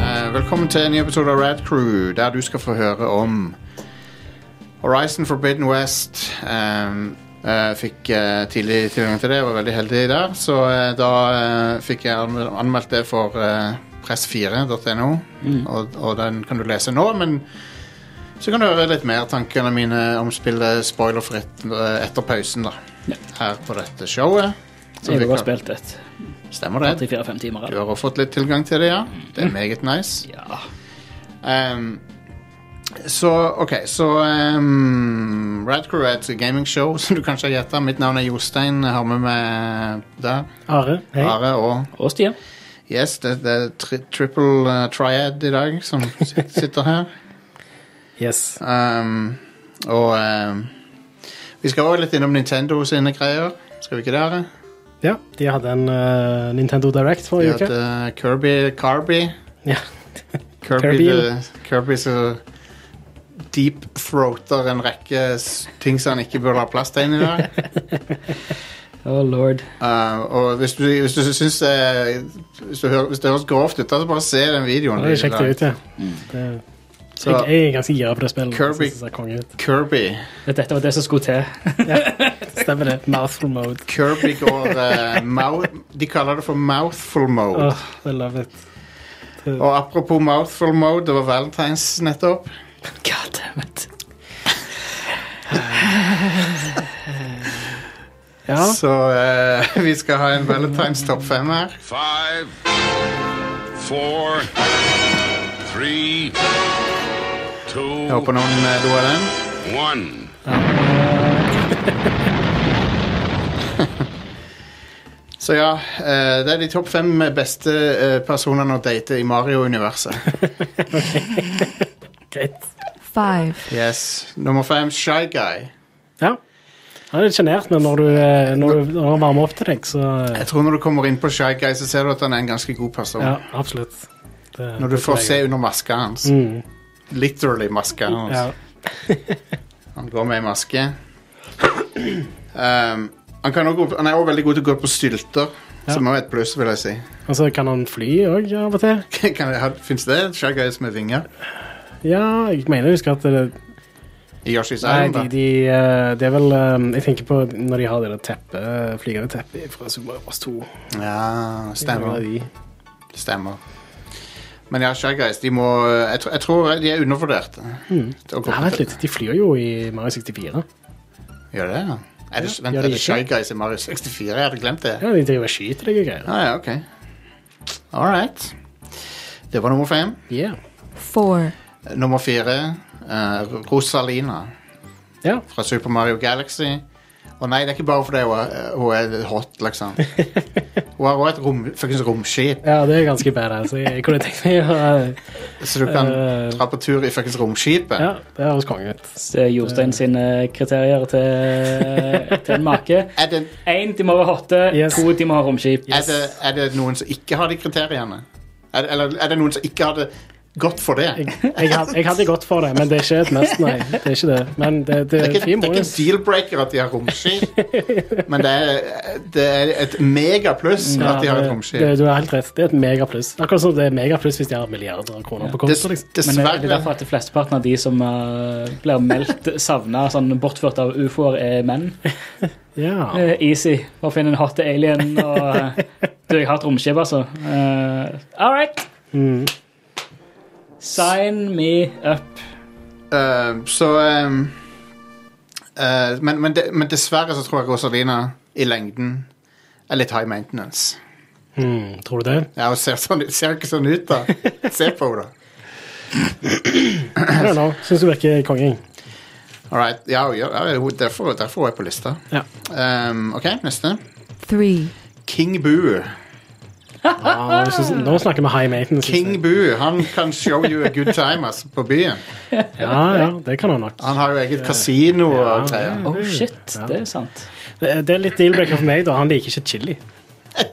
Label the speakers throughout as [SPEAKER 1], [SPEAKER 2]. [SPEAKER 1] Eh, Velkommen til en ny episode av Rad Crew, der du skal få høre om Horizon Forbidden West. Um, eh, fikk eh, tidlig tilgang til det, var veldig heldig der. Så eh, da eh, fikk jeg anmel- anmeldt det for eh, press4.no, og, og den kan du lese nå. Men så kan du høre litt mer tankene mine om spillet spoilerfritt eh, etter pausen, da.
[SPEAKER 2] Ja.
[SPEAKER 1] Her på dette showet. Så
[SPEAKER 2] Jeg
[SPEAKER 1] vi
[SPEAKER 2] har også
[SPEAKER 1] kan-
[SPEAKER 2] spilt et
[SPEAKER 1] Stemmer det.
[SPEAKER 2] tre-fire-fem timer.
[SPEAKER 1] Du
[SPEAKER 2] eller?
[SPEAKER 1] har også fått litt tilgang til det, ja. Det er meget nice.
[SPEAKER 2] Ja.
[SPEAKER 1] Ehm, så OK, så um, Radcrew er et gamingshow som du kanskje har gjetta. Mitt navn er Jostein. Jeg har med meg der.
[SPEAKER 3] Are, hei.
[SPEAKER 1] Are og
[SPEAKER 2] Og Stian.
[SPEAKER 1] Yes, det, det er tri triple eh, triad i dag som sit- sitter her.
[SPEAKER 3] Yes.
[SPEAKER 1] Ehm, og ehm, vi skal også litt innom Nintendo sine greier. Skal vi ikke det? Are?
[SPEAKER 3] Ja, de hadde en eh, Nintendo Direct
[SPEAKER 1] Vi
[SPEAKER 3] forrige
[SPEAKER 1] har
[SPEAKER 3] uke.
[SPEAKER 1] hatt eh, Kirby Carby.
[SPEAKER 3] Ja.
[SPEAKER 1] Kirby,
[SPEAKER 3] Kirby.
[SPEAKER 1] the, Kirby som deep-throater en rekke s- ting som han ikke burde ha plass til inni der.
[SPEAKER 2] Oh lord.
[SPEAKER 1] Uh, og hvis du, hvis du syns eh, hvis, du hører, hvis det høres grovt ut, da så bare se den videoen.
[SPEAKER 3] Det
[SPEAKER 1] de
[SPEAKER 3] sjekket
[SPEAKER 1] la-
[SPEAKER 3] jeg ut, ja. Det,
[SPEAKER 1] Mm. Så-
[SPEAKER 3] jeg, jeg er ganske gira på det spillet.
[SPEAKER 1] Kirby-
[SPEAKER 3] Jeg synes det ser konge ut.
[SPEAKER 1] Kirby
[SPEAKER 2] Dette var det som skulle til.
[SPEAKER 3] Stemmer det. Mouthful mode.
[SPEAKER 1] Kirby går eh, mouth, De kaller det for mouthful mode.
[SPEAKER 3] Åh, I love it.
[SPEAKER 1] Og apropos mouthful mode, det var Valentine's nettopp.
[SPEAKER 2] God damn it.
[SPEAKER 3] Ja,
[SPEAKER 1] Så eh, vi skal ha en Valentine's topp fem her.
[SPEAKER 4] Five, four, three,
[SPEAKER 1] Jeg
[SPEAKER 4] two,
[SPEAKER 1] håper noen eh, lo av den.
[SPEAKER 4] one.
[SPEAKER 1] Så ja, eh, det er de topp fem beste eh, personene å date i Mario-universet.
[SPEAKER 3] greit.
[SPEAKER 5] Five.
[SPEAKER 1] Yes. Nummer fem, Shy Guy.
[SPEAKER 3] Ja. Han er litt sjenert, men når du, eh, når du når han varmer opp til deg, så eh,
[SPEAKER 1] Jeg tror når du kommer inn på Shy Guy, så ser du at han er en ganske god person.
[SPEAKER 3] Ja, absolutt. Det-
[SPEAKER 1] Når du
[SPEAKER 3] det
[SPEAKER 1] får
[SPEAKER 3] tror
[SPEAKER 1] se
[SPEAKER 3] jeg.
[SPEAKER 1] under maska hans.
[SPEAKER 3] Mm,
[SPEAKER 1] Literally maska hans.
[SPEAKER 3] ja.
[SPEAKER 1] Han går med i maske. Um, han, kan også, gå på- han er også veldig god til å gå på stylter,
[SPEAKER 3] Ja.
[SPEAKER 1] som også er et pluss, vil jeg si.
[SPEAKER 3] Og så kan han fly òg, av og til.
[SPEAKER 1] Kan jeg ha- Finnes det shaggays med vinger?
[SPEAKER 3] Ja, jeg mener jeg husker at det,
[SPEAKER 1] I Yoshi's
[SPEAKER 3] Nei,
[SPEAKER 1] Island,
[SPEAKER 3] de,
[SPEAKER 1] da?
[SPEAKER 3] de, eh, det er vel eh, Jeg tenker på når de har det der teppet, eh, flygende teppet fra Super Mario Bros. 2.
[SPEAKER 1] Ja,
[SPEAKER 3] Noen av
[SPEAKER 1] stemmer.
[SPEAKER 3] de.
[SPEAKER 1] stemmer. Men ja, shaggays, de må jeg, tr- jeg tror de er undervurderte. Til å gå
[SPEAKER 3] Nei,
[SPEAKER 1] på-
[SPEAKER 3] Mm. vent litt, de flyr jo i Mario 64.
[SPEAKER 1] Gjør det, ja? Er det, vent,
[SPEAKER 3] gjør
[SPEAKER 1] er
[SPEAKER 3] de
[SPEAKER 1] det
[SPEAKER 3] ikke?
[SPEAKER 1] shaggays i Mario 64? Jeg hadde glemt det.
[SPEAKER 3] Ja, De driver og skyter deg og greier.
[SPEAKER 1] Ah, ja, ok. All right. Det var nummer fem.
[SPEAKER 3] Yeah.
[SPEAKER 5] Four.
[SPEAKER 1] Nummer fire, eh, Rosalina
[SPEAKER 3] Ja,
[SPEAKER 1] fra Super Mario Galaxy. Og nei, det er ikke bare fordi hun er, hun er hot, liksom. Hun har også et rom, faktisk romskip,
[SPEAKER 3] ja, det er ganske badass. Jeg, jeg kunne tenkt meg å
[SPEAKER 1] så du kan
[SPEAKER 3] Eh.
[SPEAKER 1] dra på tur i faktisk romskipet.
[SPEAKER 3] Ja, det høres konge ut.
[SPEAKER 2] Så Jostein sine kriterier til, til en make.
[SPEAKER 1] Er, det,
[SPEAKER 2] Én, de må være hotte.
[SPEAKER 3] Yes.
[SPEAKER 2] To, de må ha romskip.
[SPEAKER 1] er, det, er det noen som ikke har de kriteriene? Er det, eller er det noen som ikke hadde gått for det?
[SPEAKER 3] Jeg, jeg, had- jeg hadde gått for det, men det er ikke et mest, nei. Det er ikke det. Men det, det,
[SPEAKER 1] Det er
[SPEAKER 3] er
[SPEAKER 1] ikke, det
[SPEAKER 3] fin
[SPEAKER 1] er ikke
[SPEAKER 3] bonus.
[SPEAKER 1] en deal-breaker at de har romskip, men det er, det er et megapluss
[SPEAKER 3] Ja,
[SPEAKER 1] at de har et
[SPEAKER 3] det,
[SPEAKER 1] romskip.
[SPEAKER 3] det, du har helt rett. Det er et megapluss. Akkurat som det er megapluss hvis de har milliarder av kroner på konto.
[SPEAKER 1] Dess,
[SPEAKER 3] Liksom.
[SPEAKER 2] Men er det
[SPEAKER 1] dessverre
[SPEAKER 2] derfor at flesteparten av de som eh, blir meldt savna, sånn bortført av ufoer, er menn?
[SPEAKER 3] Ja.
[SPEAKER 2] Eh, easy å finne en hot alien og eh, Du, jeg har et romskip, altså. Uh, All right.
[SPEAKER 3] Mm.
[SPEAKER 2] Sign me up.
[SPEAKER 1] Eh, så ehm, eh, men, men, de, men dessverre så tror jeg Rosalina i lengden er litt high maintenance.
[SPEAKER 3] Mm, tror du det?
[SPEAKER 1] Ja, Hun ser, sånn, ut- ser ikke sånn ut, da. Se på henne, da.
[SPEAKER 3] I don't know. Syns du virker konge.
[SPEAKER 1] All right. Ja, hun gjør- ja, hun- derfor, derfor er hun på lista.
[SPEAKER 3] Ja.
[SPEAKER 1] Ehm, OK, neste.
[SPEAKER 5] Three.
[SPEAKER 1] King Boo.
[SPEAKER 3] Ah, jeg synes- nå snakker vi high maintenance. synes jeg.
[SPEAKER 1] King Boo han kan show you a good time altså, på byen.
[SPEAKER 3] Ja, ja, det kan han nok.
[SPEAKER 1] Han har jo eget kasino og
[SPEAKER 3] Ja.
[SPEAKER 1] greier.
[SPEAKER 2] Oh shit, det er sant.
[SPEAKER 3] Det, det er litt deal-breaker for meg, da. Han liker ikke chili.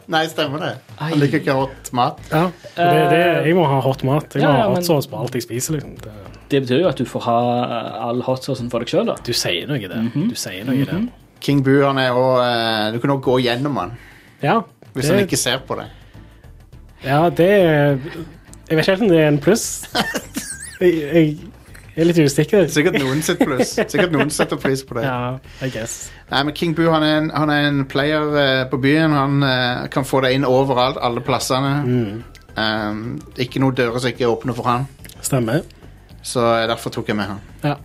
[SPEAKER 1] Nei, stemmer det. Han liker ikke hot mat.
[SPEAKER 3] Ja. Det, det, jeg må ha hot mat. Jeg må
[SPEAKER 2] Ja, ja,
[SPEAKER 3] ha hot
[SPEAKER 2] men-
[SPEAKER 3] sauce på alt jeg spiser. Liksom. Det,
[SPEAKER 2] Det betyr jo at du får ha eh, all hotsaucen for deg sjøl, da.
[SPEAKER 3] du sier noe i det.
[SPEAKER 1] Mhm.
[SPEAKER 3] Du sier noe i det.
[SPEAKER 1] King Boo han er også, eh, Du kan også gå gjennom han
[SPEAKER 3] Ja,
[SPEAKER 1] hvis han
[SPEAKER 3] det,
[SPEAKER 1] ikke ser på deg.
[SPEAKER 3] ja, det er Jeg vet ikke helt om det er en pluss. Jeg, jeg, er litt usikker.
[SPEAKER 1] Sikkert noen sitt pluss. Sikkert noen setter pris på det.
[SPEAKER 3] Ja, I guess.
[SPEAKER 1] Nei, men King Bu han er en, han er en player eh, på byen. Han eh, kan få deg inn overalt, alle plassene.
[SPEAKER 3] Mm.
[SPEAKER 1] Um, ikke noen dører som ikke er åpne for han.
[SPEAKER 3] Stemmer.
[SPEAKER 1] Så eh, derfor tok jeg med han.
[SPEAKER 3] Ja.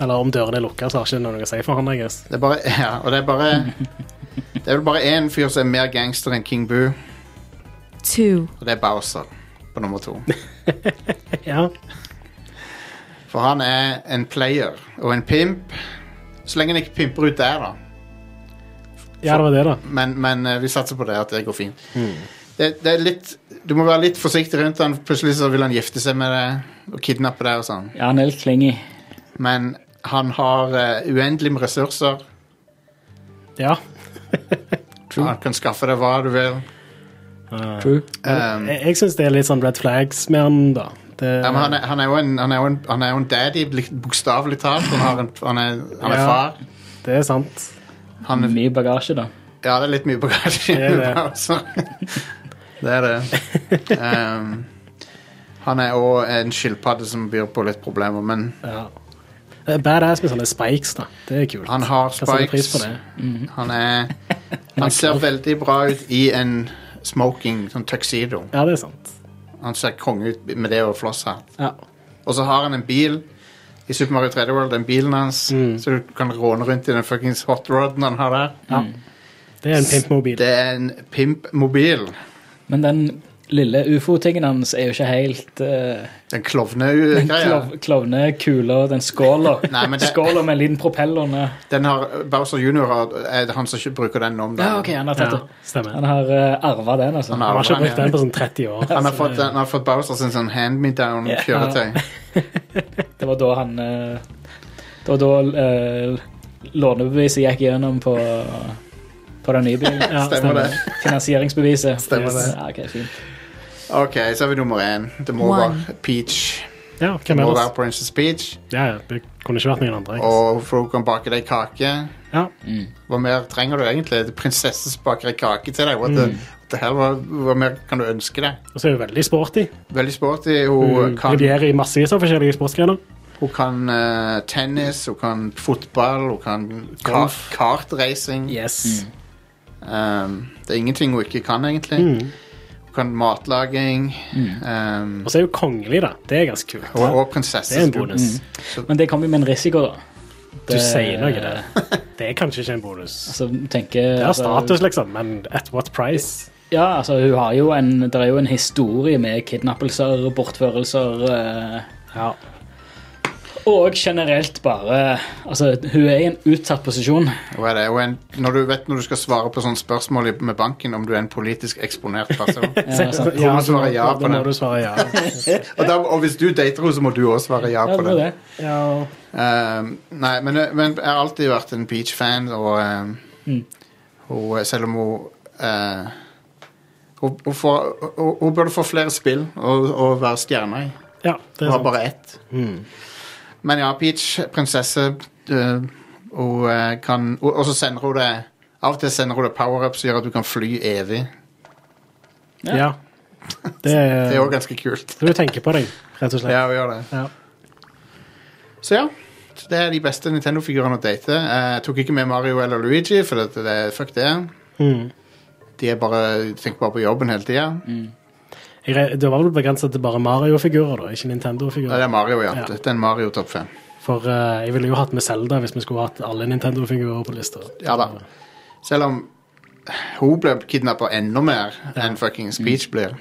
[SPEAKER 3] Eller om dørene er lukka, så har ikke det noe å si for han, I guess.
[SPEAKER 1] Det er bare, ja, og det er bare Det er vel bare én fyr som er mer gangster enn King Bu,
[SPEAKER 5] two,
[SPEAKER 1] og det er Bowser på nummer to.
[SPEAKER 3] Ja.
[SPEAKER 1] For han er en player og en pimp. Så lenge han ikke pimper ut der, da.
[SPEAKER 3] ja, det var det, da.
[SPEAKER 1] men, men eh, vi satser på det, at det går fint. Det, det er litt, du må være litt forsiktig rundt han. Plutselig så vil han gifte seg med deg og kidnappe deg og sånn.
[SPEAKER 2] Ja, han er litt klingy.
[SPEAKER 1] Men han har eh, uendelig med ressurser.
[SPEAKER 3] Ja.
[SPEAKER 1] Han kan skaffe deg hva du vil.
[SPEAKER 2] True.
[SPEAKER 1] Um,
[SPEAKER 3] Jeg, jeg syns det er litt sånn red flags med han, da. Det,
[SPEAKER 1] ja, men han, er, han, er jo en, han, er jo en, han er jo en daddy, bli- bokstavelig talt. Han, har en, han, er, han er
[SPEAKER 3] Ja.
[SPEAKER 1] far.
[SPEAKER 3] det er sant.
[SPEAKER 1] Han er,
[SPEAKER 2] Mye bagasje, da.
[SPEAKER 1] ja, det er litt mye bagasje.
[SPEAKER 3] Det er det.
[SPEAKER 1] altså. det er det. Um, han er òg en skilpadde som byr på litt problemer, men
[SPEAKER 3] Ja. Det er Badass med sånne spikes, da. Det er kult.
[SPEAKER 1] Han har
[SPEAKER 3] Kan sette pris
[SPEAKER 1] spikes.
[SPEAKER 3] på det.
[SPEAKER 1] Han er Han ser veldig bra ut i en smoking, sånn tuxedo.
[SPEAKER 3] Ja, det er sant.
[SPEAKER 1] Han ser konge ut med det og flosshatt.
[SPEAKER 3] Ja.
[SPEAKER 1] Og så har han en bil i Super Mario 3D World, den bilen hans,
[SPEAKER 3] Mm.
[SPEAKER 1] så du kan råne rundt i den fuckings hotroden han har der.
[SPEAKER 3] ja. Det er en pimpmobil.
[SPEAKER 1] Det er en pimpmobil.
[SPEAKER 2] Men den lille ufo-tingen hans er jo ikke helt uh,
[SPEAKER 1] Den eh,
[SPEAKER 2] Den
[SPEAKER 1] klovnegreia.
[SPEAKER 2] klov, klovnekula, den skåla.
[SPEAKER 1] Nei, men det-
[SPEAKER 2] Skåla med en liten propeller ned.
[SPEAKER 1] Den har Bowser Junior har- er det han som ikke bruker den om dagen.
[SPEAKER 2] Ja, ok, han har tatt
[SPEAKER 3] Ja,
[SPEAKER 2] det.
[SPEAKER 3] stemmer.
[SPEAKER 2] Han har uh, arva den, altså.
[SPEAKER 1] Han
[SPEAKER 3] Han
[SPEAKER 1] har,
[SPEAKER 3] har ikke brukt
[SPEAKER 1] den,
[SPEAKER 3] den
[SPEAKER 1] ja.
[SPEAKER 3] på sånn 30 år.
[SPEAKER 1] han, har fått, han har fått Bowser sin sånn
[SPEAKER 2] Ja.
[SPEAKER 1] hand-me-down-kjøretøy.
[SPEAKER 2] Det var da han eh, Det var da eh, lånebeviset gikk gjennom på, på den nye bilen.
[SPEAKER 3] Ja,
[SPEAKER 1] Stemmer det.
[SPEAKER 2] Finansieringsbeviset.
[SPEAKER 1] Stemmer
[SPEAKER 2] Yes.
[SPEAKER 1] det.
[SPEAKER 2] Ja, ok, fint.
[SPEAKER 1] Ok, så er vi nummer én. Det må
[SPEAKER 5] One.
[SPEAKER 1] være Peach.
[SPEAKER 3] Ja,
[SPEAKER 1] Det
[SPEAKER 3] hvem
[SPEAKER 1] må være
[SPEAKER 3] ellers?
[SPEAKER 1] Princess Peach.
[SPEAKER 3] Ja, ja, det kunne ikke vært noen andre. jeg guess.
[SPEAKER 1] Og for hun kan bake deg kake.
[SPEAKER 3] Ja.
[SPEAKER 1] Hva mer trenger du egentlig? Det er Prinsesse som baker ei kake til deg. What the, what the hell, hva, hva mer kan du ønske deg?
[SPEAKER 3] Og så er hun veldig sporty.
[SPEAKER 1] Veldig sporty. Hun
[SPEAKER 3] Hun
[SPEAKER 1] kan,
[SPEAKER 3] regjerer i massevis av forskjellige sportsgrener.
[SPEAKER 1] hun kan eh, tennis, hun kan fotball, hun kan ka-
[SPEAKER 3] Golf.
[SPEAKER 1] kartracing.
[SPEAKER 3] Yes.
[SPEAKER 1] Um, det er ingenting hun ikke kan, egentlig. Hun kan matlaging. Um,
[SPEAKER 3] Og så er hun kongelig, da. Det er ganske kult.
[SPEAKER 1] og, og
[SPEAKER 3] Det er
[SPEAKER 1] prinsesse.
[SPEAKER 3] en bonus.
[SPEAKER 2] Men det kom jo med en risiko, da.
[SPEAKER 3] Du sier noe der. Det er kanskje ikke en bonus.
[SPEAKER 2] Altså, tenker,
[SPEAKER 3] Det er
[SPEAKER 2] altså,
[SPEAKER 3] status, liksom, men at what price?
[SPEAKER 2] Ja, altså, hun har jo en, det er jo en historie med kidnappelser, bortførelser eh,
[SPEAKER 3] Ja.
[SPEAKER 2] Og generelt bare Altså, hun er i en utsatt posisjon.
[SPEAKER 1] Hun er det. Hun er en, når du vet når du skal svare på sånne spørsmål i- med banken om du er en politisk eksponert person.
[SPEAKER 2] Ja, sant.
[SPEAKER 1] Hun må svare ja
[SPEAKER 3] da
[SPEAKER 1] på
[SPEAKER 3] må
[SPEAKER 1] det.
[SPEAKER 3] du svare ja.
[SPEAKER 1] Og, da, og hvis du dater henne, så må du også svare ja
[SPEAKER 2] Ja,
[SPEAKER 1] på
[SPEAKER 2] det var
[SPEAKER 1] det.
[SPEAKER 2] det.
[SPEAKER 3] ja.
[SPEAKER 1] Ehm, nei, men, men jeg har alltid vært en Peach-fan, og ehm,
[SPEAKER 3] Mm.
[SPEAKER 1] hun, selv om hun eh, hun, hun, får, hun, hun burde få flere spill og, og være stjerne i.
[SPEAKER 3] ja, det
[SPEAKER 1] Hun
[SPEAKER 3] er
[SPEAKER 1] har
[SPEAKER 3] sant.
[SPEAKER 1] bare ett. Men ja, Peach, prinsesse eh, Hun eh, kan Og og så sender hun det Av og til sender hun det power-up som gjør at du kan fly evig.
[SPEAKER 2] Ja.
[SPEAKER 3] Ja. Det
[SPEAKER 1] Det er òg
[SPEAKER 3] er
[SPEAKER 1] ganske kult.
[SPEAKER 3] det du tenker på deg, rett og slett.
[SPEAKER 1] Ja, hun gjør det.
[SPEAKER 3] Ja.
[SPEAKER 1] Så ja, så det er de beste Nintendo-figurene å date. Eh, Jeg tok ikke med Mario eller Luigi, for det, det, fuck det.
[SPEAKER 3] Mm.
[SPEAKER 1] De er bare, tenker bare på jobben hele tida.
[SPEAKER 3] Jeg, re- det var vel begrenset til bare Mario-figurer, da, ikke
[SPEAKER 1] Nei, Det
[SPEAKER 3] Nintendo-figurer.
[SPEAKER 1] er Mario, ja.
[SPEAKER 3] Ja.
[SPEAKER 1] Dette er en Mario topp fem.
[SPEAKER 3] For eh, jeg ville jo hatt med Zelda hvis vi skulle hatt alle Nintendo-figurer på lista.
[SPEAKER 1] Ja da. Selv om hun ble kidnappa enda mer enn fucking Speech blir.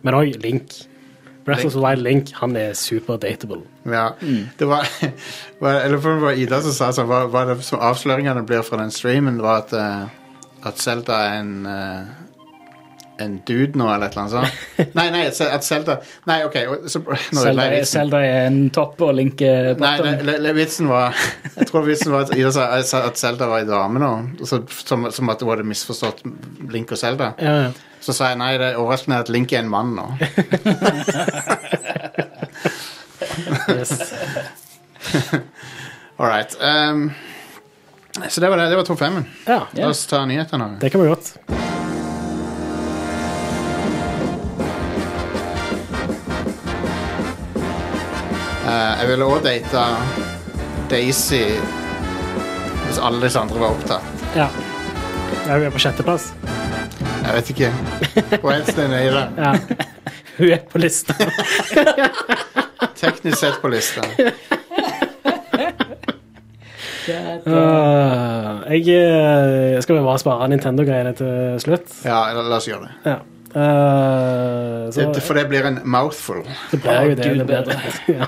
[SPEAKER 3] Men òg Link. Breath of the Wild Link, han er super-datable.
[SPEAKER 1] Ja.
[SPEAKER 2] Mm.
[SPEAKER 1] Det var, var Eller for det var Ida som sa sånn, hva, hva er det som avsløringene blir fra den streamen, var at, eh, at Zelda er en eh, en dude nå, eller et eller annet sånt. Nei, nei, at Ze- at Zelda Nei, OK. Så, nå er jeg
[SPEAKER 2] Zelda,
[SPEAKER 1] lei
[SPEAKER 2] er-
[SPEAKER 1] vitsen.
[SPEAKER 2] Zelda er en topp og Link er
[SPEAKER 1] Nei,
[SPEAKER 2] bottom.
[SPEAKER 1] le, le, le, vitsen var Jeg tror vitsen var at, Ida sa, jeg sa at Zelda var ei dame nå. og Så, som, som at hun hadde misforstått Link og Zelda.
[SPEAKER 3] Ja, ja.
[SPEAKER 1] Så sa jeg nei, det er overraskende at Link er en mann nå.
[SPEAKER 3] Yes.
[SPEAKER 1] All right. ehm, så det var det. Det var topp femmen.
[SPEAKER 3] ja.
[SPEAKER 1] La oss ta nyhetene.
[SPEAKER 3] Det kan vi godt.
[SPEAKER 1] Eh, jeg ville også data Daisy hvis alle disse andre var opptatt.
[SPEAKER 3] Ja. Ja, Hun er på sjetteplass.
[SPEAKER 1] Jeg vet ikke. Hvor er det nede i det?
[SPEAKER 3] Ja. Hun er på lista.
[SPEAKER 1] Teknisk sett på lista.
[SPEAKER 3] Øh, jeg eh, skal vel bare spare Nintendo-greiene til slutt.
[SPEAKER 1] Ja, la la oss gjøre det.
[SPEAKER 3] Ja. Øh, så
[SPEAKER 1] det. det- For det blir en mouthful.
[SPEAKER 3] det ble jo det.
[SPEAKER 2] Gud,
[SPEAKER 3] Det, ble det. ja.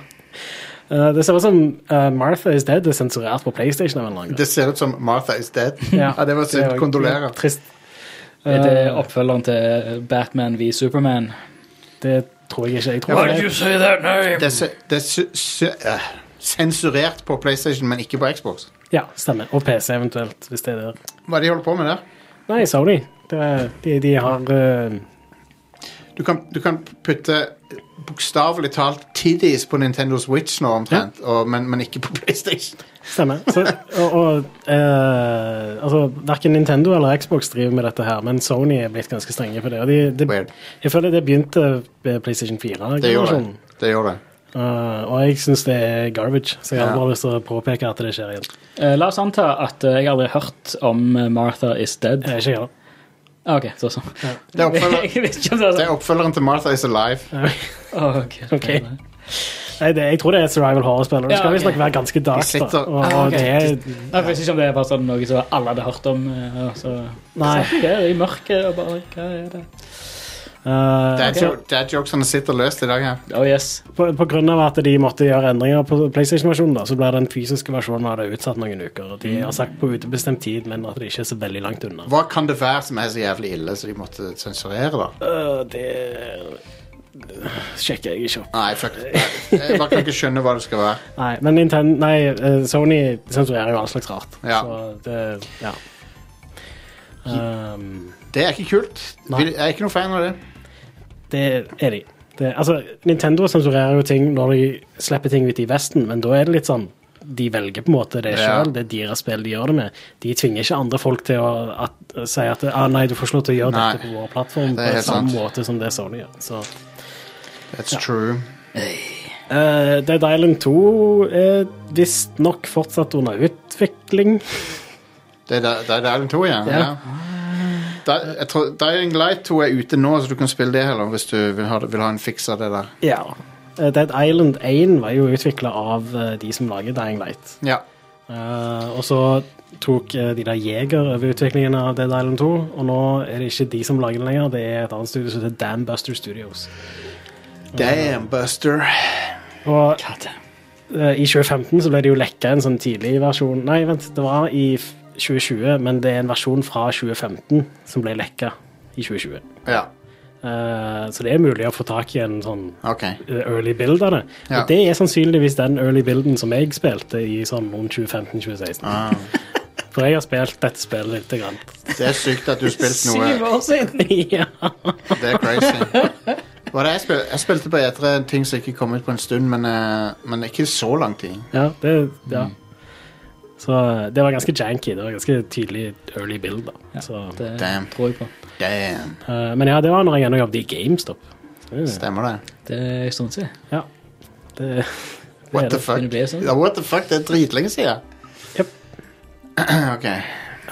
[SPEAKER 3] Øh, det ser ut som eh, Martha is Dead er sensurert på PlayStation. av en eller annen grunn.
[SPEAKER 1] Det ser ut som Martha is dead.
[SPEAKER 3] Ja.
[SPEAKER 1] Ja, det var
[SPEAKER 3] Det er
[SPEAKER 1] sykt.
[SPEAKER 3] jo
[SPEAKER 1] Kondolerer.
[SPEAKER 3] Trist.
[SPEAKER 2] Er det
[SPEAKER 3] Eh,
[SPEAKER 2] oppfølgeren til Batman v Superman?
[SPEAKER 3] det tror jeg ikke. Jeg tror det,
[SPEAKER 2] say that name?
[SPEAKER 1] Det er, se- det er su- su- eh, sensurert på PlayStation, men ikke på Xbox.
[SPEAKER 3] ja, stemmer. Og PC eventuelt, hvis det er der.
[SPEAKER 1] Hva er det de holder på med der?
[SPEAKER 3] Nei, Sony. Det, er- de, de har eh,
[SPEAKER 1] Du kan, du kan putte bokstavelig talt tiddies på Nintendo Switch nå omtrent, og, men, men ikke på PlayStation.
[SPEAKER 3] Stemmer. Så, og, og eh, altså, verken Nintendo eller Xbox driver med dette her, men Sony er blitt ganske strenge på det. Og de, de,
[SPEAKER 1] Weird.
[SPEAKER 3] jeg føler det begynte med PlayStation 4.
[SPEAKER 1] Det gjør det.
[SPEAKER 3] generasjonen.
[SPEAKER 1] det, gjør det.
[SPEAKER 3] Eh, og jeg syns det er garbage, så jeg har
[SPEAKER 1] Ja.
[SPEAKER 3] bare lyst til å påpeke at det skjer igjen.
[SPEAKER 2] La oss anta at eh, jeg aldri har hørt om eh, Martha is dead.
[SPEAKER 3] Eh, ikke jeg heller.
[SPEAKER 2] Ah, Ok, så sånn.
[SPEAKER 1] Det er, oppfølger,
[SPEAKER 2] Jeg vet ikke om det er
[SPEAKER 1] det
[SPEAKER 2] sånn.
[SPEAKER 1] er oppfølgeren til Martha is Alive.
[SPEAKER 2] Åh, ok.
[SPEAKER 3] Ok. Nei, det, jeg tror det er et survival horror-spill, og det
[SPEAKER 2] Ja,
[SPEAKER 3] skal
[SPEAKER 2] ok.
[SPEAKER 3] visstnok være ganske dark.
[SPEAKER 1] De sitter-
[SPEAKER 3] Da. Og,
[SPEAKER 2] Ah, ok.
[SPEAKER 3] og det er,
[SPEAKER 2] Jeg vet ikke om det er bare sånn noe som alle hadde hørt om. eh, og så-
[SPEAKER 3] Nei.
[SPEAKER 2] Så, Hva er sånn, det i mørket? Og bare, hva er det?
[SPEAKER 3] eh,
[SPEAKER 1] Dad
[SPEAKER 3] så
[SPEAKER 1] jo- dad jokesene sitter løst i dag her.
[SPEAKER 2] Oh yes.
[SPEAKER 3] på, på grunn av at de måtte gjøre endringer på PlayStation-versjonen, da, så ble den fysiske versjonen av det utsatt noen uker. Og
[SPEAKER 2] Mm.
[SPEAKER 3] de har sagt på utebestemt tid, men at det ikke er så veldig langt unna.
[SPEAKER 1] Hva kan det være som er så jævlig ille, så de måtte sensurere, da?
[SPEAKER 3] Øh, det sjekker jeg ikke opp.
[SPEAKER 1] Nei, fuck. Jeg bare kan ikke skjønne hva det skal være.
[SPEAKER 3] Nei, men Nintendo, nei, eh, Sony sensurerer jo all slags rart.
[SPEAKER 1] Ja.
[SPEAKER 3] Så det Ja. Um,
[SPEAKER 1] Det er ikke kult.
[SPEAKER 3] Nei.
[SPEAKER 1] Jeg er ikke noe fan av det.
[SPEAKER 3] det er de. Det, altså, Nintendo sensurerer jo ting når de slipper ting ut i Vesten, men da er det litt sånn De velger på en måte det
[SPEAKER 1] Ja.
[SPEAKER 3] sjøl, det er deres spill de gjør det med. De tvinger ikke andre folk til å at, si at ah, 'nei, du får ikke lov til å gjøre
[SPEAKER 1] Nei.
[SPEAKER 3] dette på vår plattform'
[SPEAKER 1] Det er
[SPEAKER 3] på
[SPEAKER 1] helt
[SPEAKER 3] samme
[SPEAKER 1] sant.
[SPEAKER 3] måte som det Sony gjør. Så.
[SPEAKER 1] That's true.
[SPEAKER 3] Eh, Dead Island 2 er visstnok fortsatt under utvikling.
[SPEAKER 1] Det er da- det er Dylan 2, ja.
[SPEAKER 3] Ja.
[SPEAKER 1] ja. Da- jeg tror Dying Light 2 er ute nå, så du kan spille det heller hvis du vil ha, det- vil ha en fiks av det der.
[SPEAKER 3] Ja. Eh, Dead Island 1 var jo utvikla av eh, de som lager Dying Light.
[SPEAKER 1] Ja.
[SPEAKER 3] Eh, og så tok eh, de der Jeger over utviklingen av Dead Island 2, og nå er det ikke de som lager den lenger, det er et annet studio som heter Dambuster Studios.
[SPEAKER 1] Damn, Buster.
[SPEAKER 3] Og
[SPEAKER 2] God.
[SPEAKER 3] eh, i 2015 så ble det jo lekka en sånn tidlig versjon Nei, vent, det var i f- 2020, men det er en versjon fra 2015 som ble lekka i 2020.
[SPEAKER 1] Ja,
[SPEAKER 3] Eh, så det er mulig å få tak i en sånn
[SPEAKER 1] OK.
[SPEAKER 3] eh, early build av det.
[SPEAKER 1] Ja.
[SPEAKER 3] Og det er sannsynligvis den early builden som jeg spilte i sånn om 2015-2016.
[SPEAKER 1] Ah.
[SPEAKER 3] For jeg har spilt dette spillet lite grann.
[SPEAKER 1] Det er sykt at du spilte noe.
[SPEAKER 2] år siden!
[SPEAKER 3] ja.
[SPEAKER 1] Det er crazy. Hva er det jeg, spil jeg spilte på etere ting som ikke kom ut på en stund, men, eh, men ikke så lang tid.
[SPEAKER 3] Ja, det, ja. Så eh, det var ganske janky. Det var ganske tydelig early build. da. Så,
[SPEAKER 2] Det
[SPEAKER 1] Damn.
[SPEAKER 2] tror jeg på.
[SPEAKER 1] Damn.
[SPEAKER 3] eh, men ja, det var når jeg ennå jobbet i GameStop. Så,
[SPEAKER 1] Stemmer det.
[SPEAKER 2] Det er en stund siden.
[SPEAKER 3] ja, det,
[SPEAKER 1] What the fuck?
[SPEAKER 2] Kunne bli sånn.
[SPEAKER 1] Ja, what the fuck? Det er dritlenge siden.
[SPEAKER 3] Jep.
[SPEAKER 1] OK.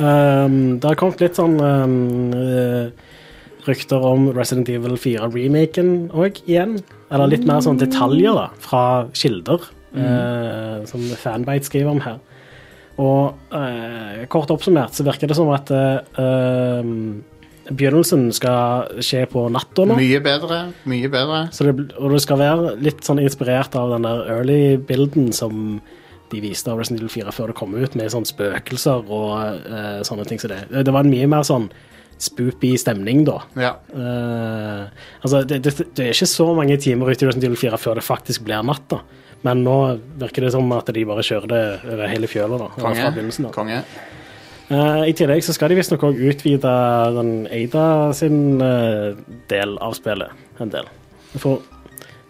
[SPEAKER 3] um, det har kommet litt sånn um, eh, rykter om Resident Evil 4-remaken òg, igjen. Eller litt mer sånn detaljer da, fra kilder, eh, som Fanbite skriver om her. Og eh, kort oppsummert så virker det som at eh, um, begynnelsen skal skje på natta nå.
[SPEAKER 1] Mye bedre. Mye bedre.
[SPEAKER 3] Så det, bl- og du skal være litt sånn inspirert av den der early-bilden som de viste av Resident Evil 4 før det kom ut, med sånn spøkelser og eh, sånne ting som det. Det var en mye mer sånn spoopy stemning da.
[SPEAKER 1] Ja.
[SPEAKER 3] Eh, altså, det, det, det er ikke så mange timer ute i Resident Evil 4 før det faktisk blir natt, da. Men nå virker det som at de bare kjører det over hele fjøla, da. eller Fra begynnelsen
[SPEAKER 1] Konge.
[SPEAKER 3] av.
[SPEAKER 1] Konge.
[SPEAKER 3] Eh, I tillegg så skal de visstnok òg utvide den Ada sin eh, del av spillet en del. For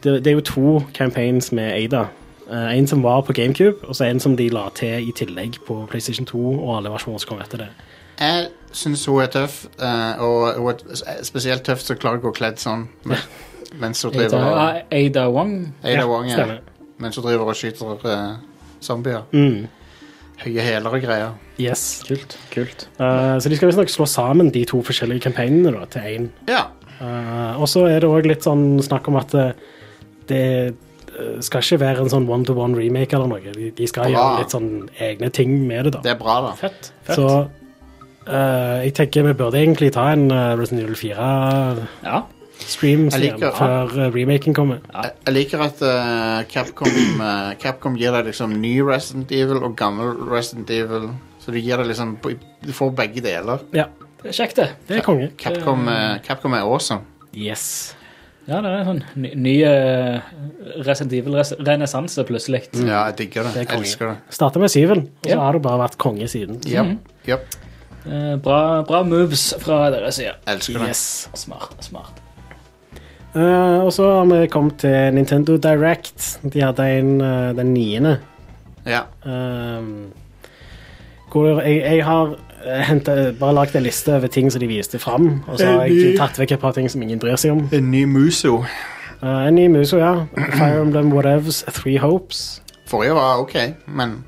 [SPEAKER 3] det, det er jo to campaigns med Ada. Eh, en som var på GameCube, og så en som de la til i tillegg på PlayStation 2 og alle versjoner som kom etter det.
[SPEAKER 1] Jeg syns hun er tøff, eh, og hun er s- spesielt tøff som klarer å gå kledd sånn men- mens hun driver
[SPEAKER 2] Ada,
[SPEAKER 1] og
[SPEAKER 2] ah, Ada Wong.
[SPEAKER 1] Ada Wong er
[SPEAKER 3] stemmer.
[SPEAKER 1] mens hun driver og skyter eh, zombier.
[SPEAKER 3] Mm.
[SPEAKER 1] Høye hæler og greier.
[SPEAKER 3] Yes.
[SPEAKER 2] Kult. kult.
[SPEAKER 3] Eh, så de skal visstnok slå sammen de to forskjellige kampanjene da, til én.
[SPEAKER 1] Ja.
[SPEAKER 3] Eh, og så er det òg litt sånn snakk om at det, det eh, skal ikke være en sånn one-to-one remake eller noe. De, de skal
[SPEAKER 1] Bra.
[SPEAKER 3] gjøre litt sånn egne ting med det, da.
[SPEAKER 1] Ah. Det er bra, da.
[SPEAKER 2] Fett. fett.
[SPEAKER 3] Så eh, jeg tenker vi burde egentlig ta en eh, Resident Evil 4-stream
[SPEAKER 2] Ja.
[SPEAKER 1] Jeg liker-
[SPEAKER 3] før eh, remaken kommer.
[SPEAKER 1] Jeg, jeg liker at eh, Capcom, eh, Capcom gir deg liksom ny Resident Evil og gammel Resident Evil. Så du gir deg liksom Du får begge deler.
[SPEAKER 3] Ja,
[SPEAKER 2] Det er kjekt, det.
[SPEAKER 3] det er konge.
[SPEAKER 1] Capcom, eh, Capcom er awesome.
[SPEAKER 3] Yes.
[SPEAKER 2] Ja, det er sånn ny, ny eh, Resident Evil-renessanse plutselig.
[SPEAKER 1] Ja, jeg digger det.
[SPEAKER 3] Det er
[SPEAKER 1] Jeg
[SPEAKER 3] konge.
[SPEAKER 1] elsker det.
[SPEAKER 3] Starta med syven, og så
[SPEAKER 2] Ja.
[SPEAKER 3] har det bare vært konge siden.
[SPEAKER 1] Yep. Yep.
[SPEAKER 2] Eh, bra, bra moves fra deres side.
[SPEAKER 1] Elsker det.
[SPEAKER 2] Yes. Smart. smart.
[SPEAKER 3] Eh, og så har vi kommet til Nintendo Direct. De hadde en eh, den niende.
[SPEAKER 1] Ja.
[SPEAKER 3] Ehm, hvor jeg, jeg har eh, hentet, bare lagd en liste over ting som de viste fram, og så har jeg
[SPEAKER 1] Enig.
[SPEAKER 3] tatt vekk et par ting som ingen bryr seg om.
[SPEAKER 1] En ny Muso.
[SPEAKER 3] Eh, en ny Muso, ja. Fire Emblem Whatevs, Three Hopes.
[SPEAKER 1] Forrige var ok, men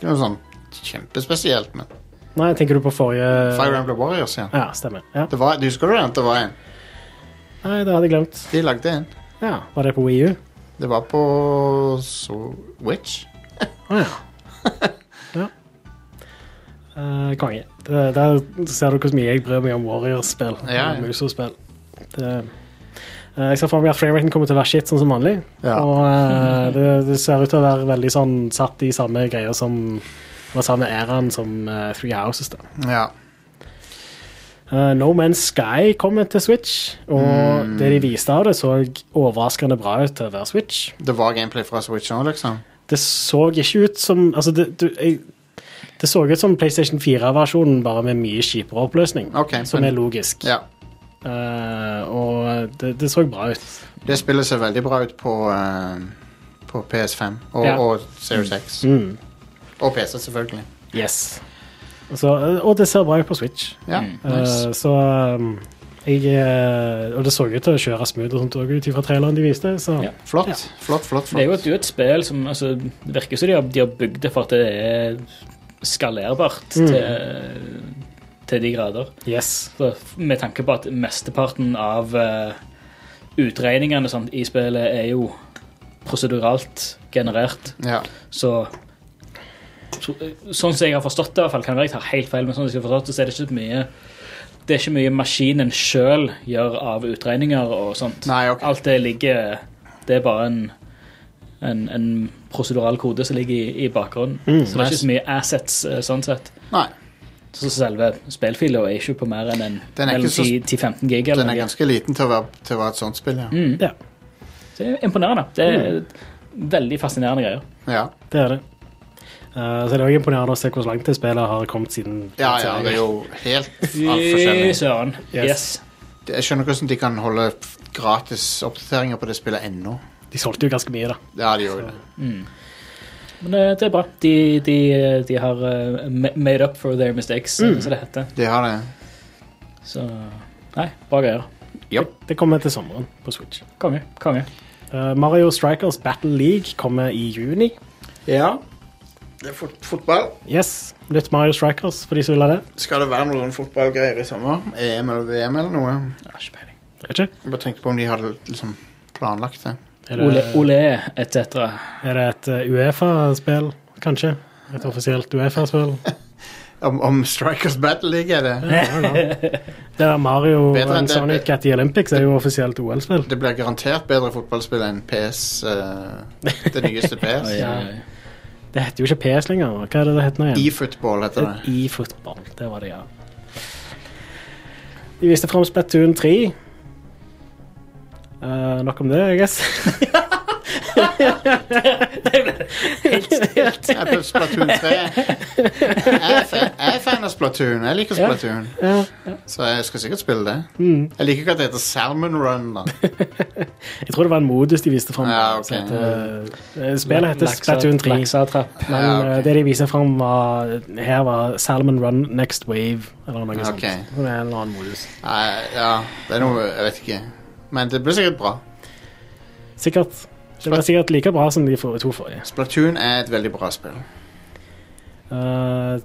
[SPEAKER 1] det var sånn kjempespesielt. Men
[SPEAKER 3] Nei, tenker du på forrige
[SPEAKER 1] Fire Emblem Warriors, ja.
[SPEAKER 3] Ja, stemmer. Ja.
[SPEAKER 1] Det var, du husker det? at Det var en.
[SPEAKER 3] Nei, det hadde jeg glemt.
[SPEAKER 1] De lagde en.
[SPEAKER 3] Ja, Var det på Wii U?
[SPEAKER 1] Det var på Switch.
[SPEAKER 3] Å ja. ja. Eh, konge. Det, der ser du hvor mye jeg bryr meg om Warriors-spill.
[SPEAKER 1] Ja, ja.
[SPEAKER 3] og Muso-spill. Det, eh, jeg ser for meg at frameraten kommer til å være shit, sånn som vanlig.
[SPEAKER 1] Ja.
[SPEAKER 3] Og eh, det, det ser ut til å være veldig sånn satt i samme greia som var samme æraen som eh, Three Houses. da.
[SPEAKER 1] Ja.
[SPEAKER 3] Eh, no Man's Sky kommer til Switch, og
[SPEAKER 1] Mm.
[SPEAKER 3] det de viste av det, så overraskende bra ut til å være Switch.
[SPEAKER 1] Det var gameplay fra Switch òg, liksom.
[SPEAKER 3] det så ikke ut som Altså, det, du, jeg, det så ut som PlayStation 4-versjonen, bare med mye kjipere oppløsning.
[SPEAKER 1] Ok,
[SPEAKER 3] som
[SPEAKER 1] men-
[SPEAKER 3] er logisk.
[SPEAKER 1] Ja.
[SPEAKER 3] Eh, og det, det så bra ut.
[SPEAKER 1] Det spillet ser veldig bra ut på, eh, på PS5 og,
[SPEAKER 3] Ja.
[SPEAKER 1] og Series X.
[SPEAKER 3] Mm.
[SPEAKER 1] Og PC, selvfølgelig.
[SPEAKER 3] Yes. Så, eh, og det ser bra ut på Switch.
[SPEAKER 1] Ja.
[SPEAKER 3] Eh,
[SPEAKER 1] Nice.
[SPEAKER 3] så um, jeg eh, Og det så ut til å kjøre smooth og sånt også ut ifra traileren de viste, så
[SPEAKER 2] Ja.
[SPEAKER 1] Flott.
[SPEAKER 3] ja.
[SPEAKER 1] Flott, flott,
[SPEAKER 2] Det er jo
[SPEAKER 1] flott.
[SPEAKER 2] et, det er jo et spill som altså, det virker som de har, de har bygd det for at det er skalerbart til, til de grader.
[SPEAKER 3] yes.
[SPEAKER 2] Så, med tanke på at mesteparten av eh, utregningene og sånt, i spillet er jo proseduralt generert,
[SPEAKER 1] Ja.
[SPEAKER 2] så så- Sånn som jeg har forstått det, i hvert fall, kan være jeg tar helt feil, men sånn som jeg har forstått det, så er det ikke så mye det er ikke mye maskinen sjøl gjør av utregninger og sånt.
[SPEAKER 1] Nei, ok.
[SPEAKER 2] Alt det ligger Det er bare en, en, en prosedural kode som ligger i, i bakgrunnen.
[SPEAKER 1] Mm,
[SPEAKER 2] så det er ikke så mye assets eh, sånn sett.
[SPEAKER 1] Nei.
[SPEAKER 2] Så selve spillfila er ikke på mer enn en,
[SPEAKER 1] Den er ikke
[SPEAKER 2] mellom
[SPEAKER 1] så-
[SPEAKER 2] 10 10-15 gig. Eller
[SPEAKER 1] Den er
[SPEAKER 2] noe.
[SPEAKER 1] ganske liten til å være, til å være et sånt spill, ja.
[SPEAKER 2] Mm.
[SPEAKER 3] Ja,
[SPEAKER 2] Så det er imponerende. Det er
[SPEAKER 1] Mm.
[SPEAKER 2] veldig fascinerende greier.
[SPEAKER 1] ja.
[SPEAKER 3] det er det. Eh, så det er også imponerende å se hvor langt det spillet har kommet siden
[SPEAKER 1] Ja, ja, det er jo helt alt
[SPEAKER 2] Fy
[SPEAKER 1] forskjellig.
[SPEAKER 2] søren.
[SPEAKER 3] Yes.
[SPEAKER 2] Yes.
[SPEAKER 1] Jeg skjønner ikke hvordan de kan holde f- gratis oppdateringer på det spillet ennå.
[SPEAKER 3] De solgte jo ganske mye, da.
[SPEAKER 1] Ja, de gjorde det.
[SPEAKER 2] Men eh, det er bra. De, de, de har eh, ma- made up for their mistakes, eh,
[SPEAKER 1] Mm.
[SPEAKER 2] som det heter.
[SPEAKER 1] De har det.
[SPEAKER 2] Så Nei, bra greier.
[SPEAKER 3] Det kommer til sommeren på Switch.
[SPEAKER 2] Konge. Konge.
[SPEAKER 3] Eh, Mario Strikers Battle League kommer i juni.
[SPEAKER 1] Ja. Det er fot fotball.
[SPEAKER 3] Yes, Nytt Mario Strikers for de som vil ha det.
[SPEAKER 1] Skal det være noen fotballgreier i sommer? E EM eller VM eller noe?
[SPEAKER 2] Ja, ikke peiling.
[SPEAKER 3] Er det, ikke?
[SPEAKER 1] Jeg bare tenkte på om de hadde liksom planlagt det.
[SPEAKER 3] Er
[SPEAKER 2] Ole,
[SPEAKER 3] det,
[SPEAKER 2] Ole E, etc.
[SPEAKER 3] er det et eh, Uefa-spill, kanskje? Et offisielt Uefa-spill?
[SPEAKER 1] Om, om Strikers Battle League er det.
[SPEAKER 3] Ja, ja, ja. Det der Mario
[SPEAKER 1] Bedre enn
[SPEAKER 3] and
[SPEAKER 1] det-
[SPEAKER 3] Sonic at the Olympics er jo offisielt OL-spill.
[SPEAKER 1] Det blir garantert bedre fotballspill enn PS, eh, det nyeste PS.
[SPEAKER 2] Oi, oi, oi.
[SPEAKER 3] Det heter jo ikke PS lenger. Hva er det det heter nå igjen?
[SPEAKER 1] E-football heter det.
[SPEAKER 3] E-football. Det var det, ja. De viste fram Splatoon 3. Eh, nok om det, I guess.
[SPEAKER 1] Jeg er på Splatoon 3. Jeg er, fan, jeg er fan av Splatoon. Jeg liker Splatoon.
[SPEAKER 3] Ja. Mm.
[SPEAKER 1] Så jeg skal sikkert spille det. Jeg liker ikke at det heter Salmon Run. da.
[SPEAKER 3] Jeg tror det var en modus de viste fram. eh,
[SPEAKER 1] Ja, ok.
[SPEAKER 3] Spillet heter
[SPEAKER 2] Laksa-
[SPEAKER 3] Splatoon 3,
[SPEAKER 2] Laksatrapp.
[SPEAKER 3] men
[SPEAKER 1] Ja, Ah, ok.
[SPEAKER 3] eh, det de viste fram, var her var Salmon Run Next Wave, eller noe
[SPEAKER 1] Ok.
[SPEAKER 3] sånt. Så Det er en eller annen modus.
[SPEAKER 1] Nei, ja, det er noe Jeg vet ikke. Men det blir sikkert bra.
[SPEAKER 3] Sikkert. Det blir sikkert like bra som de for- to forrige.
[SPEAKER 1] Splatoon er et veldig bra spill.
[SPEAKER 3] Eh,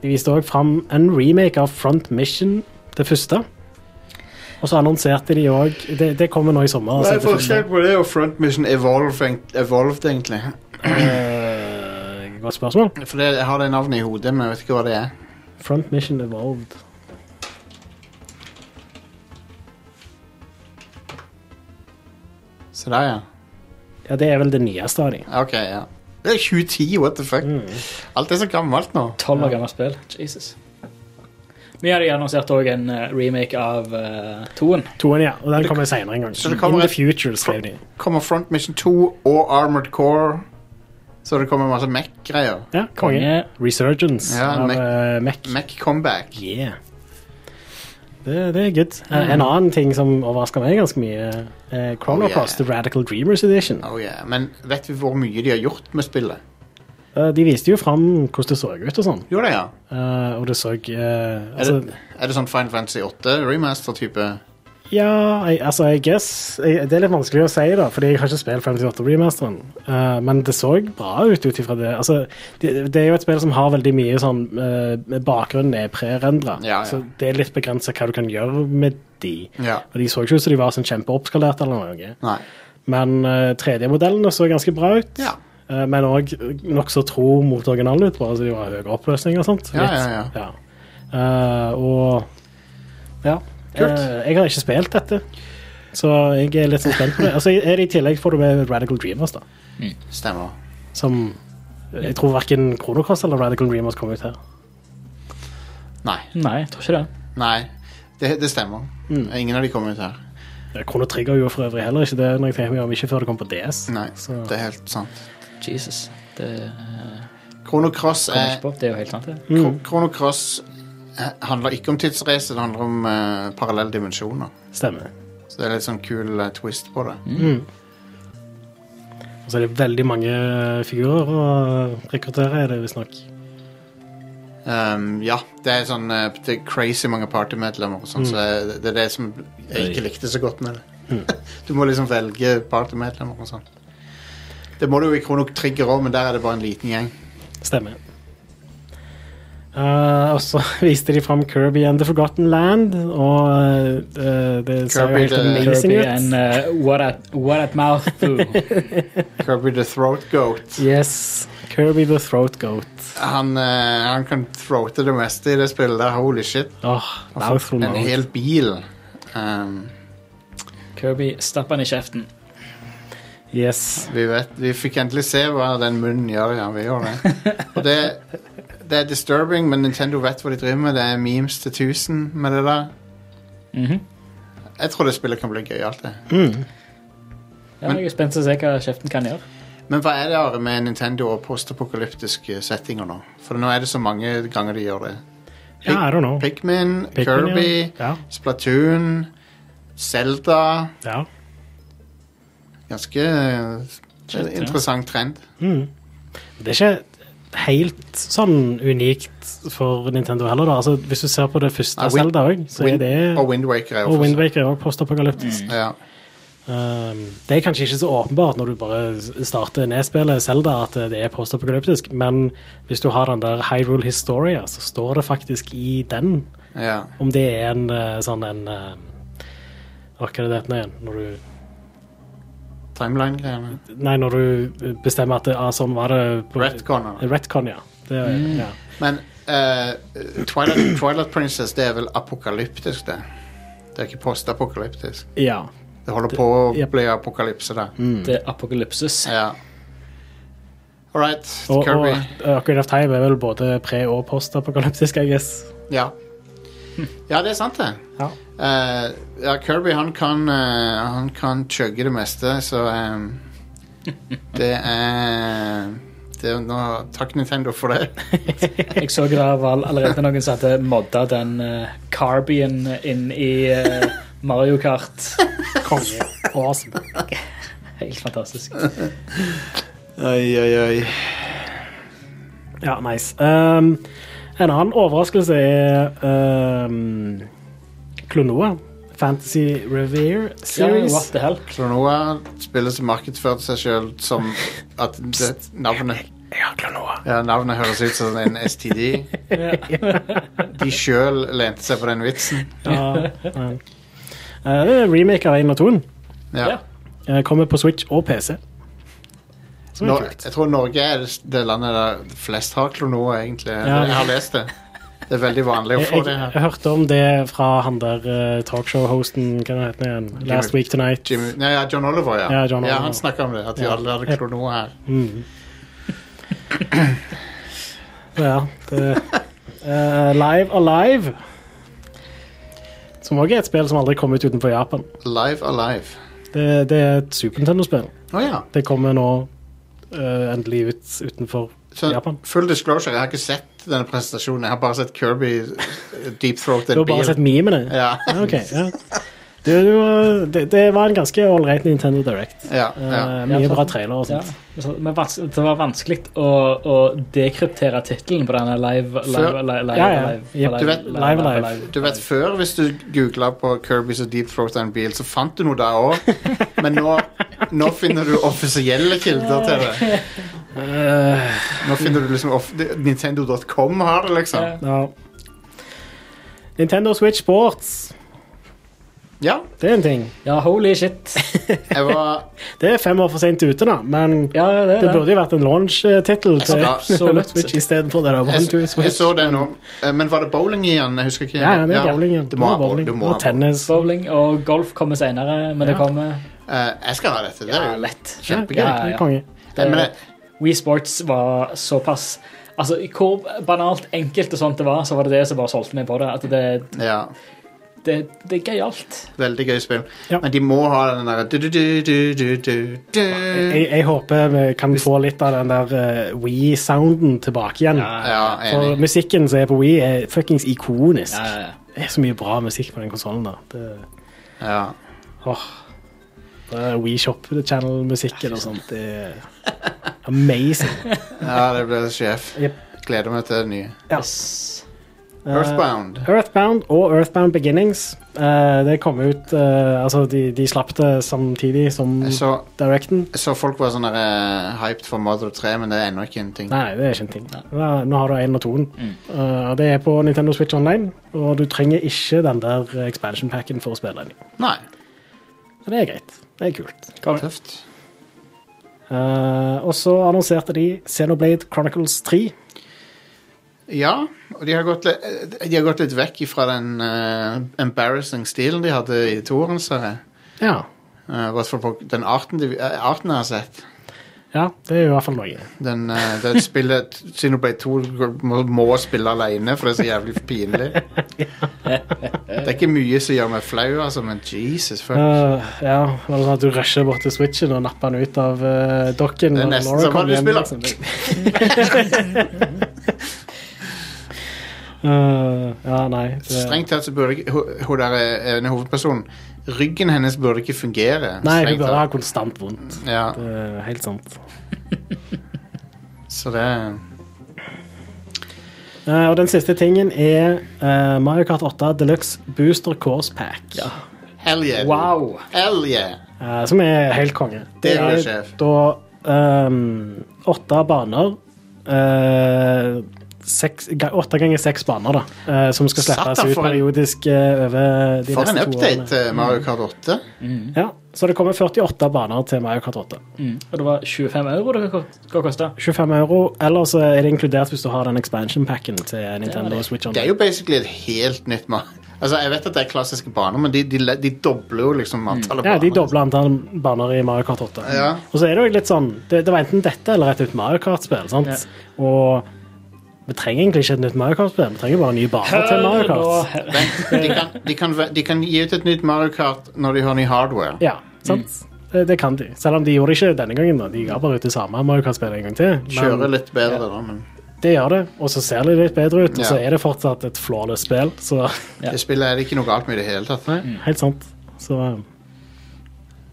[SPEAKER 3] de viste òg fram en remake av Front Mission, det første. Og så annonserte de òg det, det kommer nå i sommer.
[SPEAKER 1] Hva
[SPEAKER 3] altså,
[SPEAKER 1] er
[SPEAKER 3] det første.
[SPEAKER 1] forskjellen på det og Front Mission Evolve, en- Evolved, egentlig?
[SPEAKER 3] Eh, Godt spørsmål.
[SPEAKER 1] For det, jeg har det navnet i hodet, men jeg vet ikke hva det er.
[SPEAKER 3] Front Mission Evolved.
[SPEAKER 1] Se der, ja.
[SPEAKER 3] Ja, Det er vel det nyeste av de.
[SPEAKER 1] Ok, ja. Det er 2010, what the fuck.
[SPEAKER 3] Mm.
[SPEAKER 1] Alt er så gammelt nå.
[SPEAKER 2] Tolv år gammelt spill. Jesus. Vi hadde annonsert òg en eh, remake av uh, toen.
[SPEAKER 3] Toen, ja. Og den kommer senere en gang.
[SPEAKER 1] Så det kommer
[SPEAKER 3] In the
[SPEAKER 1] et-
[SPEAKER 3] future, skrev de.
[SPEAKER 1] Kommer Front Mission 2 og Armored Core. Så det kommer masse Mech-greier.
[SPEAKER 3] Ja, konge.
[SPEAKER 2] Konge.
[SPEAKER 3] Resurgence
[SPEAKER 1] Ja,
[SPEAKER 3] av
[SPEAKER 1] Mac-
[SPEAKER 3] eh, Mac.
[SPEAKER 1] Mech-comeback.
[SPEAKER 3] Yeah. Det, det er good. Eh, En annen ting som overrasker meg ganske mye, er
[SPEAKER 1] Mm.
[SPEAKER 3] Chrono
[SPEAKER 1] Oh, yeah.
[SPEAKER 3] Cross, The Radical Dreamers Edition.
[SPEAKER 1] Oh yeah. Men vet vi hvor mye de har gjort med spillet?
[SPEAKER 3] Eh, De viste jo fram hvordan det så ut og sånn,
[SPEAKER 1] Jo det, ja.
[SPEAKER 3] Eh, og det så eh,
[SPEAKER 1] Er
[SPEAKER 3] altså,
[SPEAKER 1] det, er det sånn Final Fantasy 8 remaster-type?
[SPEAKER 3] Ja, I, altså, I guess jeg, Det er litt vanskelig å si, da, fordi jeg har ikke spilt 58-remasteren. Eh, men det så bra ut ut ifra det. Altså, det. Det er jo et spill som har veldig mye sånn eh, Bakgrunnen er prerendra,
[SPEAKER 1] Ja, ja.
[SPEAKER 3] så det er litt begrensa hva du kan gjøre med de.
[SPEAKER 1] Ja.
[SPEAKER 3] Og De så ikke ut som de var sånn kjempeoppskalert, eller noe.
[SPEAKER 1] Nei.
[SPEAKER 3] men 3D-modellene så ganske bra ut.
[SPEAKER 1] Ja.
[SPEAKER 3] Eh, men òg nokså tro mot originalen ut, bare så de var høyere oppløsning og sånt.
[SPEAKER 1] Ja,
[SPEAKER 3] Litt.
[SPEAKER 1] ja,
[SPEAKER 3] ja. Eh, og ja.
[SPEAKER 1] Kult.
[SPEAKER 3] Eh, jeg har ikke spilt dette, så jeg er litt sånn spent på det. Altså, er det I tillegg får du med Radical Dreamers, da.
[SPEAKER 1] Stemmer.
[SPEAKER 3] Som jeg tror verken Chrono Cross eller Radical Dreamers kom ut her.
[SPEAKER 1] Nei.
[SPEAKER 2] Nei, jeg tror ikke det.
[SPEAKER 1] Nei. Det, det stemmer. Ingen av de kommer ut her.
[SPEAKER 3] Eh, Chrono Trigger gjorde for øvrig heller ikke det, når jeg tenker meg om ikke før det kom på DS.
[SPEAKER 1] Nei,
[SPEAKER 3] Så-
[SPEAKER 1] det er helt sant.
[SPEAKER 2] Jesus. Det eh,
[SPEAKER 1] Chrono Cross
[SPEAKER 2] kommer jeg
[SPEAKER 1] er
[SPEAKER 2] ikke på. Det er jo helt sant, det.
[SPEAKER 3] Mm,
[SPEAKER 1] Kro- Chrono Cross eh, handler ikke om tidsreise, det handler om eh, parallelle dimensjoner.
[SPEAKER 3] Stemmer. Mm.
[SPEAKER 1] Så det er litt sånn kul eh, twist på det.
[SPEAKER 3] Og så er det veldig mange figurer å rekruttere, er det visstnok.
[SPEAKER 1] Um, ja, det er sånn eh, det er crazy mange partymedlemmer og sånn, så det- det er det som jeg ikke likte så godt med det. du må liksom velge partymedlemmer og sånn. Det må du jo i Chrono Trigger òg, men der er det bare en liten gjeng.
[SPEAKER 3] Stemmer. Eh, og så viste de fram Kirby and The Forgotten Land, og eh, det ser jo
[SPEAKER 1] Kirby
[SPEAKER 3] helt
[SPEAKER 1] the-
[SPEAKER 3] amazing
[SPEAKER 2] Kirby
[SPEAKER 3] ut.
[SPEAKER 2] and eh, what, at, what at mouth do.
[SPEAKER 1] Kirby the Throat Goat.
[SPEAKER 3] Yes. Kirby the Throat Goat.
[SPEAKER 1] Han, eh, han kan throate det meste i det spillet der. Holy shit.
[SPEAKER 3] Åh,
[SPEAKER 1] Han får Altså,
[SPEAKER 3] mouthful
[SPEAKER 1] en
[SPEAKER 3] mode.
[SPEAKER 1] hel bil. Um,
[SPEAKER 2] Kirby, stapp han i kjeften.
[SPEAKER 3] Yes.
[SPEAKER 1] Vi, vet, vi fikk endelig se hva den munnen gjør. Ja, vi gjør det. Og det, det er disturbing, men Nintendo vet hva de driver med. Det er memes til 1000 med det der.
[SPEAKER 2] Mhm.
[SPEAKER 1] Jeg tror det spillet kan bli gøyalt, det.
[SPEAKER 2] Ja, jeg er spent på å se hva kjeften kan gjøre.
[SPEAKER 1] Men hva er det Are, med Nintendo og postapokalyptiske settinger nå? For nå er det så mange ganger de gjør det.
[SPEAKER 3] Ja, I don't know.
[SPEAKER 1] Pikmin,
[SPEAKER 3] Pikmin,
[SPEAKER 1] Kirby,
[SPEAKER 3] Ja.
[SPEAKER 1] Splatoon, Zelda
[SPEAKER 3] ja. ja.
[SPEAKER 1] Ganske eh,
[SPEAKER 2] Shit, ja.
[SPEAKER 1] interessant trend.
[SPEAKER 3] Det er ikke helt sånn unikt for Nintendo heller, da. Altså, hvis du ser på det
[SPEAKER 1] Nei,
[SPEAKER 3] første
[SPEAKER 1] Win-
[SPEAKER 3] Zelda òg, så er
[SPEAKER 1] Wind,
[SPEAKER 3] det
[SPEAKER 1] og Windwaker er jo
[SPEAKER 3] Og
[SPEAKER 1] for-
[SPEAKER 3] Windwaker er òg postapokalyptisk.
[SPEAKER 1] Ja.
[SPEAKER 3] Um, det er kanskje ikke så åpenbart når du bare starter nedspillet Zelda at eh, det er postapokalyptisk, men hvis du har den der Hyrule Historia, så står det faktisk i den
[SPEAKER 1] ja.
[SPEAKER 3] om det er en eh, sånn en eh, Hva er det det heter nå igjen? Når du
[SPEAKER 1] Timeline-greiene.
[SPEAKER 3] Nei, når du bestemmer at det, ah, sånn var det på-
[SPEAKER 1] Retconer.
[SPEAKER 3] Retcon, ja. Det, er- ja.
[SPEAKER 1] Men eh, Twilight, Twilight Princess det er vel apokalyptisk, det. Det er ikke postapokalyptisk.
[SPEAKER 3] ja.
[SPEAKER 1] Det holder på å
[SPEAKER 3] Yep.
[SPEAKER 1] bli apokalypse der.
[SPEAKER 3] Mm.
[SPEAKER 2] Det er apokalypses.
[SPEAKER 1] Ja. All right,
[SPEAKER 3] Og, og
[SPEAKER 1] Kirby.
[SPEAKER 3] eh, Ocarina of Time er vel både pre- og postapokalyptisk, I guess.
[SPEAKER 1] Ja. ja, det er sant, det.
[SPEAKER 3] Ja.
[SPEAKER 1] Eh, ja, Kirby han kan eh, Han kan chugge det meste, så eh, Det er det er nå, Takk, Nintendo, for det.
[SPEAKER 2] Jeg så det var allerede noen som hadde modda den uh, Carbien inn i eh, Mario Kart.
[SPEAKER 3] Konge. Awesome.
[SPEAKER 2] Helt fantastisk.
[SPEAKER 1] Oi, oi, oi.
[SPEAKER 3] Ja, nice. Um, en annen overraskelse er um, ehm, Klonoa. Fantasy Revere
[SPEAKER 2] Ja,
[SPEAKER 3] Series.
[SPEAKER 2] what the hell?
[SPEAKER 1] Klonoa spiller som markedsførte seg sjøl som at det, navnet
[SPEAKER 3] Jeg har Klonoa.
[SPEAKER 1] ja, Navnet høres ut som en STD. De sjøl lente seg på den vitsen.
[SPEAKER 3] Ja, ja. Eh, det er remake av 1 og 2.
[SPEAKER 1] Ja.
[SPEAKER 2] Ja.
[SPEAKER 3] Eh, Kommer på Switch og PC. Som
[SPEAKER 1] Nå,
[SPEAKER 3] er kult.
[SPEAKER 1] jeg tror Norge er det- det landet der flest har klonoa, egentlig.
[SPEAKER 3] Ja.
[SPEAKER 1] Jeg har lest det. Det er veldig vanlig å
[SPEAKER 3] Jeg,
[SPEAKER 1] få det
[SPEAKER 3] jeg,
[SPEAKER 1] her.
[SPEAKER 3] jeg hørte om det fra han der eh, talkshow-hosten Hva heter han igjen? Last Week Tonight.
[SPEAKER 1] Jimmy, nei, ja, John Oliver, ja.
[SPEAKER 3] Ja, John Oliver.
[SPEAKER 1] han snakka om det. At de
[SPEAKER 3] Ja.
[SPEAKER 1] alle hadde klonoa her.
[SPEAKER 3] Mhm. ja, det eh, Live Alive. Som òg er et spill som aldri kom ut utenfor Japan.
[SPEAKER 1] Live Alive.
[SPEAKER 3] Det, det er et Super Nintendo-spill.
[SPEAKER 1] Å ja.
[SPEAKER 3] Det kommer nå eh, endelig ut utenfor
[SPEAKER 1] Så,
[SPEAKER 3] Japan.
[SPEAKER 1] full disclosure, jeg har ikke sett denne presentasjonen. Jeg har bare sett Kirby deepthroat
[SPEAKER 3] Du
[SPEAKER 1] en
[SPEAKER 3] har bare sett
[SPEAKER 1] bil.
[SPEAKER 3] memene?
[SPEAKER 1] Ja.
[SPEAKER 3] Ja, ok, ja. Det, det, var, det, det var en ganske ålreit Nintendo Direct.
[SPEAKER 1] Ja,
[SPEAKER 3] Eh,
[SPEAKER 1] ja.
[SPEAKER 3] mye
[SPEAKER 2] Ja, sant.
[SPEAKER 3] bra trailere og
[SPEAKER 2] Ja,
[SPEAKER 3] sånt.
[SPEAKER 2] altså, men vans- det var vanskelig å, å dekryptere tittelen på denne live
[SPEAKER 1] Før-
[SPEAKER 2] live, live, live,
[SPEAKER 3] Ja, ja.
[SPEAKER 2] live,
[SPEAKER 3] Jep,
[SPEAKER 1] du vet-
[SPEAKER 3] live, live.
[SPEAKER 1] Du vet før, hvis du googla på Kirby's og deepthroat en bil, så fant du noe der òg. Men nå, nå finner du offisielle kilder til det.
[SPEAKER 3] Eh,
[SPEAKER 1] Nå finner du liksom off Nintendo.com har det, liksom.
[SPEAKER 3] ja. Nintendo Switch Sports.
[SPEAKER 1] Ja.
[SPEAKER 3] Det er en ting.
[SPEAKER 2] Ja, holy shit.
[SPEAKER 1] Jeg var
[SPEAKER 3] Det er fem år for seint ute, da, men
[SPEAKER 2] Ja, det, er
[SPEAKER 3] det burde jo vært en launch-tittel til
[SPEAKER 1] Ja,
[SPEAKER 3] Nintendo Switch istedenfor det der One
[SPEAKER 1] Altså,
[SPEAKER 3] to
[SPEAKER 1] jeg, jeg
[SPEAKER 3] Switch.
[SPEAKER 1] så det nå. Eh, Men var det bowling igjen? Jeg husker ikke.
[SPEAKER 3] Ja, ja, det er bowling.
[SPEAKER 1] Det må ha
[SPEAKER 3] Det er bowling.
[SPEAKER 1] bowling. Du må
[SPEAKER 3] Og
[SPEAKER 1] ha bowling.
[SPEAKER 3] tennis.
[SPEAKER 2] Bowling og golf kommer senere, men det
[SPEAKER 3] Ja.
[SPEAKER 2] kommer
[SPEAKER 1] Eh, Jeg skal ha dette. Det er
[SPEAKER 2] ja,
[SPEAKER 1] jo
[SPEAKER 2] lett.
[SPEAKER 1] kjempegøy.
[SPEAKER 3] Ja, det er konge.
[SPEAKER 1] Nei, men det,
[SPEAKER 2] We Sports var såpass Altså, Hvor banalt enkelt og sånt det var, så var det det som bare solgte meg på det. At det,
[SPEAKER 1] ja.
[SPEAKER 2] det, det er gøyalt.
[SPEAKER 1] Veldig gøy spill.
[SPEAKER 3] Ja.
[SPEAKER 1] Men de må ha den derre
[SPEAKER 3] Jeg, jeg håper vi kan få litt av den der uh, We-sounden tilbake igjen.
[SPEAKER 1] Ja,
[SPEAKER 3] For
[SPEAKER 1] enig.
[SPEAKER 3] musikken som er på Wii, er fuckings ikonisk.
[SPEAKER 2] Ja, ja, ja.
[SPEAKER 3] Det er så mye bra musikk på den konsollen der. Det,
[SPEAKER 1] Ja.
[SPEAKER 3] åh. det er Wii Shop Channel-musikken og sånt. Det er amazing.
[SPEAKER 1] ja, det blir sjef.
[SPEAKER 3] Jep.
[SPEAKER 1] Gleder meg til det nye.
[SPEAKER 3] Ja.
[SPEAKER 2] Yes.
[SPEAKER 1] Earthbound.
[SPEAKER 3] Eh, Earthbound og Earthbound Beginnings. Eh, det kom ut eh, Altså, de, de slapp det samtidig som
[SPEAKER 1] Jeg så,
[SPEAKER 3] Directen.
[SPEAKER 1] jeg så folk var sånn der, eh, hyped for Mother 3, men det er ennå ikke en ting.
[SPEAKER 3] Nei, det er ikke en ting. Ja, Nå har du én og toen. Eh, det er på Nintendo Switch Online, og du trenger ikke den der expansion packen for å spille den.
[SPEAKER 1] Nei.
[SPEAKER 3] Så det er greit. Det er kult.
[SPEAKER 1] Tøft.
[SPEAKER 3] Eh, og så annonserte de Xenoblade Chronicles 3.
[SPEAKER 1] Ja, og de har gått, litt- eh, de har gått litt vekk fra den eh, embarrassing stilen de hadde i toeren, ser jeg.
[SPEAKER 3] Ja.
[SPEAKER 1] Eh, I hvert fall på den arten, de, eh, arten jeg har sett.
[SPEAKER 3] ja, det er jo i hvert fall noe.
[SPEAKER 1] Den, eh, det spillet Xenoblade 2 må, må spille alene, for det er så jævlig pinlig. Det er ikke mye som gjør meg flau, altså, men Jesus fuck.
[SPEAKER 3] Eh, ja, det var sånn at Du rusher bort til switchen og napper den ut av eh, dokken.
[SPEAKER 1] Det er
[SPEAKER 3] når
[SPEAKER 1] nesten
[SPEAKER 3] Laura
[SPEAKER 1] som hva
[SPEAKER 3] kommer
[SPEAKER 1] du
[SPEAKER 3] hjem, liksom.
[SPEAKER 1] spiller.
[SPEAKER 3] Eh, ja, nei. Det,
[SPEAKER 1] Strengt tatt så burde ikke hun- hun der eh, ene hovedpersonen Ryggen hennes burde ikke fungere.
[SPEAKER 3] nei, du
[SPEAKER 1] strengt
[SPEAKER 3] bør
[SPEAKER 1] tatt.
[SPEAKER 3] ha konstant vondt.
[SPEAKER 1] Ja,
[SPEAKER 3] Det er helt sant.
[SPEAKER 1] så det
[SPEAKER 3] Eh, og den siste tingen er eh, Mario Kart 8 Deluxe Booster Course Pack.
[SPEAKER 1] Hell yeah. dude.
[SPEAKER 2] Wow.
[SPEAKER 1] Hell yeah.
[SPEAKER 3] Eh, som er helt konge.
[SPEAKER 1] Det er jo sjef.
[SPEAKER 3] da ehm, åtte baner eh, seks, ga- Åtte ganger seks baner, da. eh, som skal slippes
[SPEAKER 1] Satan,
[SPEAKER 3] ut
[SPEAKER 1] for en-
[SPEAKER 3] periodisk eh, over de
[SPEAKER 1] For en
[SPEAKER 3] neste to
[SPEAKER 1] update
[SPEAKER 3] årene. Mm.
[SPEAKER 1] til Mario Kart 8.
[SPEAKER 3] Ja, så det kommer 48 baner til Mario Kart 8.
[SPEAKER 2] Mm. Og det var 25 euro det skal koste.
[SPEAKER 3] 25 euro, eller så er det inkludert hvis du har den expansion packen til Nintendo
[SPEAKER 2] det.
[SPEAKER 3] Switch.
[SPEAKER 1] Det er jo basically et helt nytt Mario Altså, Jeg vet at det er klassiske baner, men de, de, de dobler jo liksom antallet
[SPEAKER 3] Mm. Ja, de
[SPEAKER 1] baner.
[SPEAKER 3] dobler antall baner i Mario Kart 8.
[SPEAKER 1] Ja.
[SPEAKER 3] Og så er det jo litt sånn Det, det var enten dette eller et nytt Mario Kart-spill. sant? Og vi trenger egentlig ikke et nytt Mario Kart-spill, vi trenger bare nye baner til Mario Kart.
[SPEAKER 2] Hør nå.
[SPEAKER 1] Men de kan, de, kan, ve- de kan gi ut et nytt Mario Kart når de har ny hardware.
[SPEAKER 3] Ja, sant? Det, det kan de. Selv om de gjorde det ikke denne gangen. da. De ga bare ut det samme Mario Kart-spillet en gang til.
[SPEAKER 1] Kjøre
[SPEAKER 3] Men
[SPEAKER 1] litt bedre, da, men
[SPEAKER 3] det gjør det, og så ser det litt bedre ut. Og så
[SPEAKER 1] Ja.
[SPEAKER 3] er det fortsatt et flawless spill, så
[SPEAKER 2] Ja.
[SPEAKER 1] det spillet er det ikke noe galt med i det hele tatt.
[SPEAKER 3] helt sant. Så um,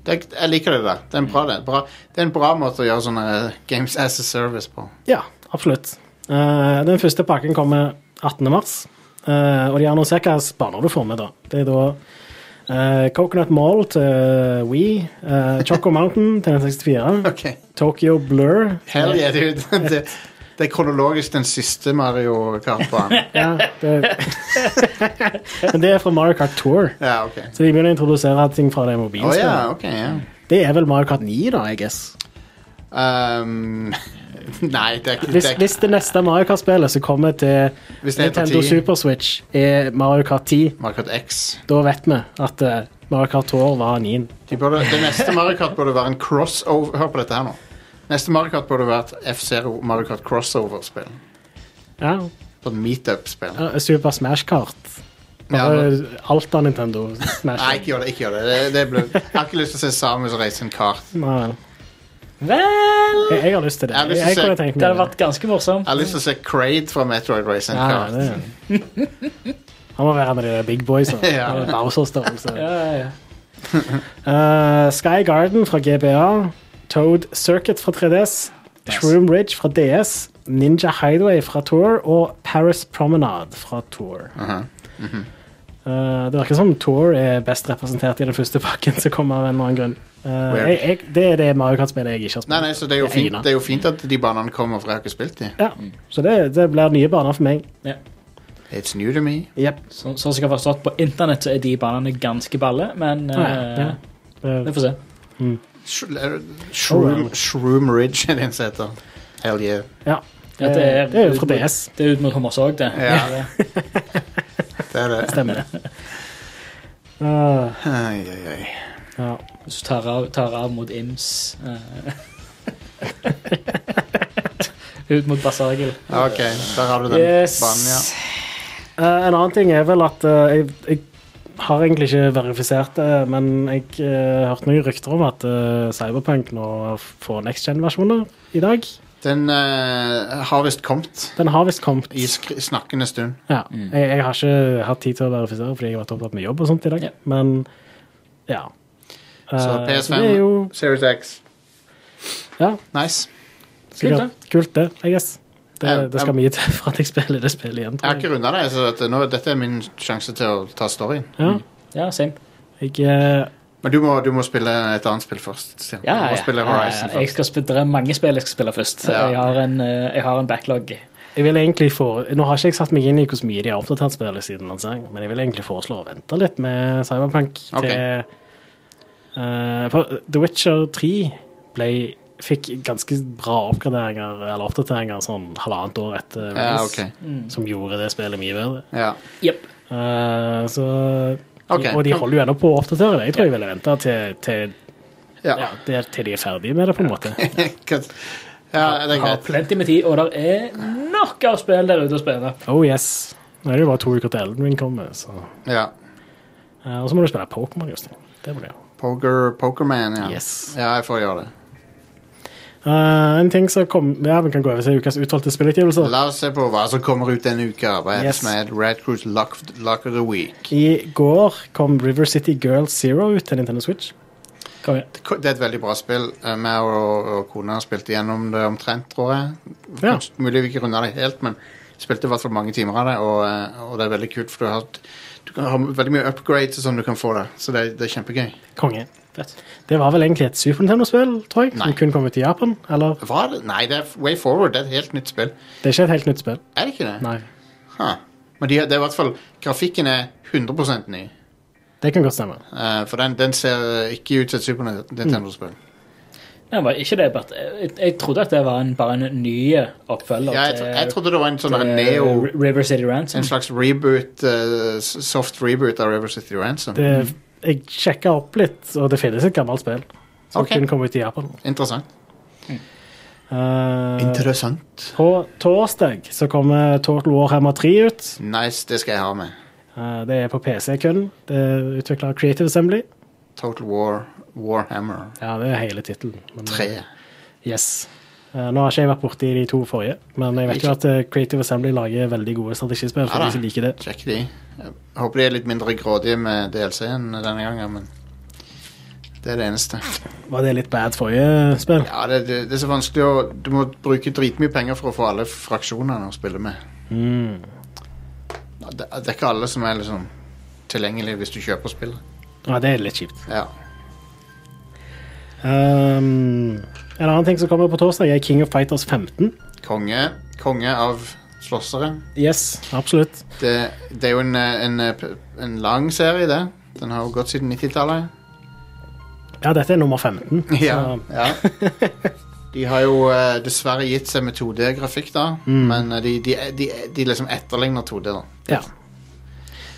[SPEAKER 1] Det, er- jeg liker det der. Det er, en bra, det. Bra, det er en bra måte å gjøre sånne eh, Games as a Service på.
[SPEAKER 3] Ja, absolutt. Eh, den første pakken kommer 18. mars, eh, og de annonserer hvilke baner du får med. da. Det er da Eh, Coconut Mall til Wii. eh, Choco Mountain til N64.
[SPEAKER 1] Ok.
[SPEAKER 3] Tokyo Blur.
[SPEAKER 1] Hell yeah, dude. Det, det er kronologisk den siste Mario Kart-banen.
[SPEAKER 3] Ja, det... Men det er fra Mario Kart Tour.
[SPEAKER 1] Ja, ok.
[SPEAKER 3] Så de begynner å introdusere ting fra det
[SPEAKER 1] Å
[SPEAKER 3] mobilspillet.
[SPEAKER 1] ja, ok, ja.
[SPEAKER 3] Det er vel Mario Kart 9, da, I guess.
[SPEAKER 1] Um, nei, det er ikke
[SPEAKER 3] Hvis,
[SPEAKER 1] det er ikke-
[SPEAKER 3] hvis det neste Mario Kart-spillet som kommer til
[SPEAKER 1] Hvis det er på
[SPEAKER 3] Nintendo
[SPEAKER 1] 10.
[SPEAKER 3] Super Switch, er Mario Kart 10,
[SPEAKER 1] Mario Kart X.
[SPEAKER 3] da vet vi at eh, Mario Kart Tour var 9.
[SPEAKER 1] De burde, det neste Mario Kart burde være en crossover Hør på dette her nå. Neste Mario Kart burde vært F-Zero Mario Kart crossover-spill.
[SPEAKER 3] Ja,
[SPEAKER 1] Sånn meetup-spill.
[SPEAKER 3] ja, Super Smash Kart.
[SPEAKER 1] Ja, Ah,
[SPEAKER 3] Bare
[SPEAKER 1] men-
[SPEAKER 3] alt av Nintendo Smash.
[SPEAKER 1] Nei, ikke gjør det. ikke gjør det, det, det ble, Jeg har ikke lyst til å se Samus reise en kart.
[SPEAKER 3] Nei, vel.
[SPEAKER 2] Vel
[SPEAKER 3] jeg, jeg har lyst til det.
[SPEAKER 1] Jeg har lyst til å
[SPEAKER 3] Jeg,
[SPEAKER 1] se-
[SPEAKER 3] kunne tenkt
[SPEAKER 2] Det hadde
[SPEAKER 3] meg det.
[SPEAKER 2] vært ganske morsomt.
[SPEAKER 1] Jeg har lyst til å se Crade fra Metroid race en
[SPEAKER 3] Ja, ja,
[SPEAKER 1] kart.
[SPEAKER 3] det. Han må være med de der big boysa.
[SPEAKER 1] Ja.
[SPEAKER 3] Bowser-størrelse.
[SPEAKER 2] Ja, ja, ja.
[SPEAKER 3] Eh, Sky Garden fra GBA, Toad Circuit fra 3DS, Shroom Ridge fra DS, Ninja Highway fra Tour og Paris Promenade fra Tour. Eh, det virker som Tour er best representert i den første pakken som kommer av en eller annen grunn. Eh,
[SPEAKER 1] Weird.
[SPEAKER 3] jeg, jeg, det er det Mario Kart-spillet jeg ikke har spilt.
[SPEAKER 1] Nei, nei, så det er, jo
[SPEAKER 3] Det er
[SPEAKER 1] fint,
[SPEAKER 3] Ina.
[SPEAKER 1] det er Mm. jo fint at de banene kommer, for jeg har ikke spilt de.
[SPEAKER 3] Ja, så det, det blir nye baner for meg.
[SPEAKER 1] It's new to me.
[SPEAKER 3] Yep.
[SPEAKER 2] Så, sånn som jeg har forstått på internett, så er de banene ganske balle, men
[SPEAKER 1] Sånn
[SPEAKER 3] Ja,
[SPEAKER 2] eh,
[SPEAKER 3] ja. Eh,
[SPEAKER 2] vi får se.
[SPEAKER 1] Sh- eh, Shroom, Shroom Ridge er det den som heter. Hell yeah.
[SPEAKER 3] ja.
[SPEAKER 2] Ja, det, er,
[SPEAKER 3] det er jo fra DS.
[SPEAKER 2] Det er ut mot Homers òg, det.
[SPEAKER 1] Ja. Det er det.
[SPEAKER 3] Stemmer det. Eh,
[SPEAKER 1] Ai, ai, ai.
[SPEAKER 3] ja.
[SPEAKER 2] Hvis du tar av, tar av mot Ims eh. Ut mot Basargel.
[SPEAKER 1] Ok, der har du den
[SPEAKER 3] Yes.
[SPEAKER 1] banen, ja.
[SPEAKER 3] Eh, en annen ting er vel at eh, jeg, jeg har egentlig ikke verifisert det, men jeg eh, hørte noen rykter om at eh, Cyberpunk nå får next gen-versjoner i dag.
[SPEAKER 1] Den eh, har visst kommet
[SPEAKER 3] Den har visst kommet.
[SPEAKER 1] i sk snakkende stund.
[SPEAKER 3] Ja. Jeg, jeg har ikke hatt tid til å verifisere fordi jeg har vært opptatt med jobb og sånt i dag,
[SPEAKER 2] Ja.
[SPEAKER 3] men ja. Eh,
[SPEAKER 1] Så
[SPEAKER 3] så det
[SPEAKER 1] PS5,
[SPEAKER 3] er jo
[SPEAKER 1] Series X.
[SPEAKER 3] ja,
[SPEAKER 1] Nice.
[SPEAKER 3] sikkert kult, det, I guess. Det,
[SPEAKER 1] Jeg-
[SPEAKER 3] det skal
[SPEAKER 1] jeg-
[SPEAKER 3] mye til for at jeg spiller det spillet igjen.
[SPEAKER 1] Jeg har
[SPEAKER 3] Tror jeg.
[SPEAKER 1] ikke runda det, så at uh, nå, dette er min sjanse til å ta storyen.
[SPEAKER 3] Ja,
[SPEAKER 2] Ja, same.
[SPEAKER 3] jeg eh,
[SPEAKER 1] Men du må, du må spille et annet spill først. Stian.
[SPEAKER 2] Ja,
[SPEAKER 1] du må
[SPEAKER 2] ja,
[SPEAKER 1] spille
[SPEAKER 2] ja,
[SPEAKER 1] Horizon
[SPEAKER 2] ja. Jeg skal spille, det er mange spill jeg skal spille først.
[SPEAKER 1] Ja.
[SPEAKER 2] Jeg, har en, eh, jeg har en backlog.
[SPEAKER 3] Jeg vil egentlig fore- Nå har ikke jeg satt meg inn i hvor mye de har oppdatert spillet siden lansering, men jeg vil egentlig foreslå å vente litt med Cyberpunk til
[SPEAKER 1] Ok.
[SPEAKER 3] Eh, For The Witcher 3 ble, fikk ganske bra oppgraderinger eller oppdateringer sånn halvannet år etter
[SPEAKER 1] først. Ja,
[SPEAKER 3] release,
[SPEAKER 1] ok.
[SPEAKER 3] som gjorde det spillet mye bedre.
[SPEAKER 1] Ja.
[SPEAKER 2] Yep.
[SPEAKER 3] Eh, så
[SPEAKER 1] Ok.
[SPEAKER 3] Og de holder jo ennå på å oppdatere det. Jeg tror jeg ville vente til, til,
[SPEAKER 1] Ja.
[SPEAKER 3] ja, det- til de er ferdige med det, på en måte.
[SPEAKER 1] ja, det er
[SPEAKER 2] Har
[SPEAKER 1] greit.
[SPEAKER 2] plenty med tid, og det er nok av spill der ute å spille.
[SPEAKER 3] Oh yes. Nå er det jo bare to uker til Elden Ring kommer, så
[SPEAKER 1] Ja.
[SPEAKER 3] Eh, Og så må du spille Pokémon, Jostein. Det må du gjøre.
[SPEAKER 1] Poker, Pokerman, ja.
[SPEAKER 3] Yes.
[SPEAKER 1] Ja, jeg får gjøre det.
[SPEAKER 3] Eh, en ting som kom Ja, vi kan gå over til ukas utvalgte spillutgivelser.
[SPEAKER 1] La oss se på hva som kommer ut denne uka. Hva er det
[SPEAKER 3] Yes.
[SPEAKER 1] som er Red Cruise Lock, Lock of the Week?
[SPEAKER 3] I går kom River City Girls Zero ut til Nintendo Switch.
[SPEAKER 2] Kom igjen.
[SPEAKER 1] Det er et veldig bra spill. Eh, Meg og, og kona spilte gjennom det omtrent, tror jeg.
[SPEAKER 3] Ja.
[SPEAKER 1] Kanskje, mulig vi ikke runda det helt, men spilte i hvert fall mange timer av det, og, eh, og det er veldig kult, for du har, du kan ha veldig mye upgrades og sånn du kan få der, så det, det er kjempegøy.
[SPEAKER 3] Konge.
[SPEAKER 2] Fett.
[SPEAKER 3] Det var vel egentlig et Super Nintendo-spill, tror jeg,
[SPEAKER 1] Nei.
[SPEAKER 3] som kun kom ut i Japan. Eller
[SPEAKER 1] Hva er det? Nei, det er Way Forward. Det er et helt nytt spill.
[SPEAKER 3] Det er ikke et helt nytt spill.
[SPEAKER 1] Er det ikke det?
[SPEAKER 3] Nei.
[SPEAKER 1] Huh. Men de, det er i hvert fall Grafikken er 100 ny.
[SPEAKER 3] Det kan godt stemme.
[SPEAKER 1] Eh, for den, den ser ikke ut som et Super Nintendo-spill.
[SPEAKER 2] Nei, men ikke det, Bert. Jeg, jeg trodde at det var en, bare en ny oppfølger
[SPEAKER 1] Ja, jeg, tro-
[SPEAKER 3] eh,
[SPEAKER 1] jeg trodde det var en sånn der
[SPEAKER 2] til eh,
[SPEAKER 1] neo
[SPEAKER 2] River City Ransom.
[SPEAKER 1] En slags reboot, eh, s- soft reboot av River City Ransom.
[SPEAKER 3] Det, jeg sjekka opp litt, og det finnes et gammelt spill som
[SPEAKER 1] Ok.
[SPEAKER 3] kun kom ut i Japan.
[SPEAKER 1] Interessant.
[SPEAKER 3] Eh,
[SPEAKER 1] Interessant.
[SPEAKER 3] på torsdag så kommer Total Warhammer 3 ut.
[SPEAKER 1] Nice, det skal jeg ha med.
[SPEAKER 3] Eh, det er på PC kun. Det er utvikla av Creative Assembly.
[SPEAKER 1] Total War, Warhammer
[SPEAKER 3] Ja, det er hele tittelen. men-
[SPEAKER 1] 3.
[SPEAKER 3] Yes. Eh, Nå har ikke jeg vært borti de to forrige, men jeg vet jo at eh, Creative Assembly lager veldig gode strategispill for
[SPEAKER 1] Ja da.
[SPEAKER 3] de som liker det.
[SPEAKER 1] Sjekk de. Jeg håper de er litt mindre grådige med DLC-en denne gangen, men det er det eneste.
[SPEAKER 3] Var det litt bad forrige spill?
[SPEAKER 1] Ja, det, det, det er så vanskelig å Du må bruke dritmye penger for å få alle fraksjonene å spille med.
[SPEAKER 3] Mm.
[SPEAKER 1] Det, det er ikke alle som er liksom tilgjengelige hvis du kjøper spillet.
[SPEAKER 3] Ja, det er litt kjipt.
[SPEAKER 1] Ja.
[SPEAKER 3] Um, en annen ting som kommer på torsdag, er King of Fighters 15.
[SPEAKER 1] Konge. Konge av slåssere.
[SPEAKER 3] Yes, absolutt.
[SPEAKER 1] Det, det er jo en, eh, en, eh, p- en lang serie, det. Den har jo gått siden 90-tallet.
[SPEAKER 3] Ja, dette er nummer 15.
[SPEAKER 1] Ja,
[SPEAKER 3] Så,
[SPEAKER 1] ja. De har jo eh, dessverre gitt seg med 2D-grafikk, da.
[SPEAKER 3] Mm.
[SPEAKER 1] Men eh, de, de, de, de liksom etterligner 2D, da.
[SPEAKER 3] ja.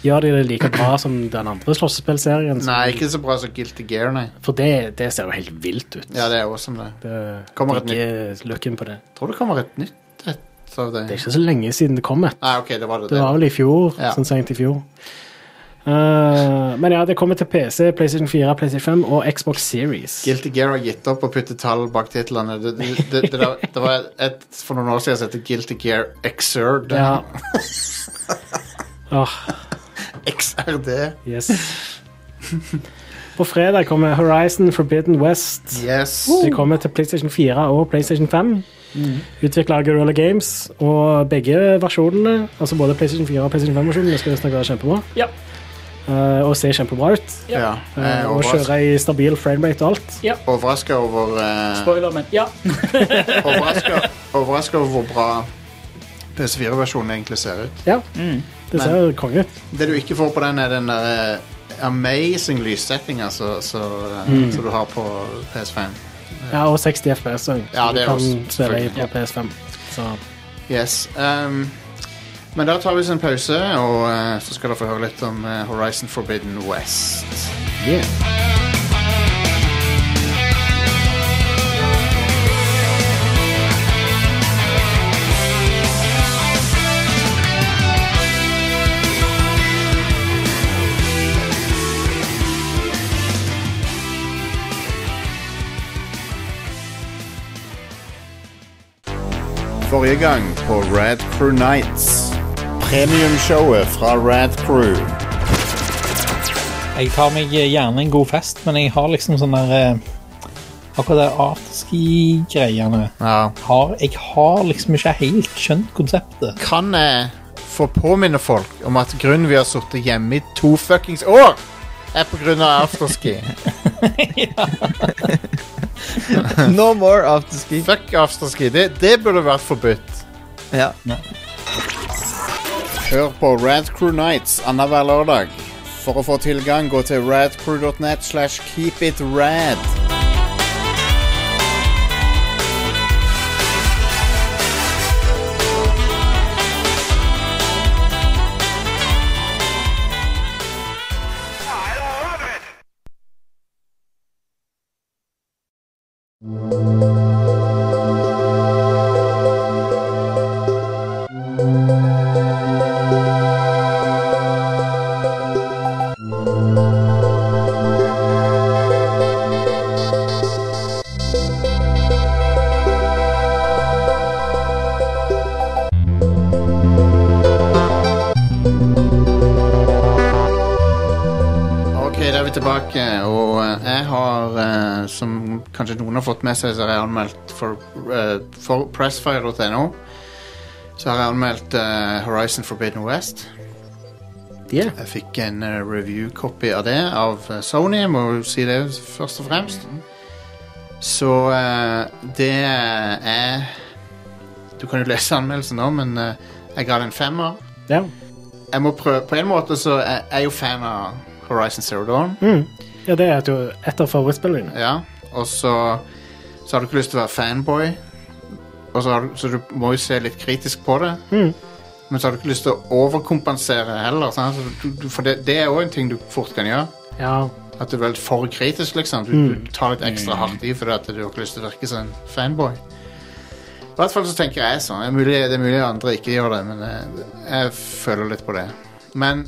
[SPEAKER 3] Gjør de det like bra som den andre slåssespillserien? som-
[SPEAKER 1] Nei, ikke så bra som Guilty Gear, nei.
[SPEAKER 3] For det, det ser jo helt vilt ut.
[SPEAKER 1] Ja, det er awesome, det.
[SPEAKER 3] Det
[SPEAKER 1] Kommer et
[SPEAKER 3] digger looken på det.
[SPEAKER 1] Tror det kommer et nytt et av det.
[SPEAKER 3] Det er ikke så lenge siden det kom et.
[SPEAKER 1] Nei, OK, det var det.
[SPEAKER 3] Det var
[SPEAKER 1] det.
[SPEAKER 3] vel i fjor,
[SPEAKER 1] Ja.
[SPEAKER 3] sånn sent i fjor. Eh, men ja, det kommer til PC, PlayStation 4, PlayStation 5 og Xbox Series.
[SPEAKER 1] Guilty Gear har gitt opp å putte tall bak titlene. Det, det, det, det, der- det var et for noen år siden som het Guilty Gear Exerd.
[SPEAKER 3] Ja. Åh,
[SPEAKER 1] XRD.
[SPEAKER 3] yes. På fredag kommer Horizon Forbidden West.
[SPEAKER 1] Yes.
[SPEAKER 3] Det kommer til PlayStation 4 og PlayStation 5. Utviklet av Guerrilla Games. Og begge versjonene, altså både PlayStation 4 og PlayStation 5-versjonene, skal visstnok være kjempebra.
[SPEAKER 2] Ja.
[SPEAKER 3] eh, og se kjempebra ut.
[SPEAKER 1] Ja.
[SPEAKER 3] eh, og kjøre i stabil framerate og alt.
[SPEAKER 1] Overraska over eh,
[SPEAKER 2] Spoiler, men ja.
[SPEAKER 1] Overraska overraska over hvor bra PS4-versjonen egentlig ser ut.
[SPEAKER 3] Ja, det ser konge ut.
[SPEAKER 1] Det du ikke får på den, er den der eh, amazing lyssettinga eh, som
[SPEAKER 3] Mm.
[SPEAKER 1] du har på PS5.
[SPEAKER 3] Ja, og 60 FPS òg.
[SPEAKER 1] Ja, det er
[SPEAKER 3] kan
[SPEAKER 1] også-
[SPEAKER 3] spille i på
[SPEAKER 1] selvfølgelig.
[SPEAKER 3] PS5. Så
[SPEAKER 1] Yes. ehm, men da tar vi oss en pause, og eh, så skal dere få høre litt om eh, Horizon Forbidden West.
[SPEAKER 3] yeah.
[SPEAKER 1] Forrige gang på Rad Crew Nights. Premiumshowet fra Rad Crew.
[SPEAKER 6] Jeg tar meg gjerne en god fest, men jeg har liksom sånn der eh, Akkurat det afterski-greiene.
[SPEAKER 1] Ja.
[SPEAKER 6] Har, jeg har liksom ikke helt skjønt konseptet.
[SPEAKER 1] Kan jeg få påminne folk om at grunnen vi har sittet hjemme i to fuckings år, er på grunn av afterski?
[SPEAKER 7] No more afterski.
[SPEAKER 1] Fuck afterski. Det, det burde vært forbudt.
[SPEAKER 7] Ja.
[SPEAKER 1] Hør på Radcrew Nights annenhver lørdag. For å få tilgang, gå til radcrew.net slash keepitrad. Ok, da er vi tilbake, og eh, jeg har, eh, som kanskje noen har fått med seg, så har jeg anmeldt for, eh, for pressfire.no. Så har jeg anmeldt eh, Horizon Forbidden West.
[SPEAKER 3] Yeah.
[SPEAKER 1] Jeg fikk en eh, review-copy av det av eh, Sony, jeg må jo si det først og fremst. Så eh, det er Du kan jo lese anmeldelsen nå, men eh, jeg ga den en femmer.
[SPEAKER 3] ja.
[SPEAKER 1] Jeg må prøve, På en måte så er jeg er jo fan av Horizon Zero Dawn.
[SPEAKER 3] ja, det er jo et av favorittspillene dine.
[SPEAKER 1] Ja, og så, så har du ikke lyst til å være fanboy, og så, har du, så du må jo se litt kritisk på det. Men så har du ikke lyst til å overkompensere heller, sant? Så du, du, for det, det er òg en ting du fort kan gjøre.
[SPEAKER 3] Ja.
[SPEAKER 1] At du er veldig for kritisk, liksom. Du, du tar litt ekstra hardt i fordi at du har ikke lyst til å virke som en fanboy. I hvert fall så tenker jeg sånn. Det er mulig, det er mulig andre ikke gjør det, men jeg, jeg føler litt på det. Men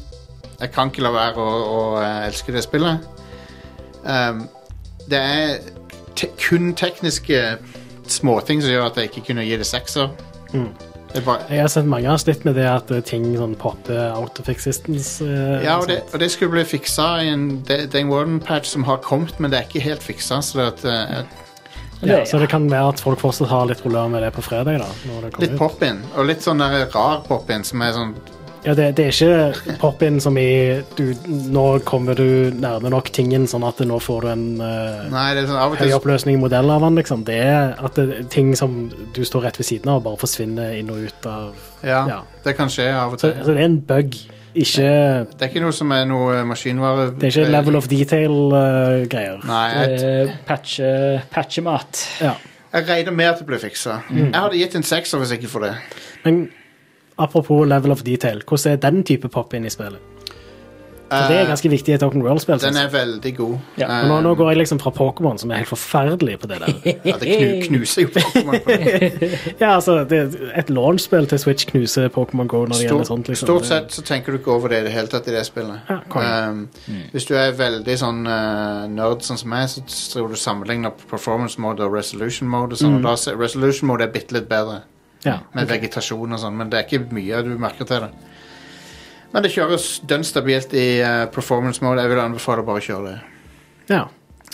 [SPEAKER 1] jeg kan ikke la være å, å eh, elske det spillet. Ehm, det er te kun tekniske småting som gjør at jeg ikke kunne gi det sekser. Det er bare,
[SPEAKER 3] Jeg har sett mange har slitt med det at eh, ting sånn popper out of existence. eh,
[SPEAKER 1] ja, og
[SPEAKER 3] sånn.
[SPEAKER 1] det, og det skulle bli fiksa i en Dane Warden-patch som har kommet, men det er ikke helt fiksa. Så det at, eh,
[SPEAKER 3] ja, Så det kan være at folk fortsatt har litt rullør med det på fredag. da når det kommer
[SPEAKER 1] Litt
[SPEAKER 3] ut.
[SPEAKER 1] pop-in, og litt sånn der rar pop-in som er sånn
[SPEAKER 3] Ja, det, det er ikke pop-in som i du, Nå kommer du nærme nok tingen, sånn at nå får du en eh,
[SPEAKER 1] Nei, det er sånn av og til
[SPEAKER 3] høyoppløsning modell av den. Liksom. Det er at det, er ting som du står rett ved siden av, bare forsvinner inn og ut av
[SPEAKER 1] Ja,
[SPEAKER 3] Ja.
[SPEAKER 1] det kan skje av og
[SPEAKER 3] Så,
[SPEAKER 1] til.
[SPEAKER 3] så det er en bug. Ikke,
[SPEAKER 1] Det er ikke noe som er noe eh, maskinvare...
[SPEAKER 3] det er ikke level of eh, detail-greier.
[SPEAKER 1] Nei, jeg,
[SPEAKER 2] Eh, patche- Patchemat.
[SPEAKER 3] ja.
[SPEAKER 1] jeg regner med at det blir fiksa.
[SPEAKER 3] Mm.
[SPEAKER 1] Jeg hadde gitt en sekser hvis ikke for det.
[SPEAKER 3] Men apropos level of detail, hvordan er den type pop-in i spillet? For det er ganske viktig i et open world-spill.
[SPEAKER 1] Eh, Den
[SPEAKER 3] synes jeg.
[SPEAKER 1] er veldig god. Eh,
[SPEAKER 2] Ja,
[SPEAKER 3] Og Nå, nå går jeg liksom fra Pokémon, som er helt forferdelig på det der.
[SPEAKER 1] Ja, det knu, knuser jo Pokémon på det.
[SPEAKER 3] Ja, altså, det, et launchspill til Switch knuser Pokémon Go når det
[SPEAKER 1] Stort,
[SPEAKER 3] gjelder sånt. Liksom.
[SPEAKER 1] stort sett så tenker du ikke over det i det hele tatt i det spillet.
[SPEAKER 3] Ja, konge.
[SPEAKER 1] Um, Hvis du er veldig sånn eh, nerd sånn som meg, så tror du sammenligner performance mode og resolution mode.
[SPEAKER 3] Mm.
[SPEAKER 1] Og sånn, og da, se- resolution mode er bitte litt bedre,
[SPEAKER 3] Ja.
[SPEAKER 1] med vegetasjon og sånn, men det er ikke mye du merker til det. Men det kjøres dønn stabilt i eh, performance mode. Jeg vil anbefale å bare å kjøre det.
[SPEAKER 3] Ja.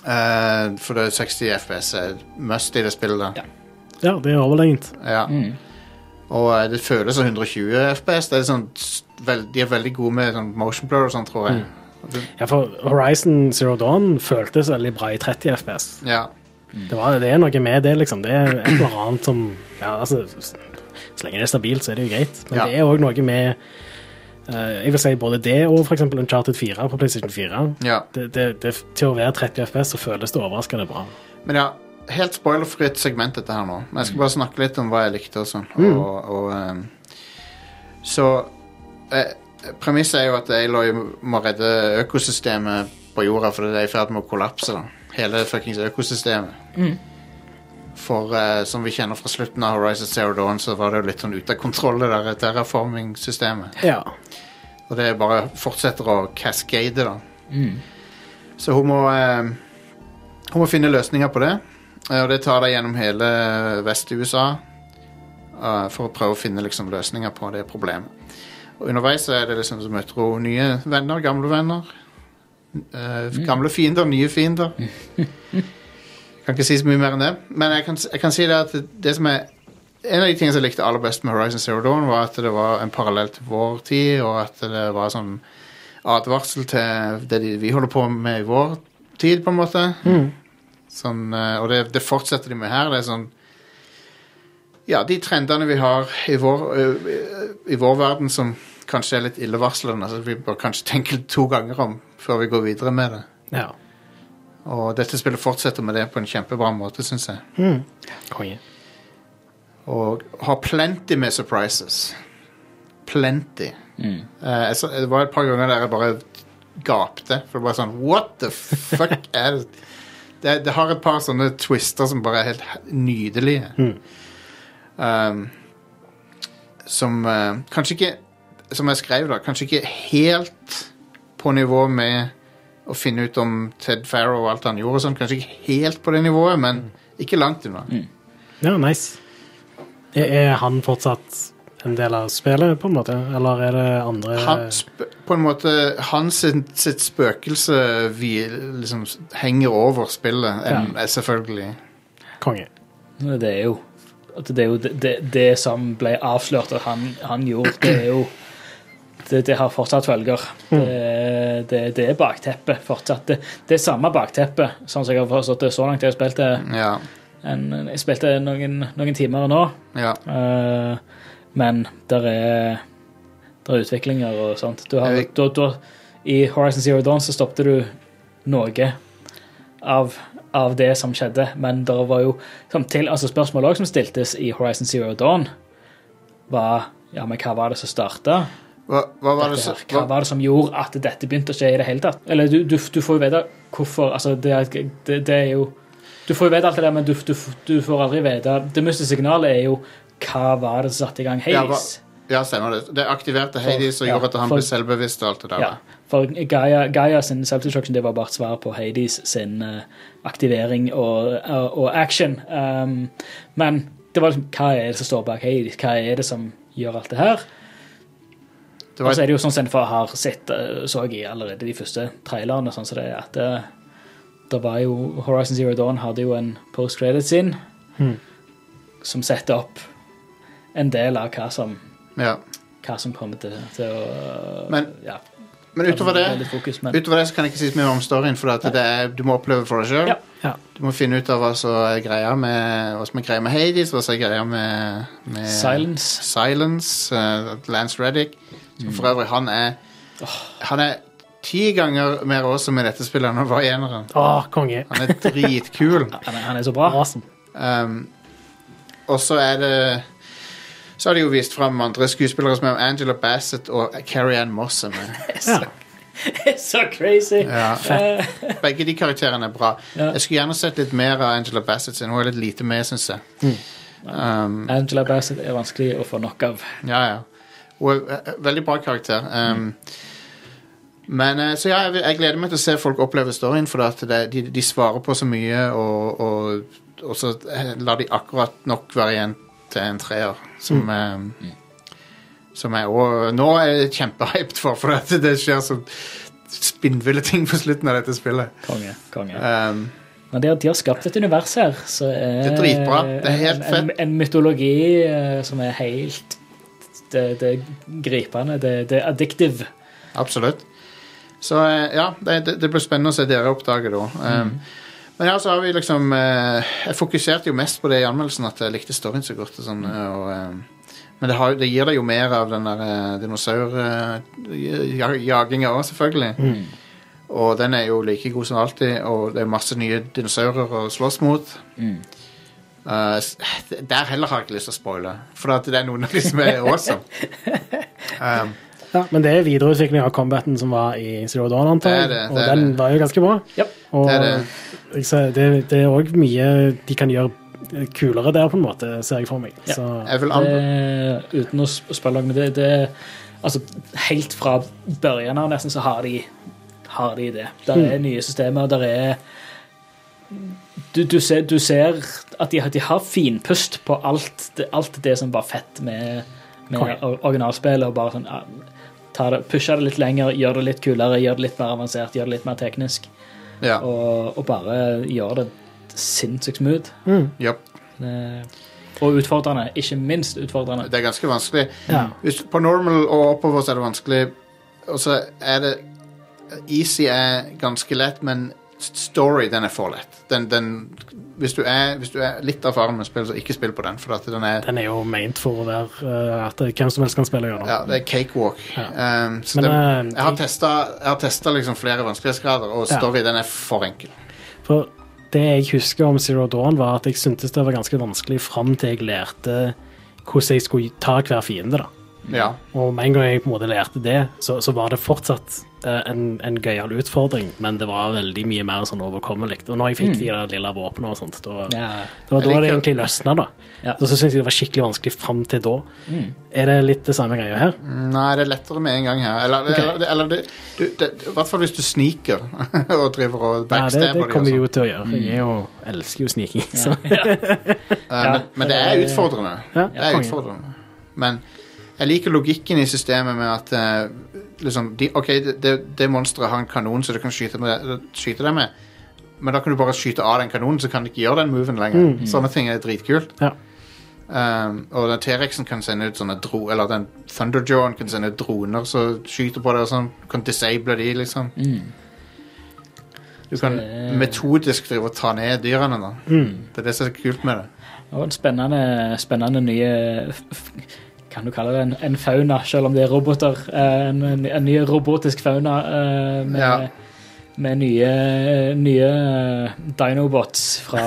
[SPEAKER 1] Eh, for det er 60 FPS er eh, must i det spillet. da.
[SPEAKER 3] ja, det er overlegent.
[SPEAKER 1] Ja. Og eh, det føles som 120 FPS. Det er sånn, s- vel, de er veldig gode med sånn motion blur og sånn, tror jeg.
[SPEAKER 3] Ja, for Horizon Zero Dawn føltes veldig bra i 30 FPS.
[SPEAKER 1] Ja.
[SPEAKER 3] Det, var, det er noe med det, liksom. Det er et eller annet som ja, altså, s- Så lenge det er stabilt, så er det jo greit. Men
[SPEAKER 1] Ja.
[SPEAKER 3] det er òg noe med eh, Jeg vil si både det og f.eks. Uncharted 4 på PlayStation 4.
[SPEAKER 1] ja.
[SPEAKER 3] Det, det, det, til å være 30 FPS så føles det overraskende bra.
[SPEAKER 1] Men ja, helt spoilerfritt segment dette her nå. Men jeg skal bare snakke litt om hva jeg likte og sånn. Og, og, ehm, så eh, premisset er jo at Aloy må redde økosystemet på jorda, for det er i ferd med å kollapse. da. Hele fuckings økosystemet. For eh, som vi kjenner fra slutten av Horizon Zero Dawn, så var det jo litt sånn ute av kontroll, det der terraforming-systemet.
[SPEAKER 3] Ja.
[SPEAKER 1] Og det bare fortsetter å cascade, da. Så hun må eh, Hun må finne løsninger på det. Eh, Og det tar deg gjennom hele Vest-USA eh, for å prøve å finne liksom, løsninger på det problemet. Og underveis så er det liksom, så møter hun nye venner, gamle venner. eh, gamle fiender, nye fiender. kan ikke si så mye mer enn det. Men jeg kan, jeg kan si det at det, det som er en av de tingene som jeg likte aller best med Horizon Zero Dawn, var at det var en parallell til vår tid, og at det var sånn advarsel til det de, vi holder på med i vår tid, på en måte. Sånn, eh, og det, det fortsetter de med her. Det er sånn Ja, de trendene vi har i vår, eh, i vår verden som kanskje er litt illevarslende, så vi bør kanskje tenke to ganger om før vi går videre med det.
[SPEAKER 3] ja.
[SPEAKER 1] Og dette spillet fortsetter med det på en kjempebra måte, syns jeg.
[SPEAKER 3] Konge.
[SPEAKER 1] Og har plenty med surprises. Plenty. Eh, jeg så- det var et par ganger der jeg bare gapte. For det var sånn What the fuck er det? det? Det har et par sånne twister som bare er helt he- nydelige. Um, som eh, kanskje ikke Som jeg skrev, da. Kanskje ikke helt på nivå med å finne ut om Ted Farrow og alt han gjorde. og Sånn. Kanskje ikke helt på det nivået, men ikke langt unna.
[SPEAKER 3] Ja, nice. Er, er han fortsatt en del av spillet, på en måte? Eller er det andre
[SPEAKER 2] Eh.
[SPEAKER 1] han, sp- på en måte Hans sitt, sitt spøkelse vi, liksom, s- henger over spillet, em, eh, selvfølgelig.
[SPEAKER 3] konge?
[SPEAKER 2] Det er jo at det, er jo det, det, det som ble avslørt at han, han gjorde, det er jo Det, det har fortsatt følger. Det, det, det er bakteppet fortsatt. Det, det er samme bakteppet, sånn som jeg har forstått det så langt. Jeg spilte,
[SPEAKER 1] Ja.
[SPEAKER 2] en, jeg spilte noen, noen timer nå,
[SPEAKER 1] ja.
[SPEAKER 2] eh, men der er, der er utviklinger og sånt. Du har,
[SPEAKER 1] Jeg-
[SPEAKER 2] du, du, I Horizon Zero Dawn så stoppte du noe av, av det som skjedde, men det var jo som til, altså spørsmålet også som stiltes i Horizon Zero Dawn, var ja, men hva var det som starta?
[SPEAKER 1] Hva, hva var det som
[SPEAKER 2] Hva var det som gjorde at dette begynte å skje i det hele tatt? Eller du, du, du får jo vite hvorfor altså, det, er- det, det er jo Du får jo vite alt det der, men du, du, du får aldri vite Det mystiske signalet er jo hva var det som satte i gang
[SPEAKER 1] Ja, hva-
[SPEAKER 2] Hades?
[SPEAKER 1] Ja, stemmer det. Det aktiverte Hades og
[SPEAKER 2] ja,
[SPEAKER 1] gjorde at han
[SPEAKER 2] for-
[SPEAKER 1] ble selvbevisst og alt det der.
[SPEAKER 2] Ja,
[SPEAKER 1] da.
[SPEAKER 2] for Gaia, Gaia sin self-destruction det var bare et svar på Hades sin eh, aktivering og, og, og action. Um, men det var liksom, hva er det som står bak Hades? Hva er det som gjør alt det her?
[SPEAKER 1] Det
[SPEAKER 2] Og
[SPEAKER 1] var
[SPEAKER 2] så er
[SPEAKER 1] et,
[SPEAKER 2] det jo sånn som en far har sett, eh, så jeg i allerede de første trailerne, sånn som det er at eh, det var jo Horizon Zero Dawn hadde jo en post-credit sin
[SPEAKER 1] Hmm.
[SPEAKER 2] som setter opp en del av hva som
[SPEAKER 1] ja.
[SPEAKER 2] hva som kommer til, til å
[SPEAKER 1] Men
[SPEAKER 2] ja,
[SPEAKER 1] Men utover det,
[SPEAKER 2] det er litt fokus, men,
[SPEAKER 1] utover det så kan jeg ikke si så mye om storyen, for at det er, du må oppleve for deg sjøl.
[SPEAKER 2] Ja.
[SPEAKER 3] Ja.
[SPEAKER 1] Du må finne ut av hva som er greia med, hva som er greia med Hades, hva som er greia med, med
[SPEAKER 2] Silence.
[SPEAKER 1] Silence, eh, Lance Reddick. Som for øvrig, han er Han er ti ganger mer awesome i dette spillet enn han var i eneren.
[SPEAKER 3] Å, konge.
[SPEAKER 1] Han er dritkul.
[SPEAKER 2] Han, er- han er så bra.
[SPEAKER 3] Awesome.
[SPEAKER 1] Um, og så er det Så har de jo vist fram andre skuespillere som er Angela Bassett og Carrie Ann Moss. er med.
[SPEAKER 3] Ja.
[SPEAKER 2] så crazy!
[SPEAKER 1] Ja.
[SPEAKER 2] Eh,
[SPEAKER 1] Begge de karakterene er bra.
[SPEAKER 2] Ja.
[SPEAKER 1] Jeg skulle gjerne sett litt mer av Angela Bassett. siden Hun er litt lite med, syns jeg. Um,
[SPEAKER 2] Angela Bassett er vanskelig å få nok av.
[SPEAKER 1] ja, ja. Hun er eh, veldig bra karakter. Um, Men eh, Så ja, jeg, jeg gleder meg til å se folk oppleve storyen, for at det, de, de svarer på så mye, og, og, og så eh, lar de akkurat nok være igjen til en treer, som eh, Som jeg òg nå er kjempehyped for, for at det skjer så spinnville ting på slutten av dette spillet.
[SPEAKER 2] Konge. konge.
[SPEAKER 1] Um,
[SPEAKER 2] Men de har, de har skapt et univers her. Så er,
[SPEAKER 1] Det er dritbra. Det er helt
[SPEAKER 2] en, en, en mytologi eh, som er helt Det, det er gripende. Det, det er addictive.
[SPEAKER 1] Absolutt. Så eh, ja, det, det, det blir spennende å se dere oppdage da. Um, Men ja, så har vi liksom eh, Jeg fokuserte jo mest på det i anmeldelsen, at jeg likte storyen så godt. Og sånn, eh, og, eh, men det, har, det gir deg jo mer av den der eh, dinosaurjaginga òg, selvfølgelig. Og den er jo like god som alltid, og det er masse nye dinosaurer å slåss mot. Eh, s- der heller har jeg ikke lyst til å spoile, for at det er noen av de som er awesome. Um,
[SPEAKER 3] Ja, men det er videreutvikling av combaten som var i Zero Dawn, antar jeg.
[SPEAKER 1] Det er det,
[SPEAKER 3] Og
[SPEAKER 1] det er
[SPEAKER 3] den
[SPEAKER 1] det.
[SPEAKER 3] var jo ganske bra.
[SPEAKER 2] Ja.
[SPEAKER 3] Og
[SPEAKER 1] Det er det.
[SPEAKER 3] Jeg ser, det, det er òg mye de kan gjøre kulere der, på en måte, ser jeg for meg.
[SPEAKER 2] Ja.
[SPEAKER 3] Så,
[SPEAKER 1] jeg vil anbe-
[SPEAKER 2] Det, uten å sp- spille noe med det, det Altså, helt fra børjen av nesten så har de, har de det. Der er nye systemer, der er du, du, ser, du ser at de, har- de har finpust på alt, det- alt det som var fett med, med
[SPEAKER 3] Konge.
[SPEAKER 2] or- originalspillet. Og bare sånn ja, ta det, Pushe det litt lenger, gjør det litt kulere, gjør det litt mer avansert, gjør det litt mer teknisk.
[SPEAKER 1] Ja.
[SPEAKER 2] Og, og bare gjør det sinnssykt smooth.
[SPEAKER 1] Japp.
[SPEAKER 2] Eh, Og utfordrende. Ikke minst utfordrende.
[SPEAKER 1] Det er ganske vanskelig.
[SPEAKER 3] ja.
[SPEAKER 1] Hvis, på normal og oppover så er det vanskelig. Og så er det Easy er ganske lett, men story den er for lett. Den, den, hvis, du er, hvis du er litt erfaren med spill, så ikke spill på den. For at den er,
[SPEAKER 3] Den er jo meint for å være eh, at hvem som helst kan spille gjennom.
[SPEAKER 1] ja, det er cakewalk. Um, så
[SPEAKER 3] Men,
[SPEAKER 1] den-
[SPEAKER 3] eh,
[SPEAKER 1] jeg har testa, jeg har testa liksom flere vanskelighetsgrader, og
[SPEAKER 3] Ja.
[SPEAKER 1] story den er for enkel.
[SPEAKER 3] For det jeg husker om Zero Dawn, var at jeg syntes det var ganske vanskelig fram til jeg lærte hvordan jeg skulle ta hver fiende. da.
[SPEAKER 1] Ja.
[SPEAKER 3] Og med en gang jeg på en måte lærte det, så, så var det fortsatt eh, en, en gøyal utfordring, men det var veldig mye mer sånn overkommelig. Og når jeg fikk de der lilla våpnene og sånt, da,
[SPEAKER 2] Ja.
[SPEAKER 3] det var
[SPEAKER 1] Mm. Jeg
[SPEAKER 3] da det
[SPEAKER 1] liker-
[SPEAKER 3] egentlig løsna, da.
[SPEAKER 2] Ja. Mm,
[SPEAKER 3] Og så syns jeg det var skikkelig vanskelig fram til da. Er det litt det samme greia her?
[SPEAKER 1] Nei, det er lettere med en gang her. Eller, eller, eller det, du, det, I hvert fall hvis du sniker og driver og
[SPEAKER 3] Nei, det,
[SPEAKER 1] backstabber
[SPEAKER 3] det
[SPEAKER 1] de og
[SPEAKER 3] kommer
[SPEAKER 1] sånn.
[SPEAKER 3] jeg jo til å gjøre.
[SPEAKER 2] Mm.
[SPEAKER 3] Jeg er jo, elsker jo sniking. Så.
[SPEAKER 1] Eh, men, men det er utfordrende.
[SPEAKER 3] Ja,
[SPEAKER 1] det er
[SPEAKER 3] konge.
[SPEAKER 1] utfordrende. Men jeg liker logikken i systemet med at eh, liksom, de, OK, det, det- det monsteret har en kanon som du kan skyte, med, skyte det med, men da kan du bare skyte av den kanonen, så kan du ikke gjøre den moven lenger. Sånne ting er dritkult.
[SPEAKER 3] Ja.
[SPEAKER 1] Um, og den T-rexen kan sende ut sånne dro Eller den Thunderjawen kan sende ut droner som skyter på deg og sånn. Du kan disable de, liksom.
[SPEAKER 2] mm.
[SPEAKER 1] Du kan
[SPEAKER 2] det-
[SPEAKER 1] metodisk drive og ta ned dyrene, da. Det er det som er kult med det.
[SPEAKER 2] Og en spennende, spennende nye f- f- Kan du kalle det en, en fauna, selv om det er roboter? Eh, En, en, en ny robotisk fauna eh, med,
[SPEAKER 1] Ja.
[SPEAKER 2] med nye, nye eh, dinobots fra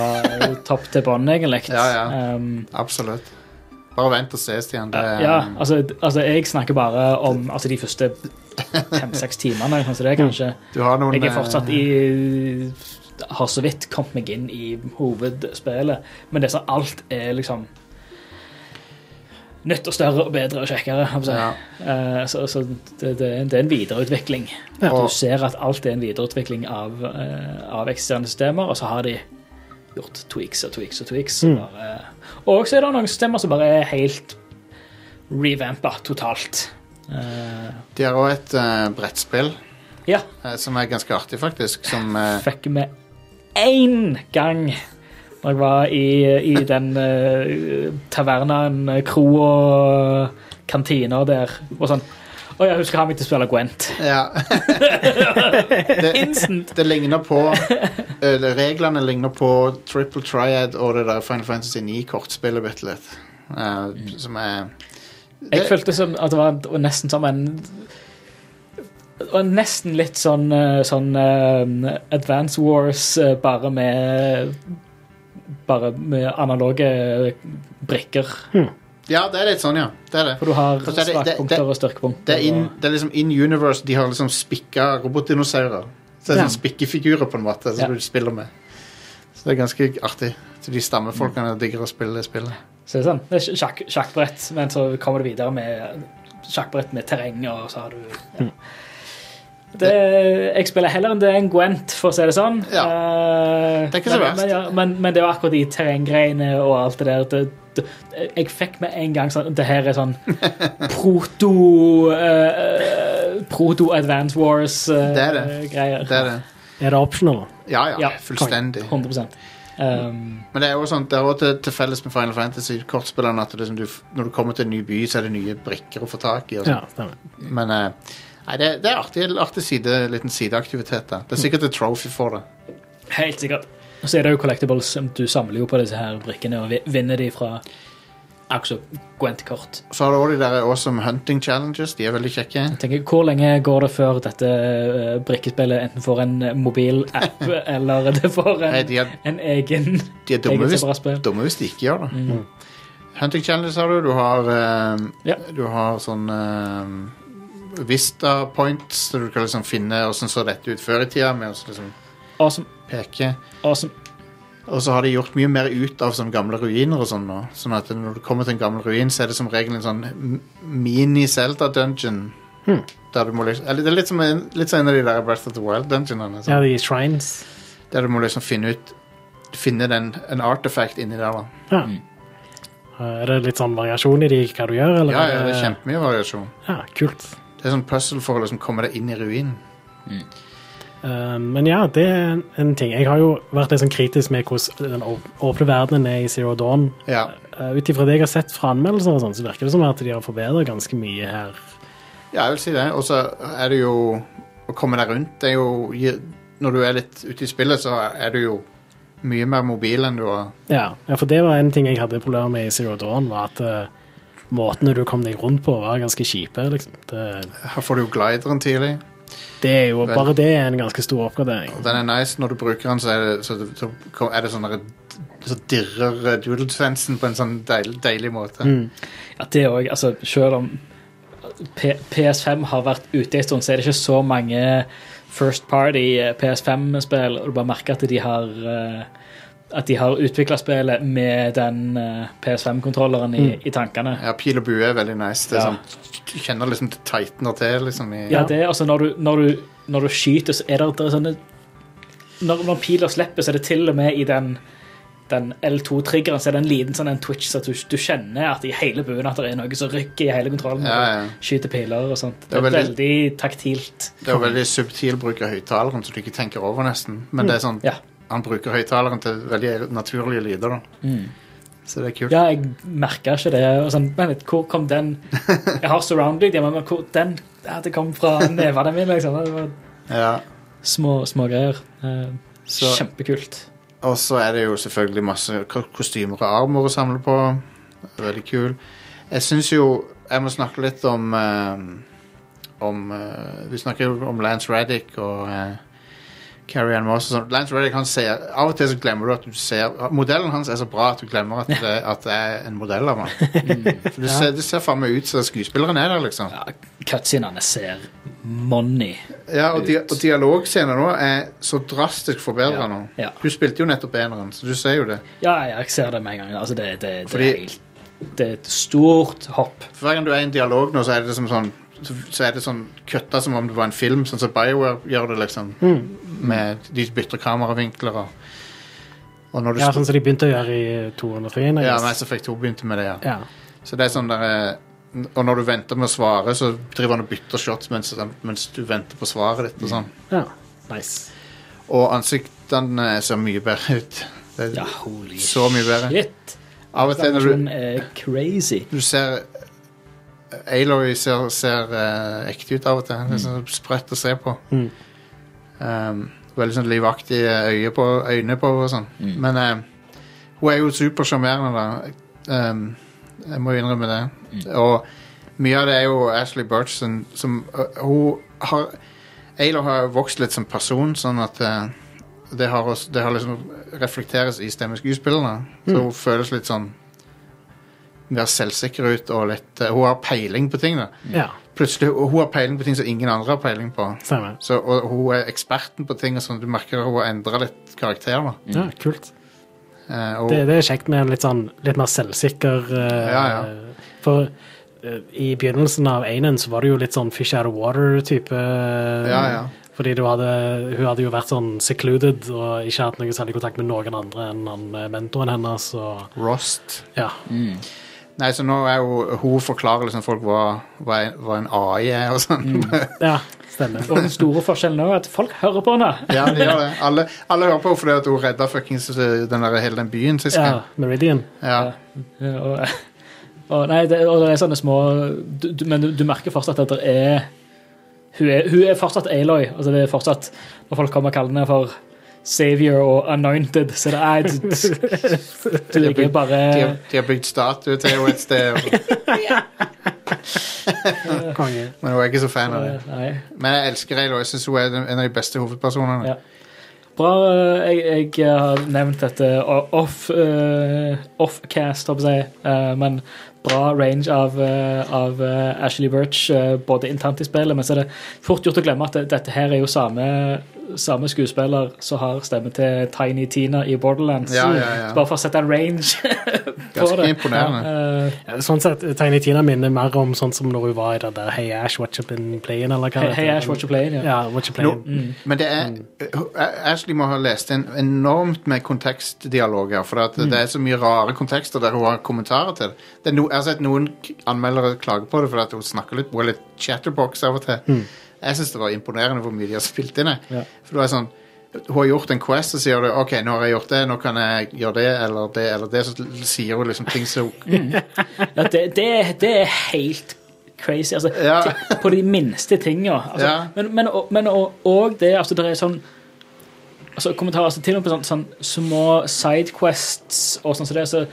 [SPEAKER 2] topp til bånn, egentlig.
[SPEAKER 1] Ja, ja.
[SPEAKER 2] Um,
[SPEAKER 1] Absolutt. Bare vent og se, Stian. Det, er- um,
[SPEAKER 2] Ja, altså, altså jeg snakker bare om altså, de første fem-seks timene. Kanskje
[SPEAKER 1] Mm.
[SPEAKER 2] det, kanskje.
[SPEAKER 1] du har noen
[SPEAKER 2] Jeg er
[SPEAKER 1] eh,
[SPEAKER 2] fortsatt i Har så vidt kommet meg inn i hovedspillet, men det som alt er liksom Nytt og større og bedre og kjekkere. Altså.
[SPEAKER 1] Ja.
[SPEAKER 2] Eh, Så, så det, det, er en- det er en videreutvikling. Du
[SPEAKER 1] og,
[SPEAKER 2] ser at alt er en videreutvikling av, eh, av eksisterende systemer, og så har de gjort tweaks og tweaks og tweaks.
[SPEAKER 1] Mm.
[SPEAKER 2] og Bare, og så er det noen systemer som bare er helt revampa totalt. Eh,
[SPEAKER 1] De har òg et eh, brettspill
[SPEAKER 2] ja.
[SPEAKER 1] eh, som er ganske artig, faktisk. Som eh,
[SPEAKER 2] Fikk vi én gang. Og Når jeg var i, i den eh, tavernaen, eh, kroa, kantina der. Og sånn. Å, jeg husker han meg til å spille Gwent.
[SPEAKER 1] Ja. det,
[SPEAKER 2] Instant!
[SPEAKER 1] det ligner på eller Reglene ligner på Triple Triad og det der Final Fantasy 9-kortspillet bitte litt. Eh,
[SPEAKER 2] Mm.
[SPEAKER 1] Som er
[SPEAKER 2] Jeg
[SPEAKER 1] det-
[SPEAKER 2] følte som at det var det var nesten som en det var nesten litt sånn, eh, sånn eh, Advance Wars, eh, bare med Bare med analoge brikker.
[SPEAKER 1] Ja, det er litt sånn, ja. Det er det.
[SPEAKER 2] For du har
[SPEAKER 1] Altså, det- det- det-
[SPEAKER 2] svakpunkter og styrkepunkter.
[SPEAKER 1] Det er, in,
[SPEAKER 2] og-
[SPEAKER 1] det er liksom in universe. De har liksom spikka robotdinosaurer. Så det er
[SPEAKER 2] Ja.
[SPEAKER 1] sånn Spikkefigurer, på en måte, som
[SPEAKER 2] Ja.
[SPEAKER 1] du spiller med. Så det er ganske artig. Så de stammefolkene
[SPEAKER 2] Mm.
[SPEAKER 1] digger å spille det spillet.
[SPEAKER 2] Så det er sånn, det er sjakk, sjakkbrett, men så kommer du videre med sjakkbrett med terreng, og så har du ja.
[SPEAKER 1] Mm.
[SPEAKER 2] det, Jeg spiller heller enn det enn Gwent, for å si det sånn.
[SPEAKER 1] Ja.
[SPEAKER 2] Eh,
[SPEAKER 1] Det er ikke så
[SPEAKER 2] men-
[SPEAKER 1] verst.
[SPEAKER 2] Men, ja, men, men det er jo akkurat de terrenggreiene og alt det der det, det, Jeg fikk med en gang sånn Det her er sånn proto eh, Proto Advance
[SPEAKER 1] Det er det.
[SPEAKER 2] Wars-greier.
[SPEAKER 1] Det er det.
[SPEAKER 3] Er det optional?
[SPEAKER 1] Ja, ja.
[SPEAKER 2] Ja,
[SPEAKER 1] Fullstendig.
[SPEAKER 2] 100 um,
[SPEAKER 1] Men det er jo sånn, det er også til, til felles med Final Fantasy kortspillerne at det er som du, f- når du kommer til en ny by, så er det nye brikker å få tak i. Og
[SPEAKER 3] Ja,
[SPEAKER 1] sånt.
[SPEAKER 3] stemmer.
[SPEAKER 1] Men eh, nei, det, det er artig, artig side, liten sideaktivitet. Da. Det er sikkert et trophy for det.
[SPEAKER 2] Helt sikkert. Og så er det jo collectibles. Du samler jo på disse her brikkene og vi- vinner de fra Akkurat Gwent-kort.
[SPEAKER 1] Så har du også de der awesome hunting challenges. De er veldig kjekke.
[SPEAKER 2] Jeg tenker, Hvor lenge går det før dette eh, brikkespillet enten får en mobilapp eller det får
[SPEAKER 1] Nei,
[SPEAKER 2] en,
[SPEAKER 1] de er,
[SPEAKER 2] en egen,
[SPEAKER 1] de er dumme,
[SPEAKER 2] egen
[SPEAKER 1] hvis,
[SPEAKER 2] separat spill?
[SPEAKER 1] dumme hvis de ikke gjør det. Hunting challenges har du. Du har, eh,
[SPEAKER 2] Ja.
[SPEAKER 1] du har sånn eh, Vista points, så du kan liksom finne åssen så dette ut før i tida, med å liksom
[SPEAKER 2] Awesome.
[SPEAKER 1] peke.
[SPEAKER 2] awesome.
[SPEAKER 1] Og så har de gjort mye mer ut av sånne gamle ruiner og sånn nå. Sånn at når du kommer til en gammel ruin, så er det som regel en sånn m- mini-Zelda-dungeon. Der du må liksom Eller det er litt som en, litt som en av de der Breath of the Wild-dungeonene.
[SPEAKER 3] Ja,
[SPEAKER 1] sånn.
[SPEAKER 3] de shrines.
[SPEAKER 1] Der du må liksom finne ut Finne den, en artifact inni der, da.
[SPEAKER 3] Ja.
[SPEAKER 2] Mm.
[SPEAKER 3] Er det litt sånn variasjon i de, hva du gjør? Eller?
[SPEAKER 1] Ja, ja, det er kjempemye variasjon.
[SPEAKER 3] Ja, kult.
[SPEAKER 1] Det er sånn puzzle for å liksom komme deg inn i ruinen.
[SPEAKER 3] Eh, men ja, det er en- en ting. Jeg har jo vært litt sånn kritisk med hvordan den å- åpne verdenen er i Zero Dawn.
[SPEAKER 1] Ja.
[SPEAKER 3] Uh, Ut ifra det jeg har sett fra anmeldelser, og sånn, så virker det som at de har forbedret ganske mye her.
[SPEAKER 1] Ja, jeg vil si det. Og så er det jo å komme deg rundt det er jo, Når du er litt ute i spillet, så er du jo mye mer mobil enn du var.
[SPEAKER 3] Ja, ja for det var en ting jeg hadde problemer med i Zero Dawn, var at eh, måtene du kom deg rundt på, var ganske kjipe. Liksom. Det,
[SPEAKER 1] Her får du jo glideren tidlig.
[SPEAKER 3] det er jo,
[SPEAKER 1] Vel.
[SPEAKER 3] bare det er en ganske stor oppgradering.
[SPEAKER 1] Og den er nice. Når du bruker den, så er det, så det, så kom- er det sånn der- Så dirrer eh, doodle-svensen på en sånn deil, deilig måte.
[SPEAKER 3] Mm.
[SPEAKER 2] Ja, det òg. Altså, selv om P PS5 har vært ute en stund, så er det ikke så mange first party eh, PS5-spill. og Du bare merker at de har eh, at de har utvikla spillet med den eh, PS5-kontrolleren i, i tankene.
[SPEAKER 1] Ja, Pil og bue er veldig nice. Det er
[SPEAKER 2] Mm. Ja.
[SPEAKER 1] sånn, du kjenner liksom det tightner til. liksom i,
[SPEAKER 2] Ja, det er altså når du, når du, når du skyter, så er det, det er sånne når, når piler slipper, så er det til og med i den den L2-triggeren så er det en liten sånn en twitch, så at du, du kjenner at i hele buen at det er noe som rykker i hele kontrollen.
[SPEAKER 1] Ja, ja.
[SPEAKER 2] Skyter piler og sånt. Det
[SPEAKER 1] Det
[SPEAKER 2] er
[SPEAKER 1] er
[SPEAKER 2] veldig, taktilt.
[SPEAKER 1] Det er jo veldig subtil bruk av høyttaleren, så du ikke tenker over nesten. Men det er sånn,
[SPEAKER 2] Mm, Ja.
[SPEAKER 1] han bruker høyttaleren til veldig naturlige lyder. da. Så det er kult.
[SPEAKER 2] Mm. Ja, jeg merka ikke det. Og sånn, men litt, hvor kom den Jeg har surround lyd, ja, men hvor den ja, Det kom fra nevene mine, liksom. Det var
[SPEAKER 1] Ja.
[SPEAKER 2] små, små greier. Eh,
[SPEAKER 1] Så-
[SPEAKER 2] Kjempekult.
[SPEAKER 1] Og så er det jo selvfølgelig masse ko- kostymer og armer å samle på. Veldig kul. Jeg syns jo Jeg må snakke litt om eh, Om eh, Vi snakker jo om Lance Raddick og eh, Carrie Ann Moss og sånn. Lance Raddick, han ser Av og til så glemmer du at du ser Modellen hans er så bra at du glemmer at det, at det er en modell av han. For du ser, du ser faen meg ut som skuespilleren er der, liksom.
[SPEAKER 2] Ja, Cutscenene ser money.
[SPEAKER 1] Ja, og, dia og dialogscenen nå er så drastisk forbedra
[SPEAKER 2] Ja,
[SPEAKER 1] nå.
[SPEAKER 2] ja.
[SPEAKER 1] Du spilte jo nettopp eneren, så du ser jo det.
[SPEAKER 2] Ja, ja, jeg ser det med en gang. Altså, det, det, det,
[SPEAKER 1] Fordi-
[SPEAKER 2] er helt, det er et stort hopp.
[SPEAKER 1] For Hver gang du er i en dialog nå, så er det som sånn så så er det sånn kutta som om det var en film, sånn som BioWare gjør det, liksom. Med De bytter kameravinkler og Og når du
[SPEAKER 3] Ja,
[SPEAKER 1] står-
[SPEAKER 3] sånn som de begynte å gjøre i 203.
[SPEAKER 1] ja, Mass Effect 2 begynte med det, ja.
[SPEAKER 3] ja.
[SPEAKER 1] Så det er sånn der eh, Og når du venter med å svare, så driver han og bytter shots mens, mens du venter på svaret ditt og sånn.
[SPEAKER 3] ja. Nice.
[SPEAKER 1] Og ansiktene ser mye bedre ut. Det er
[SPEAKER 2] Ja, holy
[SPEAKER 1] så mye bedre.
[SPEAKER 2] shit.
[SPEAKER 1] Av og til når du,
[SPEAKER 2] Hun er sånn crazy.
[SPEAKER 1] du ser Aloy ser, ser eh, ekte ut av og til. Det er sånn sprøtt å se på.
[SPEAKER 3] Mm.
[SPEAKER 1] Um, veldig sånn livaktige øye på, øyne på og sånn. Men eh, hun er jo supersjarmerende, da. Um, jeg må jo innrømme det. Og mye av det er jo Ashley Burchson som øh, Hun har Aloy har vokst litt som person, sånn at eh, det, har også, det har liksom reflekteres i stemmeskuespillerne. Så hun føles litt sånn mer selvsikker ut og litt eh, Hun har peiling på ting, da.
[SPEAKER 3] Ja,
[SPEAKER 1] Plutselig, og Hun har peiling på ting som ingen andre har peiling på.
[SPEAKER 3] stemmer.
[SPEAKER 1] Så, og hun er eksperten på ting, og sånn, du merker hun har endra litt karakter. da.
[SPEAKER 3] Ja, kult.
[SPEAKER 1] Eh, og,
[SPEAKER 3] Det, det er kjekt med en litt sånn litt mer selvsikker eh,
[SPEAKER 1] Ja,
[SPEAKER 3] For eh, i begynnelsen av Einen så var det jo litt sånn fish out of eh, water-type.
[SPEAKER 1] Ja, ja.
[SPEAKER 3] Fordi du hadde, hun hadde jo vært sånn secluded og ikke hatt noe særlig kontakt med noen andre enn han, eh, mentoren hennes. Og,
[SPEAKER 1] Rost.
[SPEAKER 3] ja.
[SPEAKER 1] Nei, så nå er hun, hun forklarer liksom folk hva, hva, en- hva en AI er og sånn.
[SPEAKER 3] ja, stemmer.
[SPEAKER 2] Og den store forskjellen nå er at folk hører på henne.
[SPEAKER 1] ja, de gjør det. Alle, alle hører på henne fordi at hun redda fuckings eh, den der, hele den byen sist
[SPEAKER 3] Ja,
[SPEAKER 1] gang.
[SPEAKER 3] Meridian.
[SPEAKER 1] Ja.
[SPEAKER 2] Ja, Eh, Og, og, nei, det, og det er sånne små du, du, Men du, du merker fortsatt at det er hun, er hun er fortsatt Aloy. Altså det er fortsatt, når folk kommer og kaller henne for Savior og Anointed, så det er Du, du, du ligger bare
[SPEAKER 1] De, har, de har bygd statue til henne et sted, og,
[SPEAKER 3] Konge.
[SPEAKER 1] men hun er ikke så fan av det.
[SPEAKER 2] Nei.
[SPEAKER 1] Men jeg elsker Aloy. Jeg syns hun er den- en av de beste hovedpersonene.
[SPEAKER 2] Ja. Bra. eh, Jeg, jeg har nevnt dette o- off, eh, offcast, håper jeg. eh, men bra range av, eh, av eh, Ashley Birch, eh, både internt i spillet, men så er det fort gjort å glemme at det, dette her er jo samme, samme skuespiller som har stemme til Tiny Tina i Borderlands.
[SPEAKER 1] Ja, ja, ja.
[SPEAKER 2] Så Bare for å sette en range på
[SPEAKER 1] Ganske
[SPEAKER 2] det.
[SPEAKER 1] imponerende.
[SPEAKER 2] Eh,
[SPEAKER 3] Ja, Sånn sett, Tiny Tina minner mer om sånn som når hun var i det der Hey Ash, Watch Up In Playin', eller hva
[SPEAKER 2] Hey, hey Ash, what you playing? Ja.
[SPEAKER 3] Ja, Watch Up Playin'.
[SPEAKER 2] mm.
[SPEAKER 1] Men det er eh, Ashley må ha lest en enormt med kontekstdialoger. For at det er så mye rare kontekster der hun har kommentarer til det. det er no, jeg har sett noen k- anmeldere klage på det fordi at hun snakker litt, hun er litt chatterbox av og til. Jeg syns det var imponerende hvor mye de har spilt inn. jeg.
[SPEAKER 2] Mm. Ja.
[SPEAKER 1] For det er sånn hun har gjort en quest, og sier du, ok, nå har jeg gjort det, nå kan jeg gjøre det eller det eller det. Så l- sier hun liksom ting som
[SPEAKER 2] Ja, det, det, det er helt crazy. Altså,
[SPEAKER 1] Ja.
[SPEAKER 2] ti- På de minste tinga. Altså,
[SPEAKER 1] Ja.
[SPEAKER 2] Men, men, og, men og, og det altså, det er sånn altså, Kommentarer altså, til og med på sånn, sånn små sidequests og sånn som det, så,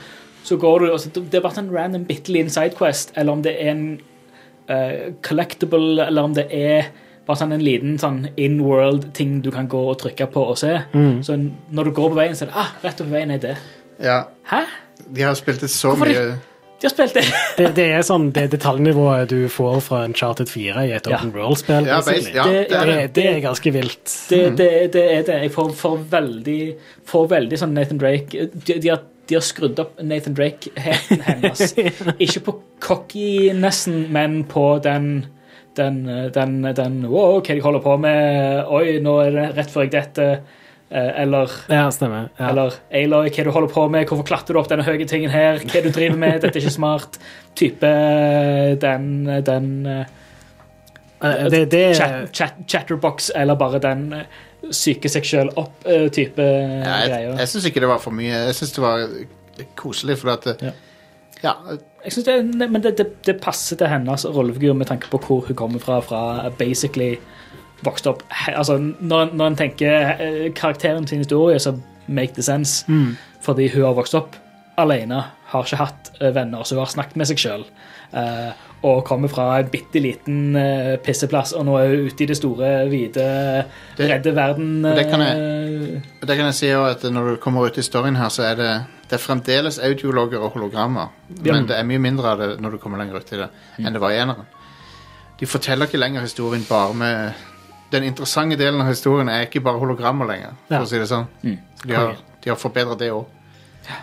[SPEAKER 2] så går du altså, Det er bare en random bitte liten sidequest, eller om det er en eh, collectible, eller om det er bare sånn en liten sånn in-world-ting du kan gå og trykke på og se. Så når du går på veien, så er det ah, rett over veien er det.
[SPEAKER 1] Ja.
[SPEAKER 2] Hæ?
[SPEAKER 1] De har spilt det så
[SPEAKER 2] Hvorfor
[SPEAKER 1] mye.
[SPEAKER 2] De har spilt det!
[SPEAKER 3] Det, det er sånn det detaljnivået du får fra en Charted 4 i et
[SPEAKER 2] Ja.
[SPEAKER 3] open world-spill.
[SPEAKER 1] Ja,
[SPEAKER 3] basically.
[SPEAKER 1] bas- ja,
[SPEAKER 2] Det-
[SPEAKER 1] det er
[SPEAKER 3] det,
[SPEAKER 1] det.
[SPEAKER 3] det er ganske vilt.
[SPEAKER 2] Det, det, det er det. Jeg får, får veldig får veldig sånn Nathan Drake De, de, har, de har skrudd opp Nathan Drake-heten hennes. Ikke på cockinessen, men på den den, den, den Wow, hva de holder på med? Oi, nå er det rett før jeg detter. Eh, Eller
[SPEAKER 3] Ja, stemmer. Ja.
[SPEAKER 2] eller Aloy, hva du holder på med, hvorfor klatrer du opp denne høye tingen her, hva du driver med, dette er ikke smart. Type eh, den, den eh,
[SPEAKER 3] Eh, det, det er
[SPEAKER 2] chat, chat, chatterbox, eller bare den eh, psyke seg sjøl opp-type
[SPEAKER 1] Ja, jeg
[SPEAKER 2] eh, greier.
[SPEAKER 1] jeg syns ikke det var for mye. Jeg syns det var koselig, for at det, ja,
[SPEAKER 2] Jeg synes det, er- men det, det, det passer til hennes rollefigur med tanke på hvor hun kommer fra. fra basically vokst opp he- altså, Når, når en tenker eh, karakteren sin historie, så make the sense.
[SPEAKER 1] Mm.
[SPEAKER 2] Fordi hun har vokst opp alene, har ikke hatt eh, venner, så hun har snakket med seg sjøl. og kommer fra en bitte liten eh, pisseplass, og nå er hun ute i det store, hvite,
[SPEAKER 1] Det-
[SPEAKER 2] redde verden. eh,
[SPEAKER 1] og det kan
[SPEAKER 2] jeg.
[SPEAKER 1] Og Det kan jeg si også, at Når du kommer ut i storyen her, så er det, det er fremdeles audiologer og hologrammer. Men det er mye mindre av det når du kommer lenger ut i det, enn det var i eneren. De forteller ikke lenger historien bare med Den interessante delen av historien er ikke bare hologrammer lenger, for
[SPEAKER 3] Ja.
[SPEAKER 1] å si det sånn. Så de har, de har forbedret det òg.
[SPEAKER 3] ja,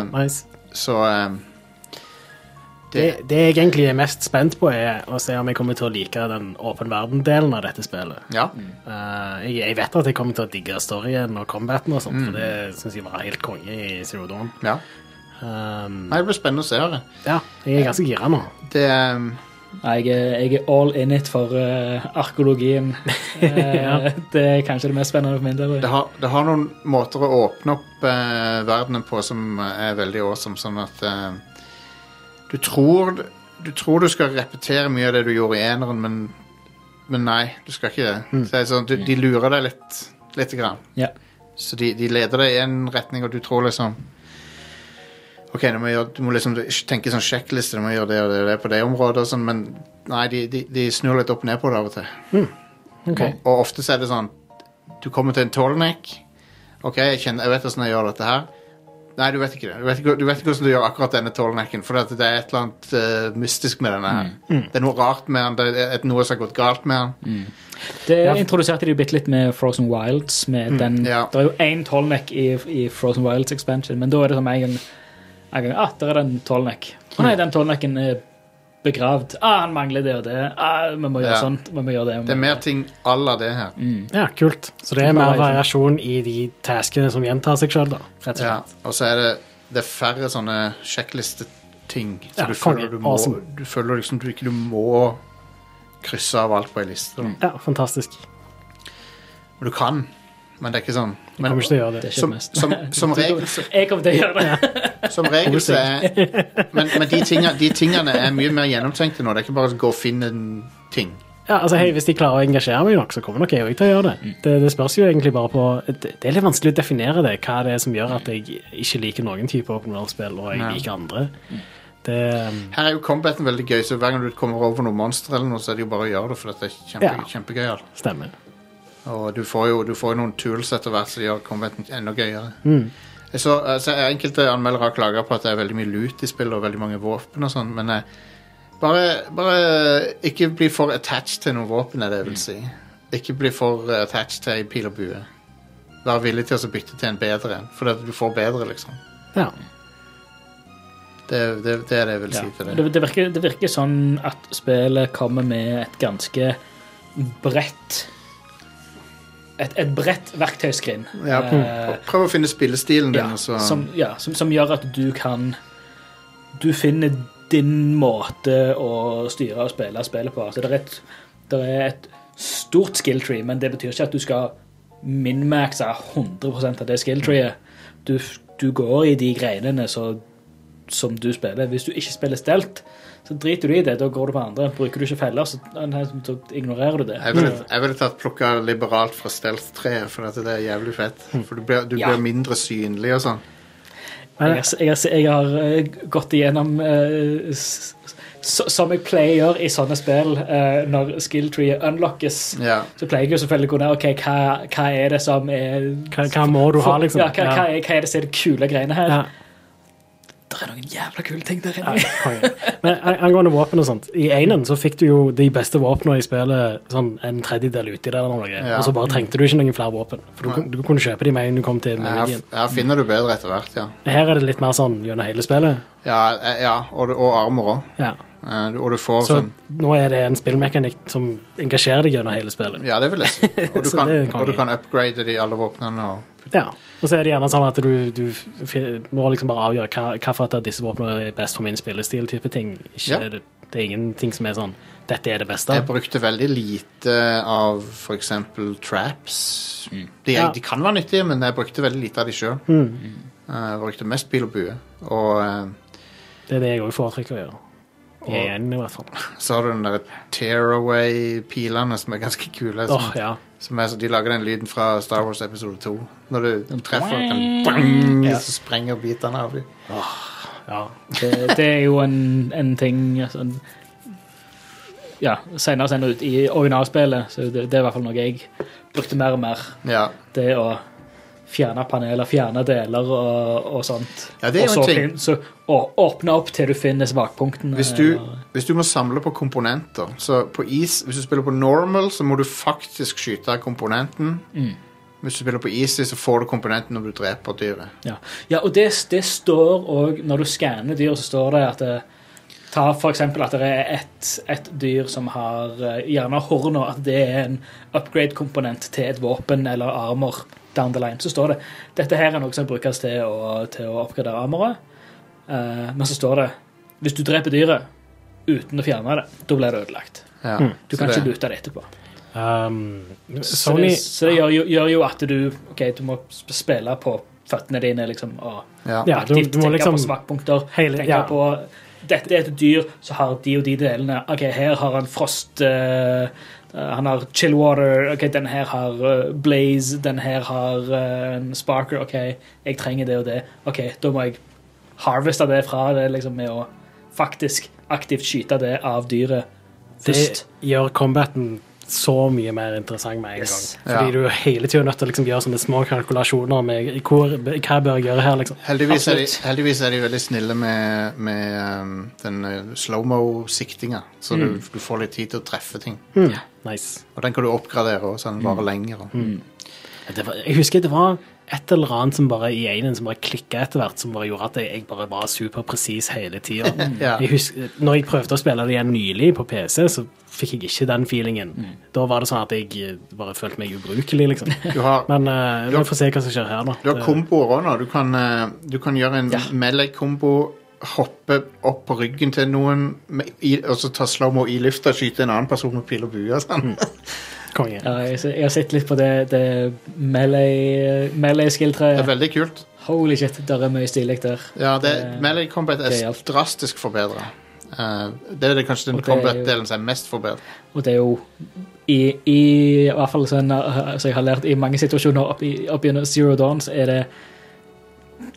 [SPEAKER 1] Um,
[SPEAKER 3] nice.
[SPEAKER 1] så um,
[SPEAKER 3] det, det jeg egentlig er mest spent på, er å se om jeg kommer til å like den åpen verden-delen av dette spillet.
[SPEAKER 1] Ja.
[SPEAKER 3] Eh, jeg, jeg vet at jeg kommer til å digge storyen og combaten og sånt, for det syns jeg var helt konge i Zero Dawn.
[SPEAKER 1] ja.
[SPEAKER 3] Um,
[SPEAKER 1] Nei, det blir spennende å se. her.
[SPEAKER 3] ja, jeg er ganske gira nå.
[SPEAKER 1] Det, um,
[SPEAKER 2] Nei, jeg, er- jeg er all in it for eh, arkeologien. Eh, Det er kanskje det mest spennende for min del.
[SPEAKER 1] Det har, det har noen måter å åpne opp eh, verdenen på som er veldig awesome, sånn at eh, du tror du tror du skal repetere mye av det du gjorde i eneren, men, men nei, du skal ikke det. Så det er sånn, du, de lurer deg litt, lite grann.
[SPEAKER 2] Ja.
[SPEAKER 1] Så de, de leder deg i en retning, og du tror liksom OK, du må, gjøre, du må liksom tenke sånn sjekkliste, du må gjøre det og det, og det på det området, og sånn, men nei, de, de, de snur litt opp og ned på det av og til. Og, og ofte så er det sånn Du kommer til en tallneck. OK, jeg, kjenner, jeg vet hvordan jeg gjør dette her. Nei, du vet ikke det. Du vet ikke, du vet ikke hvordan du gjør akkurat denne tallnecken, for at det er et eller annet eh, mystisk med denne her. Det er noe rart med den, det er et, noe som har gått galt med den.
[SPEAKER 2] Det introduserte de bitte litt med Frozen Wilds. Med den,
[SPEAKER 1] Mm. ja.
[SPEAKER 2] Det er jo én tollneck i, i Frozen Wilds expansion, men da er det som en gang en gang, ah, der er det en tollneck. Å
[SPEAKER 1] Mm.
[SPEAKER 2] nei, den tollnecken er begravd. Ah, han mangler det og det. Ah, vi må gjøre
[SPEAKER 1] Ja.
[SPEAKER 2] sånt. Vi må gjøre det.
[SPEAKER 1] Det er mer ting à la det her.
[SPEAKER 3] Ja, kult. Så det er mer variasjon i de taskene som gjentar seg sjøl, da. Rett og
[SPEAKER 1] Ja,
[SPEAKER 3] slett.
[SPEAKER 1] og så er det, det er færre sånne sjekklisteting. Så
[SPEAKER 3] Ja,
[SPEAKER 1] du, føler
[SPEAKER 3] konge.
[SPEAKER 1] du, må,
[SPEAKER 3] Awesome.
[SPEAKER 1] du føler liksom du ikke du må krysse av alt på ei liste. da.
[SPEAKER 3] Ja, fantastisk.
[SPEAKER 1] Men du kan, men det er ikke sånn.
[SPEAKER 3] Jeg
[SPEAKER 1] Men,
[SPEAKER 3] kommer ikke til å gjøre
[SPEAKER 2] Det
[SPEAKER 3] det.
[SPEAKER 2] er ikke
[SPEAKER 1] som,
[SPEAKER 2] det mest.
[SPEAKER 1] som, som regel så-
[SPEAKER 2] Jeg kommer til å gjøre det.
[SPEAKER 1] Som regel så er Men, men de, tingene, de tingene er mye mer gjennomtenkte nå. Det er ikke bare å gå og finne en ting.
[SPEAKER 3] Ja, altså, hei, Hvis de klarer å engasjere meg nok, så kommer nok jeg også til å gjøre
[SPEAKER 2] Mm.
[SPEAKER 3] det. det. Det spørs jo egentlig bare på Det det er litt vanskelig å definere det, hva det er som gjør at jeg ikke liker noen type open world-spill, og jeg
[SPEAKER 1] Ja.
[SPEAKER 3] liker andre.
[SPEAKER 2] Mm.
[SPEAKER 3] Det um,
[SPEAKER 1] Her er jo combaten veldig gøy, så hver gang du kommer over noe monster, eller noe, så er det jo bare å gjøre det, for det er kjempe,
[SPEAKER 3] Ja.
[SPEAKER 1] kjempegøy.
[SPEAKER 3] stemmer.
[SPEAKER 1] Og du får jo du får jo noen tools etter hvert som gjør combaten enda gøyere.
[SPEAKER 3] Mm.
[SPEAKER 1] Jeg så, eh, så Enkelte anmeldere har klaga på at det er veldig mye lut i spillet, og veldig mange våpen og sånn, men eh, bare, bare ikke bli for attached til noen våpen, er det jeg vil si. Ikke bli for eh, attached til ei pil og bue. Vær villig til å så bytte til en bedre en, fordi at du får bedre, liksom.
[SPEAKER 3] Ja.
[SPEAKER 1] Det, det, det er det jeg vil si til
[SPEAKER 2] Ja.
[SPEAKER 1] det.
[SPEAKER 2] Det, det, virker, det virker sånn at spillet kommer med et ganske bredt Et, et bredt verktøyskrin.
[SPEAKER 1] Ja,
[SPEAKER 2] Eh,
[SPEAKER 1] prøv å finne spillestilen din, altså.
[SPEAKER 2] ja,
[SPEAKER 1] og så
[SPEAKER 2] som, ja, som, som gjør at du kan Du finner din måte å styre og spille spillet på. Altså, det, er et, det er et stort skill tree, men det betyr ikke at du skal minmaxe 100 av det skill treet. Du, du går i de greinene så, som du spiller. Hvis du ikke spiller stelt, så driter du i det. Da går du på andre. Bruker du ikke feller, så, så ignorerer du det. Mm.
[SPEAKER 1] Jeg ville,
[SPEAKER 3] Mm.
[SPEAKER 1] jeg ville tatt plukka liberalt fra Stealth-treet, for at det er jævlig fett.
[SPEAKER 3] Mm.
[SPEAKER 1] For du blir, du
[SPEAKER 2] Ja.
[SPEAKER 1] blir mindre synlig og sånn.
[SPEAKER 2] Jeg har, jeg har, jeg har eh, gått igjennom eh, s- s- Som jeg pleier i sånne spill, eh, når skill treet unlockes,
[SPEAKER 1] Ja.
[SPEAKER 2] så pleier jeg jo selvfølgelig å gå ned ok, hva, hva er det som er
[SPEAKER 3] Hva, hva må du ha, liksom?
[SPEAKER 2] Ja, hva, hva, er, hva er det som er de kule greiene her?
[SPEAKER 3] Ja.
[SPEAKER 2] Det er noen jævla kule ting der inne.
[SPEAKER 3] Nei, konge. Men an- angående våpen og sånt. I Einen så fikk du jo de beste våpnene i spillet sånn en tredjedel uti der, eller noe.
[SPEAKER 1] Ja.
[SPEAKER 3] og så bare trengte du ikke noen flere våpen. For du, kun- du kunne kjøpe de med Mm. en gang du kom til
[SPEAKER 1] Her,
[SPEAKER 3] Meridian.
[SPEAKER 1] her finner du bedre etter hvert, ja.
[SPEAKER 3] Her er det litt mer sånn gjennom hele spillet.
[SPEAKER 1] Ja, eh, ja og, du- og armer òg.
[SPEAKER 3] Ja.
[SPEAKER 1] Og du får
[SPEAKER 3] Så
[SPEAKER 1] sånn
[SPEAKER 3] nå er det en spillmekanikk som engasjerer deg gjennom hele spillet.
[SPEAKER 1] Ja, det vil jeg si. Og du
[SPEAKER 3] Så
[SPEAKER 1] kan,
[SPEAKER 3] det er konge.
[SPEAKER 1] og du kan upgrade de alle våpnene og
[SPEAKER 3] Ja. Og så er det gjerne sånn at du, du fi- må liksom bare avgjøre hva, hva for at disse våpnene er best for min spillestil, type ting. Ikke,
[SPEAKER 1] Ja.
[SPEAKER 3] det, det er ingenting som er sånn Dette er det beste.
[SPEAKER 1] Jeg brukte veldig lite av f.eks. traps. De,
[SPEAKER 3] Ja. Mm.
[SPEAKER 1] de kan være nyttige, men jeg brukte veldig lite av de sjøl. Jeg brukte mest pil og bue. Og eh,
[SPEAKER 3] Det er det jeg òg foretrekker å gjøre. I Einen, i hvert fall.
[SPEAKER 1] så har du den der tearaway-pilene som er ganske kule.
[SPEAKER 3] Åh,
[SPEAKER 1] Som,
[SPEAKER 3] ja.
[SPEAKER 1] som er, så de lager den lyden fra Star Wars episode 2. Når du treffer, den, bang, så sprenger bitene av dem.
[SPEAKER 3] ja.
[SPEAKER 2] Det, det er jo en, en ting altså, en- Ja, senere senere ut i originalspillet, så det, det er i hvert fall noe jeg brukte mer og mer.
[SPEAKER 1] Ja.
[SPEAKER 2] det å fjerne paneler, fjerne deler og, og sånt.
[SPEAKER 1] Ja, det er jo
[SPEAKER 2] og så
[SPEAKER 1] en ting.
[SPEAKER 2] fin- Så, og åpne opp til du finner svakpunktene.
[SPEAKER 1] Hvis du,
[SPEAKER 2] eller-
[SPEAKER 1] hvis du må samle på komponenter Så på is, Hvis du spiller på normal, så må du faktisk skyte av komponenten. Hvis du spiller på easy, så får du komponenten når du dreper dyret.
[SPEAKER 2] ja. ja, og det, det står òg Når du skanner dyr, så står det at det, Ta for eksempel at det er et, et dyr som har eh, gjerne horn, og at det er en upgrade-komponent til et våpen eller armor. down the line, Så står det dette her er noe som brukes til å, til å oppgradere armoret. Eh, men så står det hvis du dreper dyret, uten å fjerne det. Da blir det ødelagt.
[SPEAKER 1] Ja.
[SPEAKER 2] Mm. Du
[SPEAKER 1] Så
[SPEAKER 2] kan
[SPEAKER 1] det-
[SPEAKER 2] ikke lute det etterpå.
[SPEAKER 3] Um,
[SPEAKER 2] Så det,
[SPEAKER 3] Sony
[SPEAKER 2] så det gjør, jo- gjør jo at du OK, du må sp- spille på føttene dine, liksom. og
[SPEAKER 1] Ja.
[SPEAKER 3] Ja, du,
[SPEAKER 2] aktivt
[SPEAKER 3] du må
[SPEAKER 2] tenke
[SPEAKER 3] liksom
[SPEAKER 2] på svakpunkter.
[SPEAKER 3] hele-
[SPEAKER 2] tenke
[SPEAKER 3] ja.
[SPEAKER 2] på dette er et dyr som har de og de delene. Ok, Her har han frost eh, Han har chillwater. ok, Den her har eh, blaze. Den her har eh, en sparker. ok, Jeg trenger det og det. ok, Da må jeg harveste det fra det liksom med å faktisk aktivt skyte det av dyret først.
[SPEAKER 3] Det gjør combaten så mye mer interessant med en
[SPEAKER 2] Yes.
[SPEAKER 3] gang. Fordi
[SPEAKER 1] Ja.
[SPEAKER 3] du er hele tiden nødt til å liksom gjøre sånne små kalkulasjoner med hvor, hva bør jeg gjøre her, liksom.
[SPEAKER 1] Heldigvis, er de,
[SPEAKER 2] Absolutt.
[SPEAKER 1] heldigvis er de veldig snille med, med ehm, den eh, slow-mo-siktinga, så
[SPEAKER 2] Mm.
[SPEAKER 1] du, du får litt tid til å treffe ting.
[SPEAKER 3] Hmm, Nice.
[SPEAKER 1] Og den kan du oppgradere, og så den
[SPEAKER 2] Mm.
[SPEAKER 1] varer lenger. Og.
[SPEAKER 3] Det var, jeg husker det var et eller annet som bare i en som bare klikka etter hvert, som bare gjorde at jeg, jeg bare var superpresis hele tida.
[SPEAKER 1] Ja.
[SPEAKER 3] Jeg husker, når jeg prøvde å spille det igjen nylig på PC, så fikk jeg ikke den feelingen. Da var det sånn at jeg eh, bare følte meg ubrukelig, liksom.
[SPEAKER 1] Du har,
[SPEAKER 3] Men eh, vi får se hva som skjer her, da.
[SPEAKER 1] du
[SPEAKER 2] eh,
[SPEAKER 1] har komboer òg nå. Du kan, eh, du kan gjøre en melee-kombo, hoppe opp på ryggen til noen, med, i, og så ta slow-mo i lufta, skyte en annen person med pil og bue. og
[SPEAKER 2] Mm.
[SPEAKER 1] Sånn.
[SPEAKER 3] Eh, Konge.
[SPEAKER 2] Ja, jeg, jeg har sett litt på det, det melee,
[SPEAKER 1] Det
[SPEAKER 2] melee
[SPEAKER 1] er
[SPEAKER 2] skill-treet.
[SPEAKER 1] veldig kult.
[SPEAKER 2] Holy shit, der er mye stilig der.
[SPEAKER 1] Ja, det,
[SPEAKER 2] Eh,
[SPEAKER 1] melee combat er
[SPEAKER 2] det hjalp.
[SPEAKER 1] drastisk forbedra. det er det kanskje den
[SPEAKER 2] Og det er jo-
[SPEAKER 1] combat-delen som er mest forbedra.
[SPEAKER 2] Og det er jo i, i, i hvert fall sånn eh, som jeg har lært i mange situasjoner opp, i, opp gjennom Zero Dawn, så er det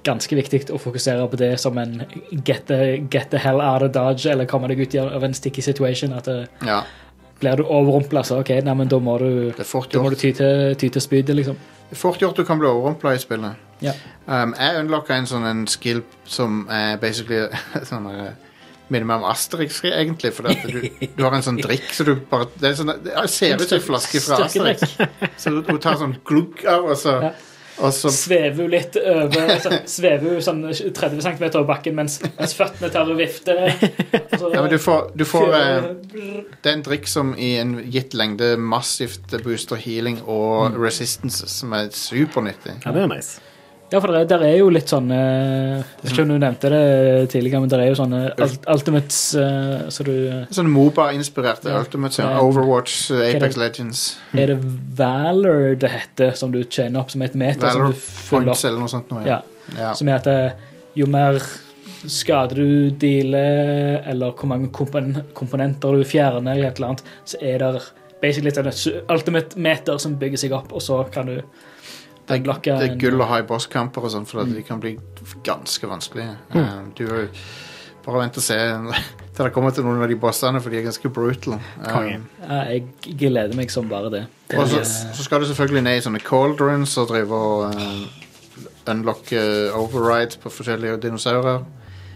[SPEAKER 2] ganske viktig å fokusere på det som en get the, get the hell out of dodge, eller komme deg ut av en sticky situation. At det,
[SPEAKER 1] Ja,
[SPEAKER 2] blir du overrumpla, så OK, nei, men da må du,
[SPEAKER 1] det er fort
[SPEAKER 2] da må
[SPEAKER 1] gjort.
[SPEAKER 2] du ty til, ty til spydet, liksom.
[SPEAKER 1] Det er Fort gjort du kan bli overrumpla i spillet.
[SPEAKER 2] Ja.
[SPEAKER 1] Um, jeg unlocka en sånn en skill som er basically sånn eh, Minner meg om Asterix, egentlig. For at du, du har en sånn drikk så du bare Det, er sånn, det ser ut som en flaske fra Asterix.
[SPEAKER 2] Styrkedrikk.
[SPEAKER 1] Så du, du tar sånn glugg av, og så,
[SPEAKER 2] Ja.
[SPEAKER 1] og så
[SPEAKER 2] Svever hun litt over så, Svever hun sånn 30 cm over bakken mens, mens føttene tar og vifter. Så-
[SPEAKER 1] Ja, men du får, du får eh,
[SPEAKER 2] Brr.
[SPEAKER 1] Det er en drikk som i en gitt lengde massivt booster healing og
[SPEAKER 2] Mm.
[SPEAKER 1] resistance, som er supernyttig.
[SPEAKER 3] Ja, det er nice.
[SPEAKER 2] Ja, for det er, der er jo litt sånn eh, Jeg vet ikke om du nevnte det tidligere, men det er jo sånne ult ultimates eh, Så du
[SPEAKER 1] Sånn Moba-inspirert.
[SPEAKER 2] Ja.
[SPEAKER 1] Ultimate sånn
[SPEAKER 2] Ja.
[SPEAKER 1] Overwatch, eh,
[SPEAKER 2] det-
[SPEAKER 1] Apex Legends,
[SPEAKER 2] Er det Valor det heter, som du tjener opp som et meter?
[SPEAKER 1] Valor
[SPEAKER 2] som du fyller
[SPEAKER 1] Points
[SPEAKER 2] opp,
[SPEAKER 1] eller noe sånt. Noe,
[SPEAKER 2] ja,
[SPEAKER 1] Ja.
[SPEAKER 2] Som er at eh, jo mer skader du dealer, eller hvor mange kompon komponenter du fjerner, eller et eller annet, så er det basically et sånn ultimate meter som bygger seg opp, og så kan du
[SPEAKER 1] Det er,
[SPEAKER 2] blokker
[SPEAKER 1] det er
[SPEAKER 2] en-
[SPEAKER 1] gull å ha i bosskamper og sånn, for at de kan bli ganske vanskelige.
[SPEAKER 2] Mm.
[SPEAKER 1] Um, du er jo- bare vent og se til det kommer til noen av de bossene, for de er ganske brutal. Eh,
[SPEAKER 3] Konge.
[SPEAKER 2] ja, Jeg gleder meg som bare det. det
[SPEAKER 1] og så,
[SPEAKER 2] er-
[SPEAKER 1] så skal du selvfølgelig ned i sånne cauldrons og drive og um, unlocke override på forskjellige dinosaurer.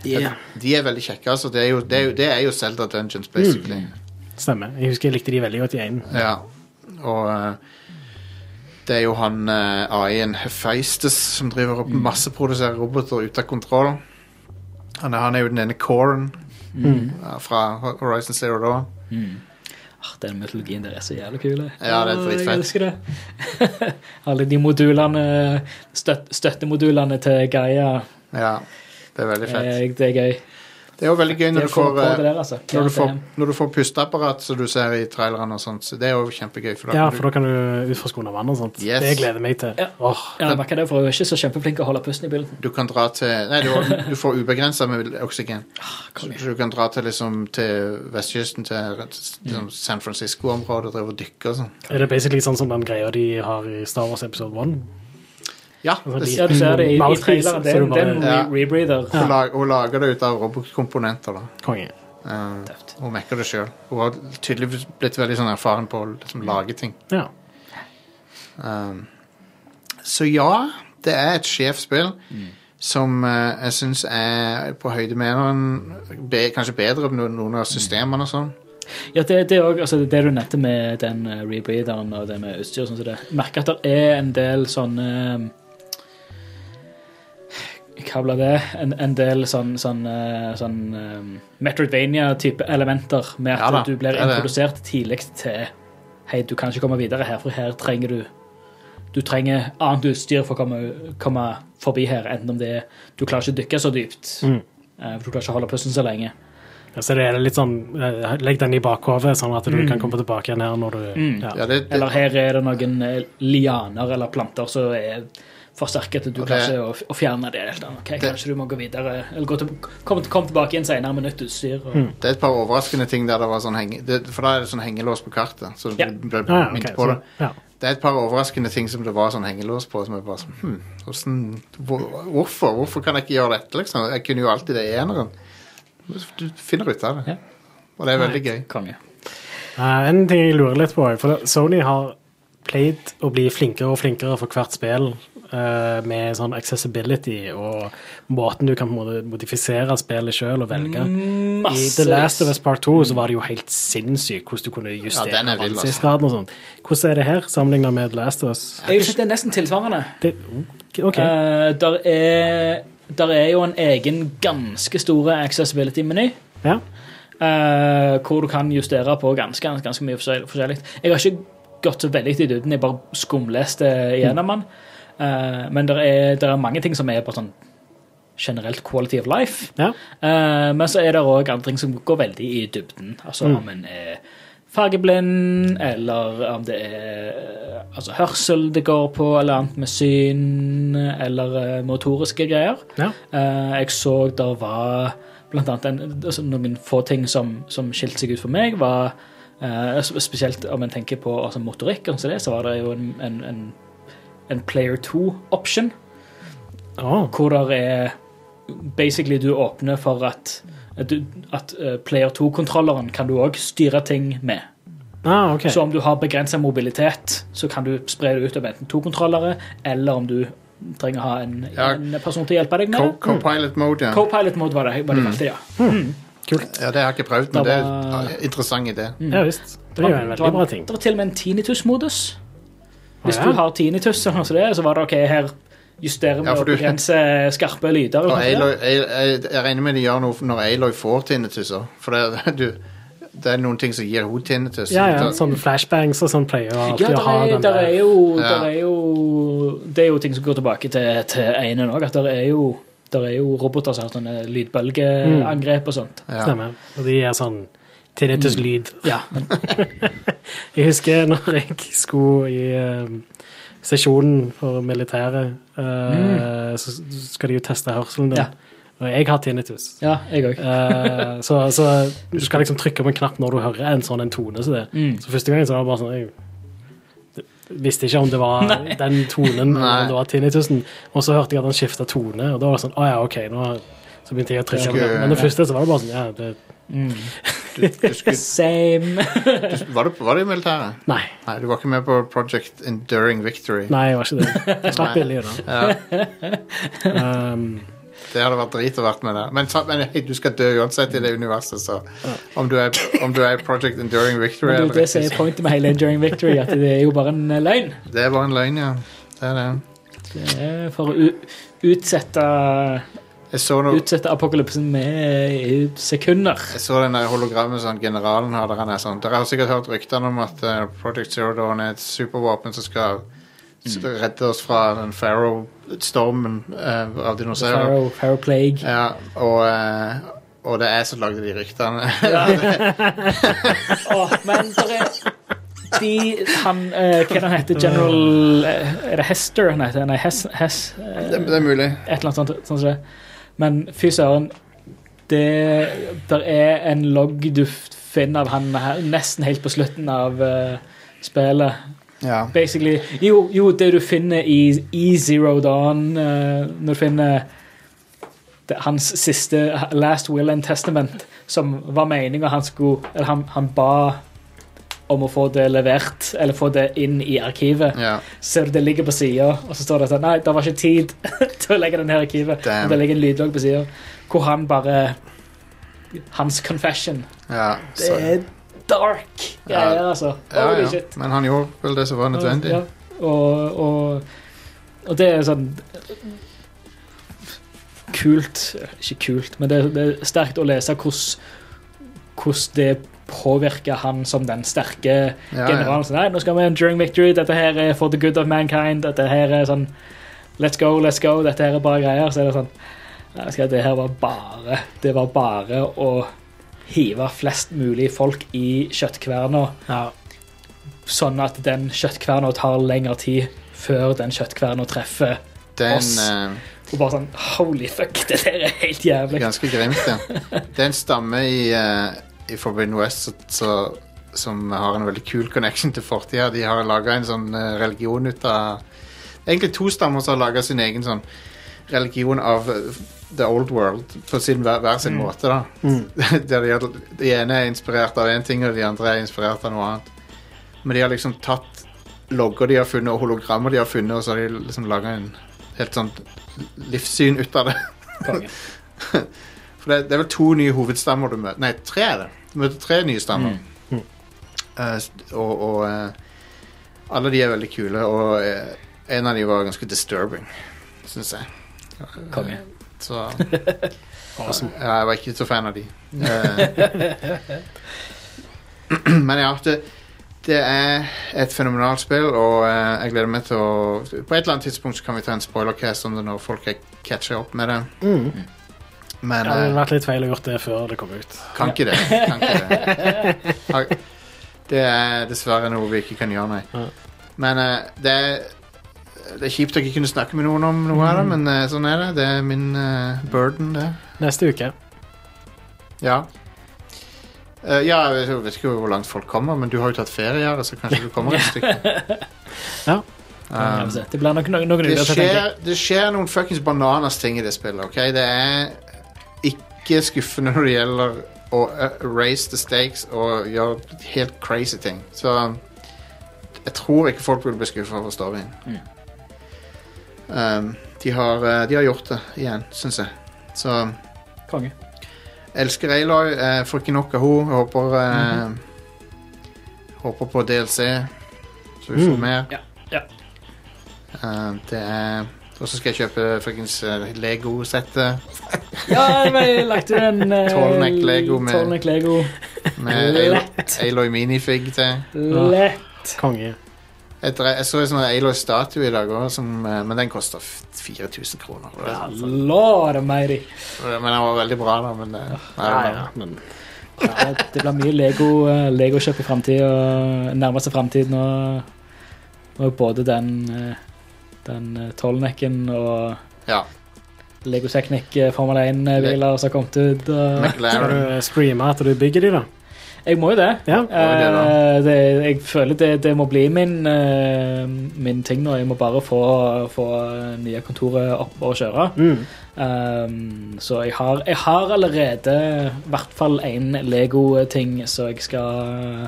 [SPEAKER 1] De er veldig kjekke, altså. Det er jo, det er jo, det er jo Zelda Dungeons, basically.
[SPEAKER 2] Mm.
[SPEAKER 3] Stemmer. Jeg husker jeg likte de veldig godt i en.
[SPEAKER 1] Ja, og eh, det er jo han eh, AI-en Hephaestus som driver
[SPEAKER 2] Mm.
[SPEAKER 1] opp masseproduserer roboter ute av kontroll. Han er, han er jo den ene coren
[SPEAKER 2] Mm.
[SPEAKER 1] eh, fra Horizon Zero Dawn.
[SPEAKER 2] Ah, Den mytologien der er så jævlig kul. jeg.
[SPEAKER 1] Ja, det er
[SPEAKER 2] Ah,
[SPEAKER 1] dritfett.
[SPEAKER 2] Jeg elsker det. Alle de modulene, støt, støttemodulene til Gaia,
[SPEAKER 1] Ja, det er veldig fett.
[SPEAKER 2] eh, det er gøy.
[SPEAKER 1] Det er jo veldig gøy
[SPEAKER 2] Det
[SPEAKER 1] når
[SPEAKER 2] å
[SPEAKER 1] du
[SPEAKER 2] komme
[SPEAKER 1] får,
[SPEAKER 2] på
[SPEAKER 1] eh,
[SPEAKER 2] det der, altså. Ja,
[SPEAKER 1] når du
[SPEAKER 2] det-
[SPEAKER 1] får, når du får pusteapparat, som du ser i traileren og sånt. Så det er jo kjempegøy. For da
[SPEAKER 3] Ja,
[SPEAKER 1] kan
[SPEAKER 3] for da kan du utforske under vann og sånt.
[SPEAKER 1] Yes.
[SPEAKER 3] Det gleder jeg meg til.
[SPEAKER 2] Ja.
[SPEAKER 3] Åh,
[SPEAKER 2] Ja, jeg merker det, for jeg er ikke så kjempeflink til å holde pusten i bilden.
[SPEAKER 1] du, du kan dra til Nei, du, du får ubegrensa med oksygen. Så
[SPEAKER 2] konge.
[SPEAKER 1] du kan dra til, liksom, til vestkysten, til liksom, San Francisco-området og drive og dykke og sånn.
[SPEAKER 3] er det basically sånn som den greia de har i Star Wars episode 1?
[SPEAKER 1] Ja,
[SPEAKER 3] Altså,
[SPEAKER 1] det,
[SPEAKER 3] de-
[SPEAKER 2] Ja, du ser det i, i
[SPEAKER 3] Mouthpiece,
[SPEAKER 2] traileren. Det
[SPEAKER 3] så
[SPEAKER 2] er
[SPEAKER 3] du
[SPEAKER 2] en- det er
[SPEAKER 3] bare-
[SPEAKER 2] en
[SPEAKER 1] Ja.
[SPEAKER 2] re rebreather.
[SPEAKER 1] hun, lag, hun lager det ut av robotkomponenter. da.
[SPEAKER 3] Konge.
[SPEAKER 1] Eh,
[SPEAKER 2] Tøft.
[SPEAKER 1] hun mekker det sjøl. Hun har tydeligvis blitt veldig sånn erfaren på å liksom, lage ting.
[SPEAKER 3] Ja.
[SPEAKER 1] Um, så ja, det er et sjefspill som eh, jeg syns er på høyde med noen be, Kanskje bedre enn noen- noen av systemene og sånn.
[SPEAKER 2] Ja, det, det, er også, altså, det du nevnte med den eh, rebreatheren og det med utstyr, og sånn som det. merker at det er en del sånne eh, Hva blir det? En, en del sånn, sånn, eh, sånn eh, Metroidvania-type elementer med at
[SPEAKER 1] Ja da,
[SPEAKER 2] du blir
[SPEAKER 1] det er det.
[SPEAKER 2] introdusert tidlig til Hei, du kan ikke komme videre her, for her trenger du du trenger annet utstyr for å komme, komme forbi her, enten om det er Du klarer ikke å dykke så dypt. eh, for Du klarer ikke å holde pusten så lenge.
[SPEAKER 3] Så det er litt sånn eh, Legg den i bakhovet, sånn at du kan komme tilbake igjen her når du
[SPEAKER 1] Mm. Ja,
[SPEAKER 3] ja.
[SPEAKER 1] det, det,
[SPEAKER 2] Eller her er det noen eh, lianer eller planter som er forsterket. Du
[SPEAKER 1] Og
[SPEAKER 2] klarer
[SPEAKER 1] det-
[SPEAKER 2] ikke å f- å fjerne det. helt. Ok,
[SPEAKER 1] Det-
[SPEAKER 2] Kanskje du må gå videre. Eller gå til, kom, kom tilbake igjen senere med nytt utstyr. Og,
[SPEAKER 1] det er et par overraskende ting der det var sånn henge... Det, for da er det sånn hengelås på kartet. Så du
[SPEAKER 2] Ja.
[SPEAKER 1] ble
[SPEAKER 3] Ah, ja,
[SPEAKER 1] minnet
[SPEAKER 3] ok,
[SPEAKER 1] på
[SPEAKER 3] så,
[SPEAKER 1] det.
[SPEAKER 3] ja.
[SPEAKER 1] Det er et par overraskende ting som det var sånn hengelås på, som jeg bare sånn hm, hvordan, hvor, Hvorfor Hvorfor kan jeg ikke gjøre dette, liksom? Jeg kunne jo alltid det i eneren. Du finner ut av det.
[SPEAKER 2] Ja.
[SPEAKER 1] Og det er veldig gøy.
[SPEAKER 2] Konge.
[SPEAKER 3] Eh, en ting jeg lurer litt på er, For det- Sony har pleid å bli flinkere og flinkere for hvert spill eh, med sånn accessibility og måten du kan på en måte modifisere spillet sjøl og velge.
[SPEAKER 1] Mm,
[SPEAKER 3] I The Last of Us Part 2 så var det jo helt sinnssykt hvordan du kunne
[SPEAKER 1] Ja,
[SPEAKER 3] justere
[SPEAKER 1] den er vill, altså.
[SPEAKER 3] ansiktsgraden og sånn. Hvordan er det her sammenligna med The Last of Us?
[SPEAKER 2] Jeg vil si det er nesten tilsvarende.
[SPEAKER 3] Det, ok.
[SPEAKER 2] Eh, der, er, der er jo en egen ganske stor accessibility-meny.
[SPEAKER 3] Ja.
[SPEAKER 2] eh, hvor du kan justere på ganske, ganske mye forskjell- forskjellig. Jeg har ikke gått så veldig i dybden, jeg bare skumleste igjennom den. Eh, men det er, der er mange ting som er på sånn generelt quality of life.
[SPEAKER 3] ja.
[SPEAKER 2] Eh, men så er det òg andre ting som går veldig i dybden. Altså om en er fargeblind, eller om det er eh, altså, hørsel det går på, eller annet med syn, eller eh, motoriske greier.
[SPEAKER 3] Ja.
[SPEAKER 2] Eh, jeg så der var blant annet en, altså, noen få ting som, som skilte seg ut for meg, var eh, sp- spesielt om en tenker på altså, motorikk, og så, det, så var det jo en, en, en, en player 2-option
[SPEAKER 3] Å,
[SPEAKER 2] hvor der er Basically, du åpner for at, at, du, at eh, Player 2-kontrolleren kan du òg styre ting med.
[SPEAKER 3] ah, ok.
[SPEAKER 2] Så om du har begrensa mobilitet, så kan du spre det ut av enten to kontrollere, eller om du trenger å ha en,
[SPEAKER 1] Ja.
[SPEAKER 2] en person til å hjelpe deg med
[SPEAKER 1] Co-
[SPEAKER 3] mm.
[SPEAKER 2] det.
[SPEAKER 1] Co-pilot mode, ja.
[SPEAKER 2] Co-pilot mode var det var det kalte, ja.
[SPEAKER 1] ja. Det har jeg ikke prøvd, men
[SPEAKER 2] Da
[SPEAKER 1] det
[SPEAKER 2] var-
[SPEAKER 1] er en interessant idé.
[SPEAKER 2] Mm.
[SPEAKER 3] Ja visst. Det er jo en
[SPEAKER 2] Det var-
[SPEAKER 3] veldig bra ting.
[SPEAKER 2] Det var til og med en tinnitus-modus. Hvis
[SPEAKER 3] Å, ja.
[SPEAKER 2] du har tinnitus, eller noe sånt der, så var det OK, her justerer vi
[SPEAKER 1] Ja, for
[SPEAKER 2] og
[SPEAKER 1] du-
[SPEAKER 2] begrenser skarpe lyder.
[SPEAKER 1] Og
[SPEAKER 2] og sånt der.
[SPEAKER 1] Aloy, jeg, jeg, jeg regner med de gjør noe når Aloy får tinnitusser. For det, er- du, det er noen ting som gir henne tinnitus.
[SPEAKER 3] Ja, ja,
[SPEAKER 1] Da-
[SPEAKER 3] sånne flashbangs og sånn pleier å
[SPEAKER 2] Ja,
[SPEAKER 3] alltid å ha
[SPEAKER 2] der er,
[SPEAKER 3] den
[SPEAKER 2] der
[SPEAKER 3] der.
[SPEAKER 2] er jo,
[SPEAKER 1] Ja.
[SPEAKER 2] der er jo Det er jo ting som går tilbake til, til Einen òg. At der er, jo, der er jo roboter som har sånne lydbølgeangrep og sånt.
[SPEAKER 1] ja.
[SPEAKER 3] Stemmer. Og de er sånn tinnitus
[SPEAKER 2] Mm.
[SPEAKER 3] lyd.
[SPEAKER 2] Ja, men
[SPEAKER 3] Jeg husker når jeg skulle i ehm, sesjonen for militæret, eh, så så skal de jo teste hørselen
[SPEAKER 2] Mm.
[SPEAKER 3] din.
[SPEAKER 2] Ja.
[SPEAKER 3] Og jeg har tinnitus.
[SPEAKER 2] ja, jeg òg.
[SPEAKER 3] Eh, så, så du skal liksom trykke på en knapp når du hører en sånn en tone. Så, det.
[SPEAKER 2] Mm.
[SPEAKER 3] så første gangen så var det bare sånn Jeg visste ikke om det var den tonen eller
[SPEAKER 1] Nei.
[SPEAKER 3] om det var tinnitusen. Og så hørte jeg at han skifta tone, og da var det sånn Å ja, OK. Nå, så begynte jeg å trykke. på
[SPEAKER 1] Skulle-
[SPEAKER 3] den. Men det første så var det bare sånn Ja, det
[SPEAKER 1] Du, du skulle,
[SPEAKER 2] Same.
[SPEAKER 1] var, du, var du i militæret?
[SPEAKER 3] Nei.
[SPEAKER 1] Nei, du var ikke med på Project Enduring Victory.
[SPEAKER 3] Nei, jeg var ikke det. Jeg slapp billig unna.
[SPEAKER 1] Ja,
[SPEAKER 3] Um,
[SPEAKER 1] det hadde vært drit å vært med der. Men, sa- men hei, du skal dø uansett i det universet, så om du er, om du er i Project Enduring Victory
[SPEAKER 2] Men det er jo
[SPEAKER 1] eller
[SPEAKER 2] det som
[SPEAKER 1] ikke,
[SPEAKER 2] er pointet med hele Enduring Victory, at det er jo bare en løgn.
[SPEAKER 1] så- det er bare en løgn, ja. Det er det.
[SPEAKER 2] Det er for å u- utsette,
[SPEAKER 1] Jeg så, noe,
[SPEAKER 2] utsette apokalypsen med sekunder.
[SPEAKER 1] jeg så den der hologrammet som generalen har der han er sånn. Dere har sikkert hørt ryktene om at eh, Project Zero Dawn er et supervåpen som skal
[SPEAKER 2] Mm.
[SPEAKER 1] s- redde oss fra den Pharaoh-stormen eh, av dinosaurer.
[SPEAKER 2] Pharaoh, Pharaoh Plague.
[SPEAKER 1] Ja, og, eh, og det er jeg som lagde de ryktene.
[SPEAKER 2] Åh, men der er de, han, eh, hva er det han heter, General eh, Er det Hester han heter? Nei, Hess, Hess eh,
[SPEAKER 1] det, det er mulig.
[SPEAKER 2] Et eller annet sånt. sånt som det. Men fy søren, det der er en logg du f- finner av han her, nesten helt på slutten av eh, spillet.
[SPEAKER 1] Ja.
[SPEAKER 2] Basically Jo, jo det du finner i, i Zero Dawn eh, Når du finner det, hans siste Last Will and Testament, som var meninga han skulle Eller han, han ba om å få det levert, eller få det inn i arkivet.
[SPEAKER 1] ja.
[SPEAKER 2] Ser du det ligger på sida, og så står det sånn Nei, det var ikke tid til å legge den her i arkivet.
[SPEAKER 1] Damn.
[SPEAKER 2] Og Det ligger en lydlogg på sida hvor han bare Hans confession.
[SPEAKER 1] ja.
[SPEAKER 2] Det
[SPEAKER 1] så-
[SPEAKER 2] er dark greier, altså.
[SPEAKER 1] ja,
[SPEAKER 2] Holy
[SPEAKER 1] ja.
[SPEAKER 2] shit.
[SPEAKER 1] Men han gjorde vel det som var nødvendig.
[SPEAKER 2] Ja, og, og, og det er sånn Kult Ikke kult, men det, det er sterkt å lese hvordan hvordan det påvirker han som den sterke
[SPEAKER 1] Ja, ja.
[SPEAKER 2] generalen. Sånn, Nei, nå skal vi during victory. Dette her er for the good of mankind. Dette her er sånn Let's go, let's go. Dette her er bra greier. Så er det sånn Nei, skal jeg- Det her var bare Det var bare å hive flest mulig folk i kjøttkverna,
[SPEAKER 3] Ja.
[SPEAKER 2] sånn at den kjøttkverna tar lengre tid før den kjøttkverna treffer.
[SPEAKER 1] Den
[SPEAKER 2] Oss.
[SPEAKER 1] eh,
[SPEAKER 2] Og bare sånn Holy fuck, det der er helt
[SPEAKER 1] er
[SPEAKER 2] jævlig.
[SPEAKER 1] eh, ganske grimt, ja. Det er en stamme i, eh, i Forbidden West så, så, som har en veldig kul connection til fortida. De har laga en sånn eh, religion ut av Egentlig to stammer som har laga sin egen sånn religion av eh, the old world på sin, hver, hver
[SPEAKER 2] Mm.
[SPEAKER 1] sin måte, da.
[SPEAKER 3] Mm.
[SPEAKER 1] Der de, har- de ene er inspirert av én ting, og de andre er inspirert av noe annet. Men de har liksom tatt logger de har funnet, og hologrammer de har funnet, og så har de liksom laga en helt sånn livssyn ut av det.
[SPEAKER 2] Konge.
[SPEAKER 1] For det, det er vel to nye hovedstammer du møter. Nei, tre er det. Du møter tre nye stammer. Eh, st- og og eh, alle de er veldig kule, og eh, en av de var ganske disturbing, syns jeg.
[SPEAKER 2] Konge.
[SPEAKER 1] Så ja, jeg var ikke så fan av de. Eh, Men ja, det, det er et fenomenalt spill, og eh, jeg gleder meg til å På et eller annet tidspunkt så kan vi ta en spoilercast om det når folk er- catcher opp med det.
[SPEAKER 3] Mm.
[SPEAKER 1] Men
[SPEAKER 3] Det hadde
[SPEAKER 1] eh,
[SPEAKER 3] vært litt feil å gjort det før det kom ut.
[SPEAKER 1] Kan ikke det. Kan ikke det. Har- det er dessverre noe vi ikke kan gjøre, nei.
[SPEAKER 3] Ja.
[SPEAKER 1] Men eh, det er det er kjipt å ikke kunne snakke med noen om noe
[SPEAKER 3] Mm.
[SPEAKER 1] av det, men eh, sånn er det. Det er min eh, burden, det.
[SPEAKER 3] Neste uke.
[SPEAKER 1] Ja. Eh, ja, jeg vet- jeg vet ikke hvor langt folk kommer, men du har jo tatt ferie, Are, så kanskje du kommer et stykke.
[SPEAKER 3] Ja.
[SPEAKER 1] Um,
[SPEAKER 2] Det blir nok noen, noen
[SPEAKER 1] det,
[SPEAKER 2] uker, tenker jeg.
[SPEAKER 1] skjer, det skjer noen fuckings bananas ting i det spillet, ok? Det er ikke skuffende når det gjelder å uh, raise the stakes og gjøre helt crazy ting. Så um, jeg tror ikke folk vil bli skuffet over storyen. Um, de, har, uh, de har gjort det igjen, syns jeg. Så um,
[SPEAKER 2] Konge.
[SPEAKER 1] elsker Aloy. Jeg får ikke nok av henne. Jeg Håper, uh, håper på DLC, så vi får
[SPEAKER 3] Mm.
[SPEAKER 1] mer.
[SPEAKER 2] Ja, ja.
[SPEAKER 1] Eh, det er Og så skal jeg kjøpe fuckings eh, Lego-settet
[SPEAKER 2] Ja, vi lagde jo en eh,
[SPEAKER 1] Tolvnekk Lego med-
[SPEAKER 2] tolvnekk Lego.
[SPEAKER 1] med Aloy, Aloy minifig til.
[SPEAKER 2] Lett.
[SPEAKER 3] Konge.
[SPEAKER 1] Jeg, dre- jeg så en sånn Aloy-statue i dag òg, men den kosta 4000 kroner. Og det-
[SPEAKER 2] Lord almighty.
[SPEAKER 1] Men den var veldig bra, da. Men eh, I don't know.
[SPEAKER 3] men
[SPEAKER 2] Ja, det blir mye Lego, eh, Lego-kjøp i framtida. Nærmeste framtid nå. Nå er både den, eh, den eh, tolvnekken og
[SPEAKER 1] ja.
[SPEAKER 2] Lego Technic eh, Formel 1-biler som har kommet ut. og-
[SPEAKER 3] Skal
[SPEAKER 1] McLaren.
[SPEAKER 3] du streame at du bygger de, da?
[SPEAKER 2] Jeg må jo det.
[SPEAKER 3] Ja.
[SPEAKER 1] det da.
[SPEAKER 2] Eh, det, jeg føler det, det må bli min, eh, min ting nå. Jeg må bare få, få eh, nye kontoret opp og kjøre.
[SPEAKER 3] Mm.
[SPEAKER 2] Um, så jeg har, jeg har allerede i hvert fall én Lego-ting som jeg skal eh,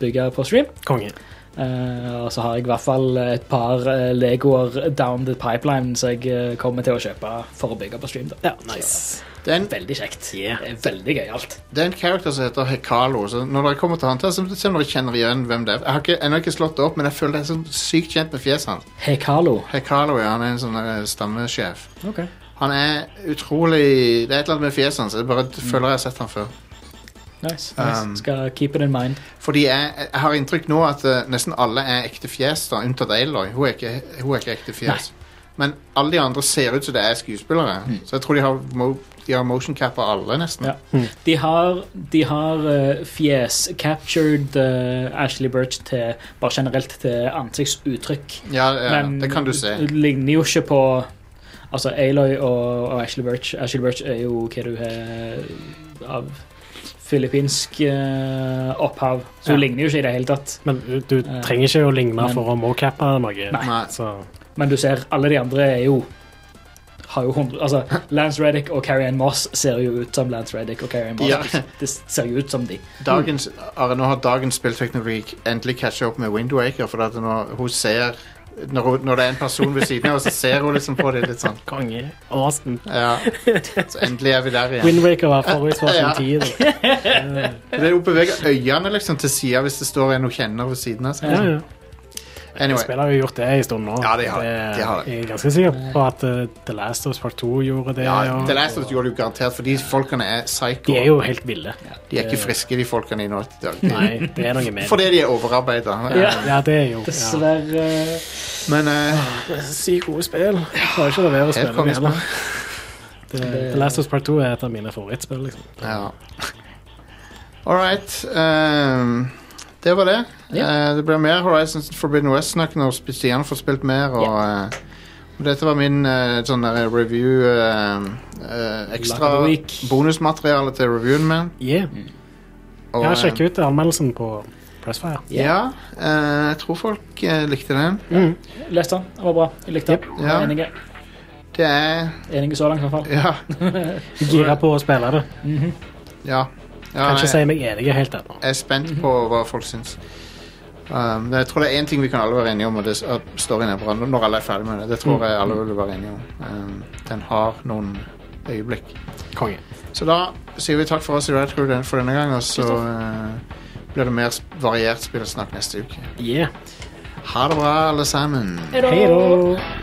[SPEAKER 2] bygge på stream.
[SPEAKER 3] Konge.
[SPEAKER 2] Eh, og så har jeg i hvert fall et par eh, Legoer down the pipeline som jeg eh, kommer til å kjøpe for å bygge på stream. Da.
[SPEAKER 1] Det er en,
[SPEAKER 2] Så, veldig kjekt. Det er veldig gøyalt.
[SPEAKER 1] det er en character som heter Hekalo. Så når dere kommer til han til, så se om dere kjenner igjen hvem det er. Jeg har ikke, ennå ikke slått det opp, men jeg føler det er så sykt kjent med fjeset hans.
[SPEAKER 2] Hekalo.
[SPEAKER 1] Hekalo ja, han er en sånn eh, stammesjef.
[SPEAKER 2] Okay.
[SPEAKER 1] Han er utrolig Det er et eller annet med fjeset hans. Jeg bare føler jeg har sett han før.
[SPEAKER 2] Nice. nice.
[SPEAKER 1] Um,
[SPEAKER 2] skal keep it in mind.
[SPEAKER 1] Fordi jeg, jeg har inntrykk nå at eh, nesten alle er ekte fjes, da, unntatt Aloy. Hun er ikke, hun er ikke ekte fjes. Men alle de andre ser ut som det er skuespillere. Så jeg tror de har, mo de har motion cappa alle, nesten.
[SPEAKER 2] Ja. De har, de har eh, fjes captured eh, Ashley Birch til bare generelt til ansiktsuttrykk.
[SPEAKER 1] Ja, ja, det kan du se.
[SPEAKER 2] det ligner jo ikke på Altså, Aloy og, og Ashley Birch Ashley Birch er jo hva du har av filippinsk eh, opphav, så hun
[SPEAKER 3] Ja.
[SPEAKER 2] ligner jo ikke i det hele tatt.
[SPEAKER 3] Men du, du trenger ikke å ligne
[SPEAKER 2] Men-
[SPEAKER 3] for å mocappe noe.
[SPEAKER 1] Nei.
[SPEAKER 3] Så
[SPEAKER 2] Men du ser, alle de andre er jo har jo 100, altså Lance Reddick og Carrie Ann Moss ser jo ut som Lance Reddick og Carrie Ann Moss.
[SPEAKER 1] Ja.
[SPEAKER 2] Det ser jo ut som de.
[SPEAKER 1] Dagens, Are, nå har dagens spillteknologi endelig catcha opp med Windwaker. For at når, hun ser, når, hun, når det er en person ved siden av, så ser hun liksom på det litt sånn.
[SPEAKER 3] konge. Awesome.
[SPEAKER 1] Ja. Så endelig er vi der igjen.
[SPEAKER 3] Windwaker var forutspått sin tid.
[SPEAKER 1] Det er jo å bevege øynene liksom til sida hvis det står en hun kjenner ved siden av
[SPEAKER 3] Ja,
[SPEAKER 1] seg.
[SPEAKER 3] ja.
[SPEAKER 1] Anyway,
[SPEAKER 3] Spillere har jo gjort det en stund nå.
[SPEAKER 1] Ja, de har det. De har det.
[SPEAKER 3] Jeg er ganske sikker på at eh, The Last of Us Part 2 gjorde det.
[SPEAKER 1] ja,
[SPEAKER 3] og-
[SPEAKER 1] The Last of Us gjorde det jo garantert, for de folkene er psycho.
[SPEAKER 3] De er jo helt ville.
[SPEAKER 1] De er ikke friske, de folkene i nå til dag.
[SPEAKER 3] Nei, det er noe med det.
[SPEAKER 1] Fordi de er overarbeida.
[SPEAKER 3] Ja, det er jo ja.
[SPEAKER 2] Dessverre.
[SPEAKER 1] Men eh,
[SPEAKER 3] Sykt gode spill. Klarer ikke å la være å spille dem
[SPEAKER 1] kongespill.
[SPEAKER 3] heller. Det- The Last of Us Part 2 er et av mine favorittspill. Liksom.
[SPEAKER 1] ja. All right. ehm, det var det. Eh, det blir mer Horizons Forbidden West-snakk når Stian får spilt mer. Og, eh, og dette var min eh, sånn der review eh, eh,
[SPEAKER 2] Lack of
[SPEAKER 1] Ekstra
[SPEAKER 2] the week.
[SPEAKER 1] bonusmateriale til reviewen min.
[SPEAKER 3] Yeah.
[SPEAKER 1] Og,
[SPEAKER 3] Ja,
[SPEAKER 1] eh,
[SPEAKER 3] sjekk ut anmeldelsen på Pressfire.
[SPEAKER 1] Ja, eh, jeg tror folk eh, likte den.
[SPEAKER 3] Mm.
[SPEAKER 2] Les den. Den var bra. Jeg likte den.
[SPEAKER 1] Ja.
[SPEAKER 2] Enige.
[SPEAKER 1] Det er
[SPEAKER 2] Enige så langt, i hvert fall. Mhm.
[SPEAKER 1] Ja.
[SPEAKER 3] Gira på å spille det.
[SPEAKER 1] ja. Ah, ja
[SPEAKER 3] Kan ikke
[SPEAKER 1] jeg,
[SPEAKER 3] si meg enig helt ennå.
[SPEAKER 1] jeg er spent på hva folk syns. Um, men jeg tror det er én ting vi kan alle være enige om, og det er at storyen er bra. Når alle er ferdig med det. Det tror jeg alle vil være enige om. Um, den har noen øyeblikk.
[SPEAKER 3] Konge.
[SPEAKER 1] Så da sier vi takk for oss i Red Crew den- for denne gang, og så uh, blir det mer sp- variert spillsnakk neste uke.
[SPEAKER 3] Yeah.
[SPEAKER 1] Ha det bra, alle sammen.
[SPEAKER 3] Hei da.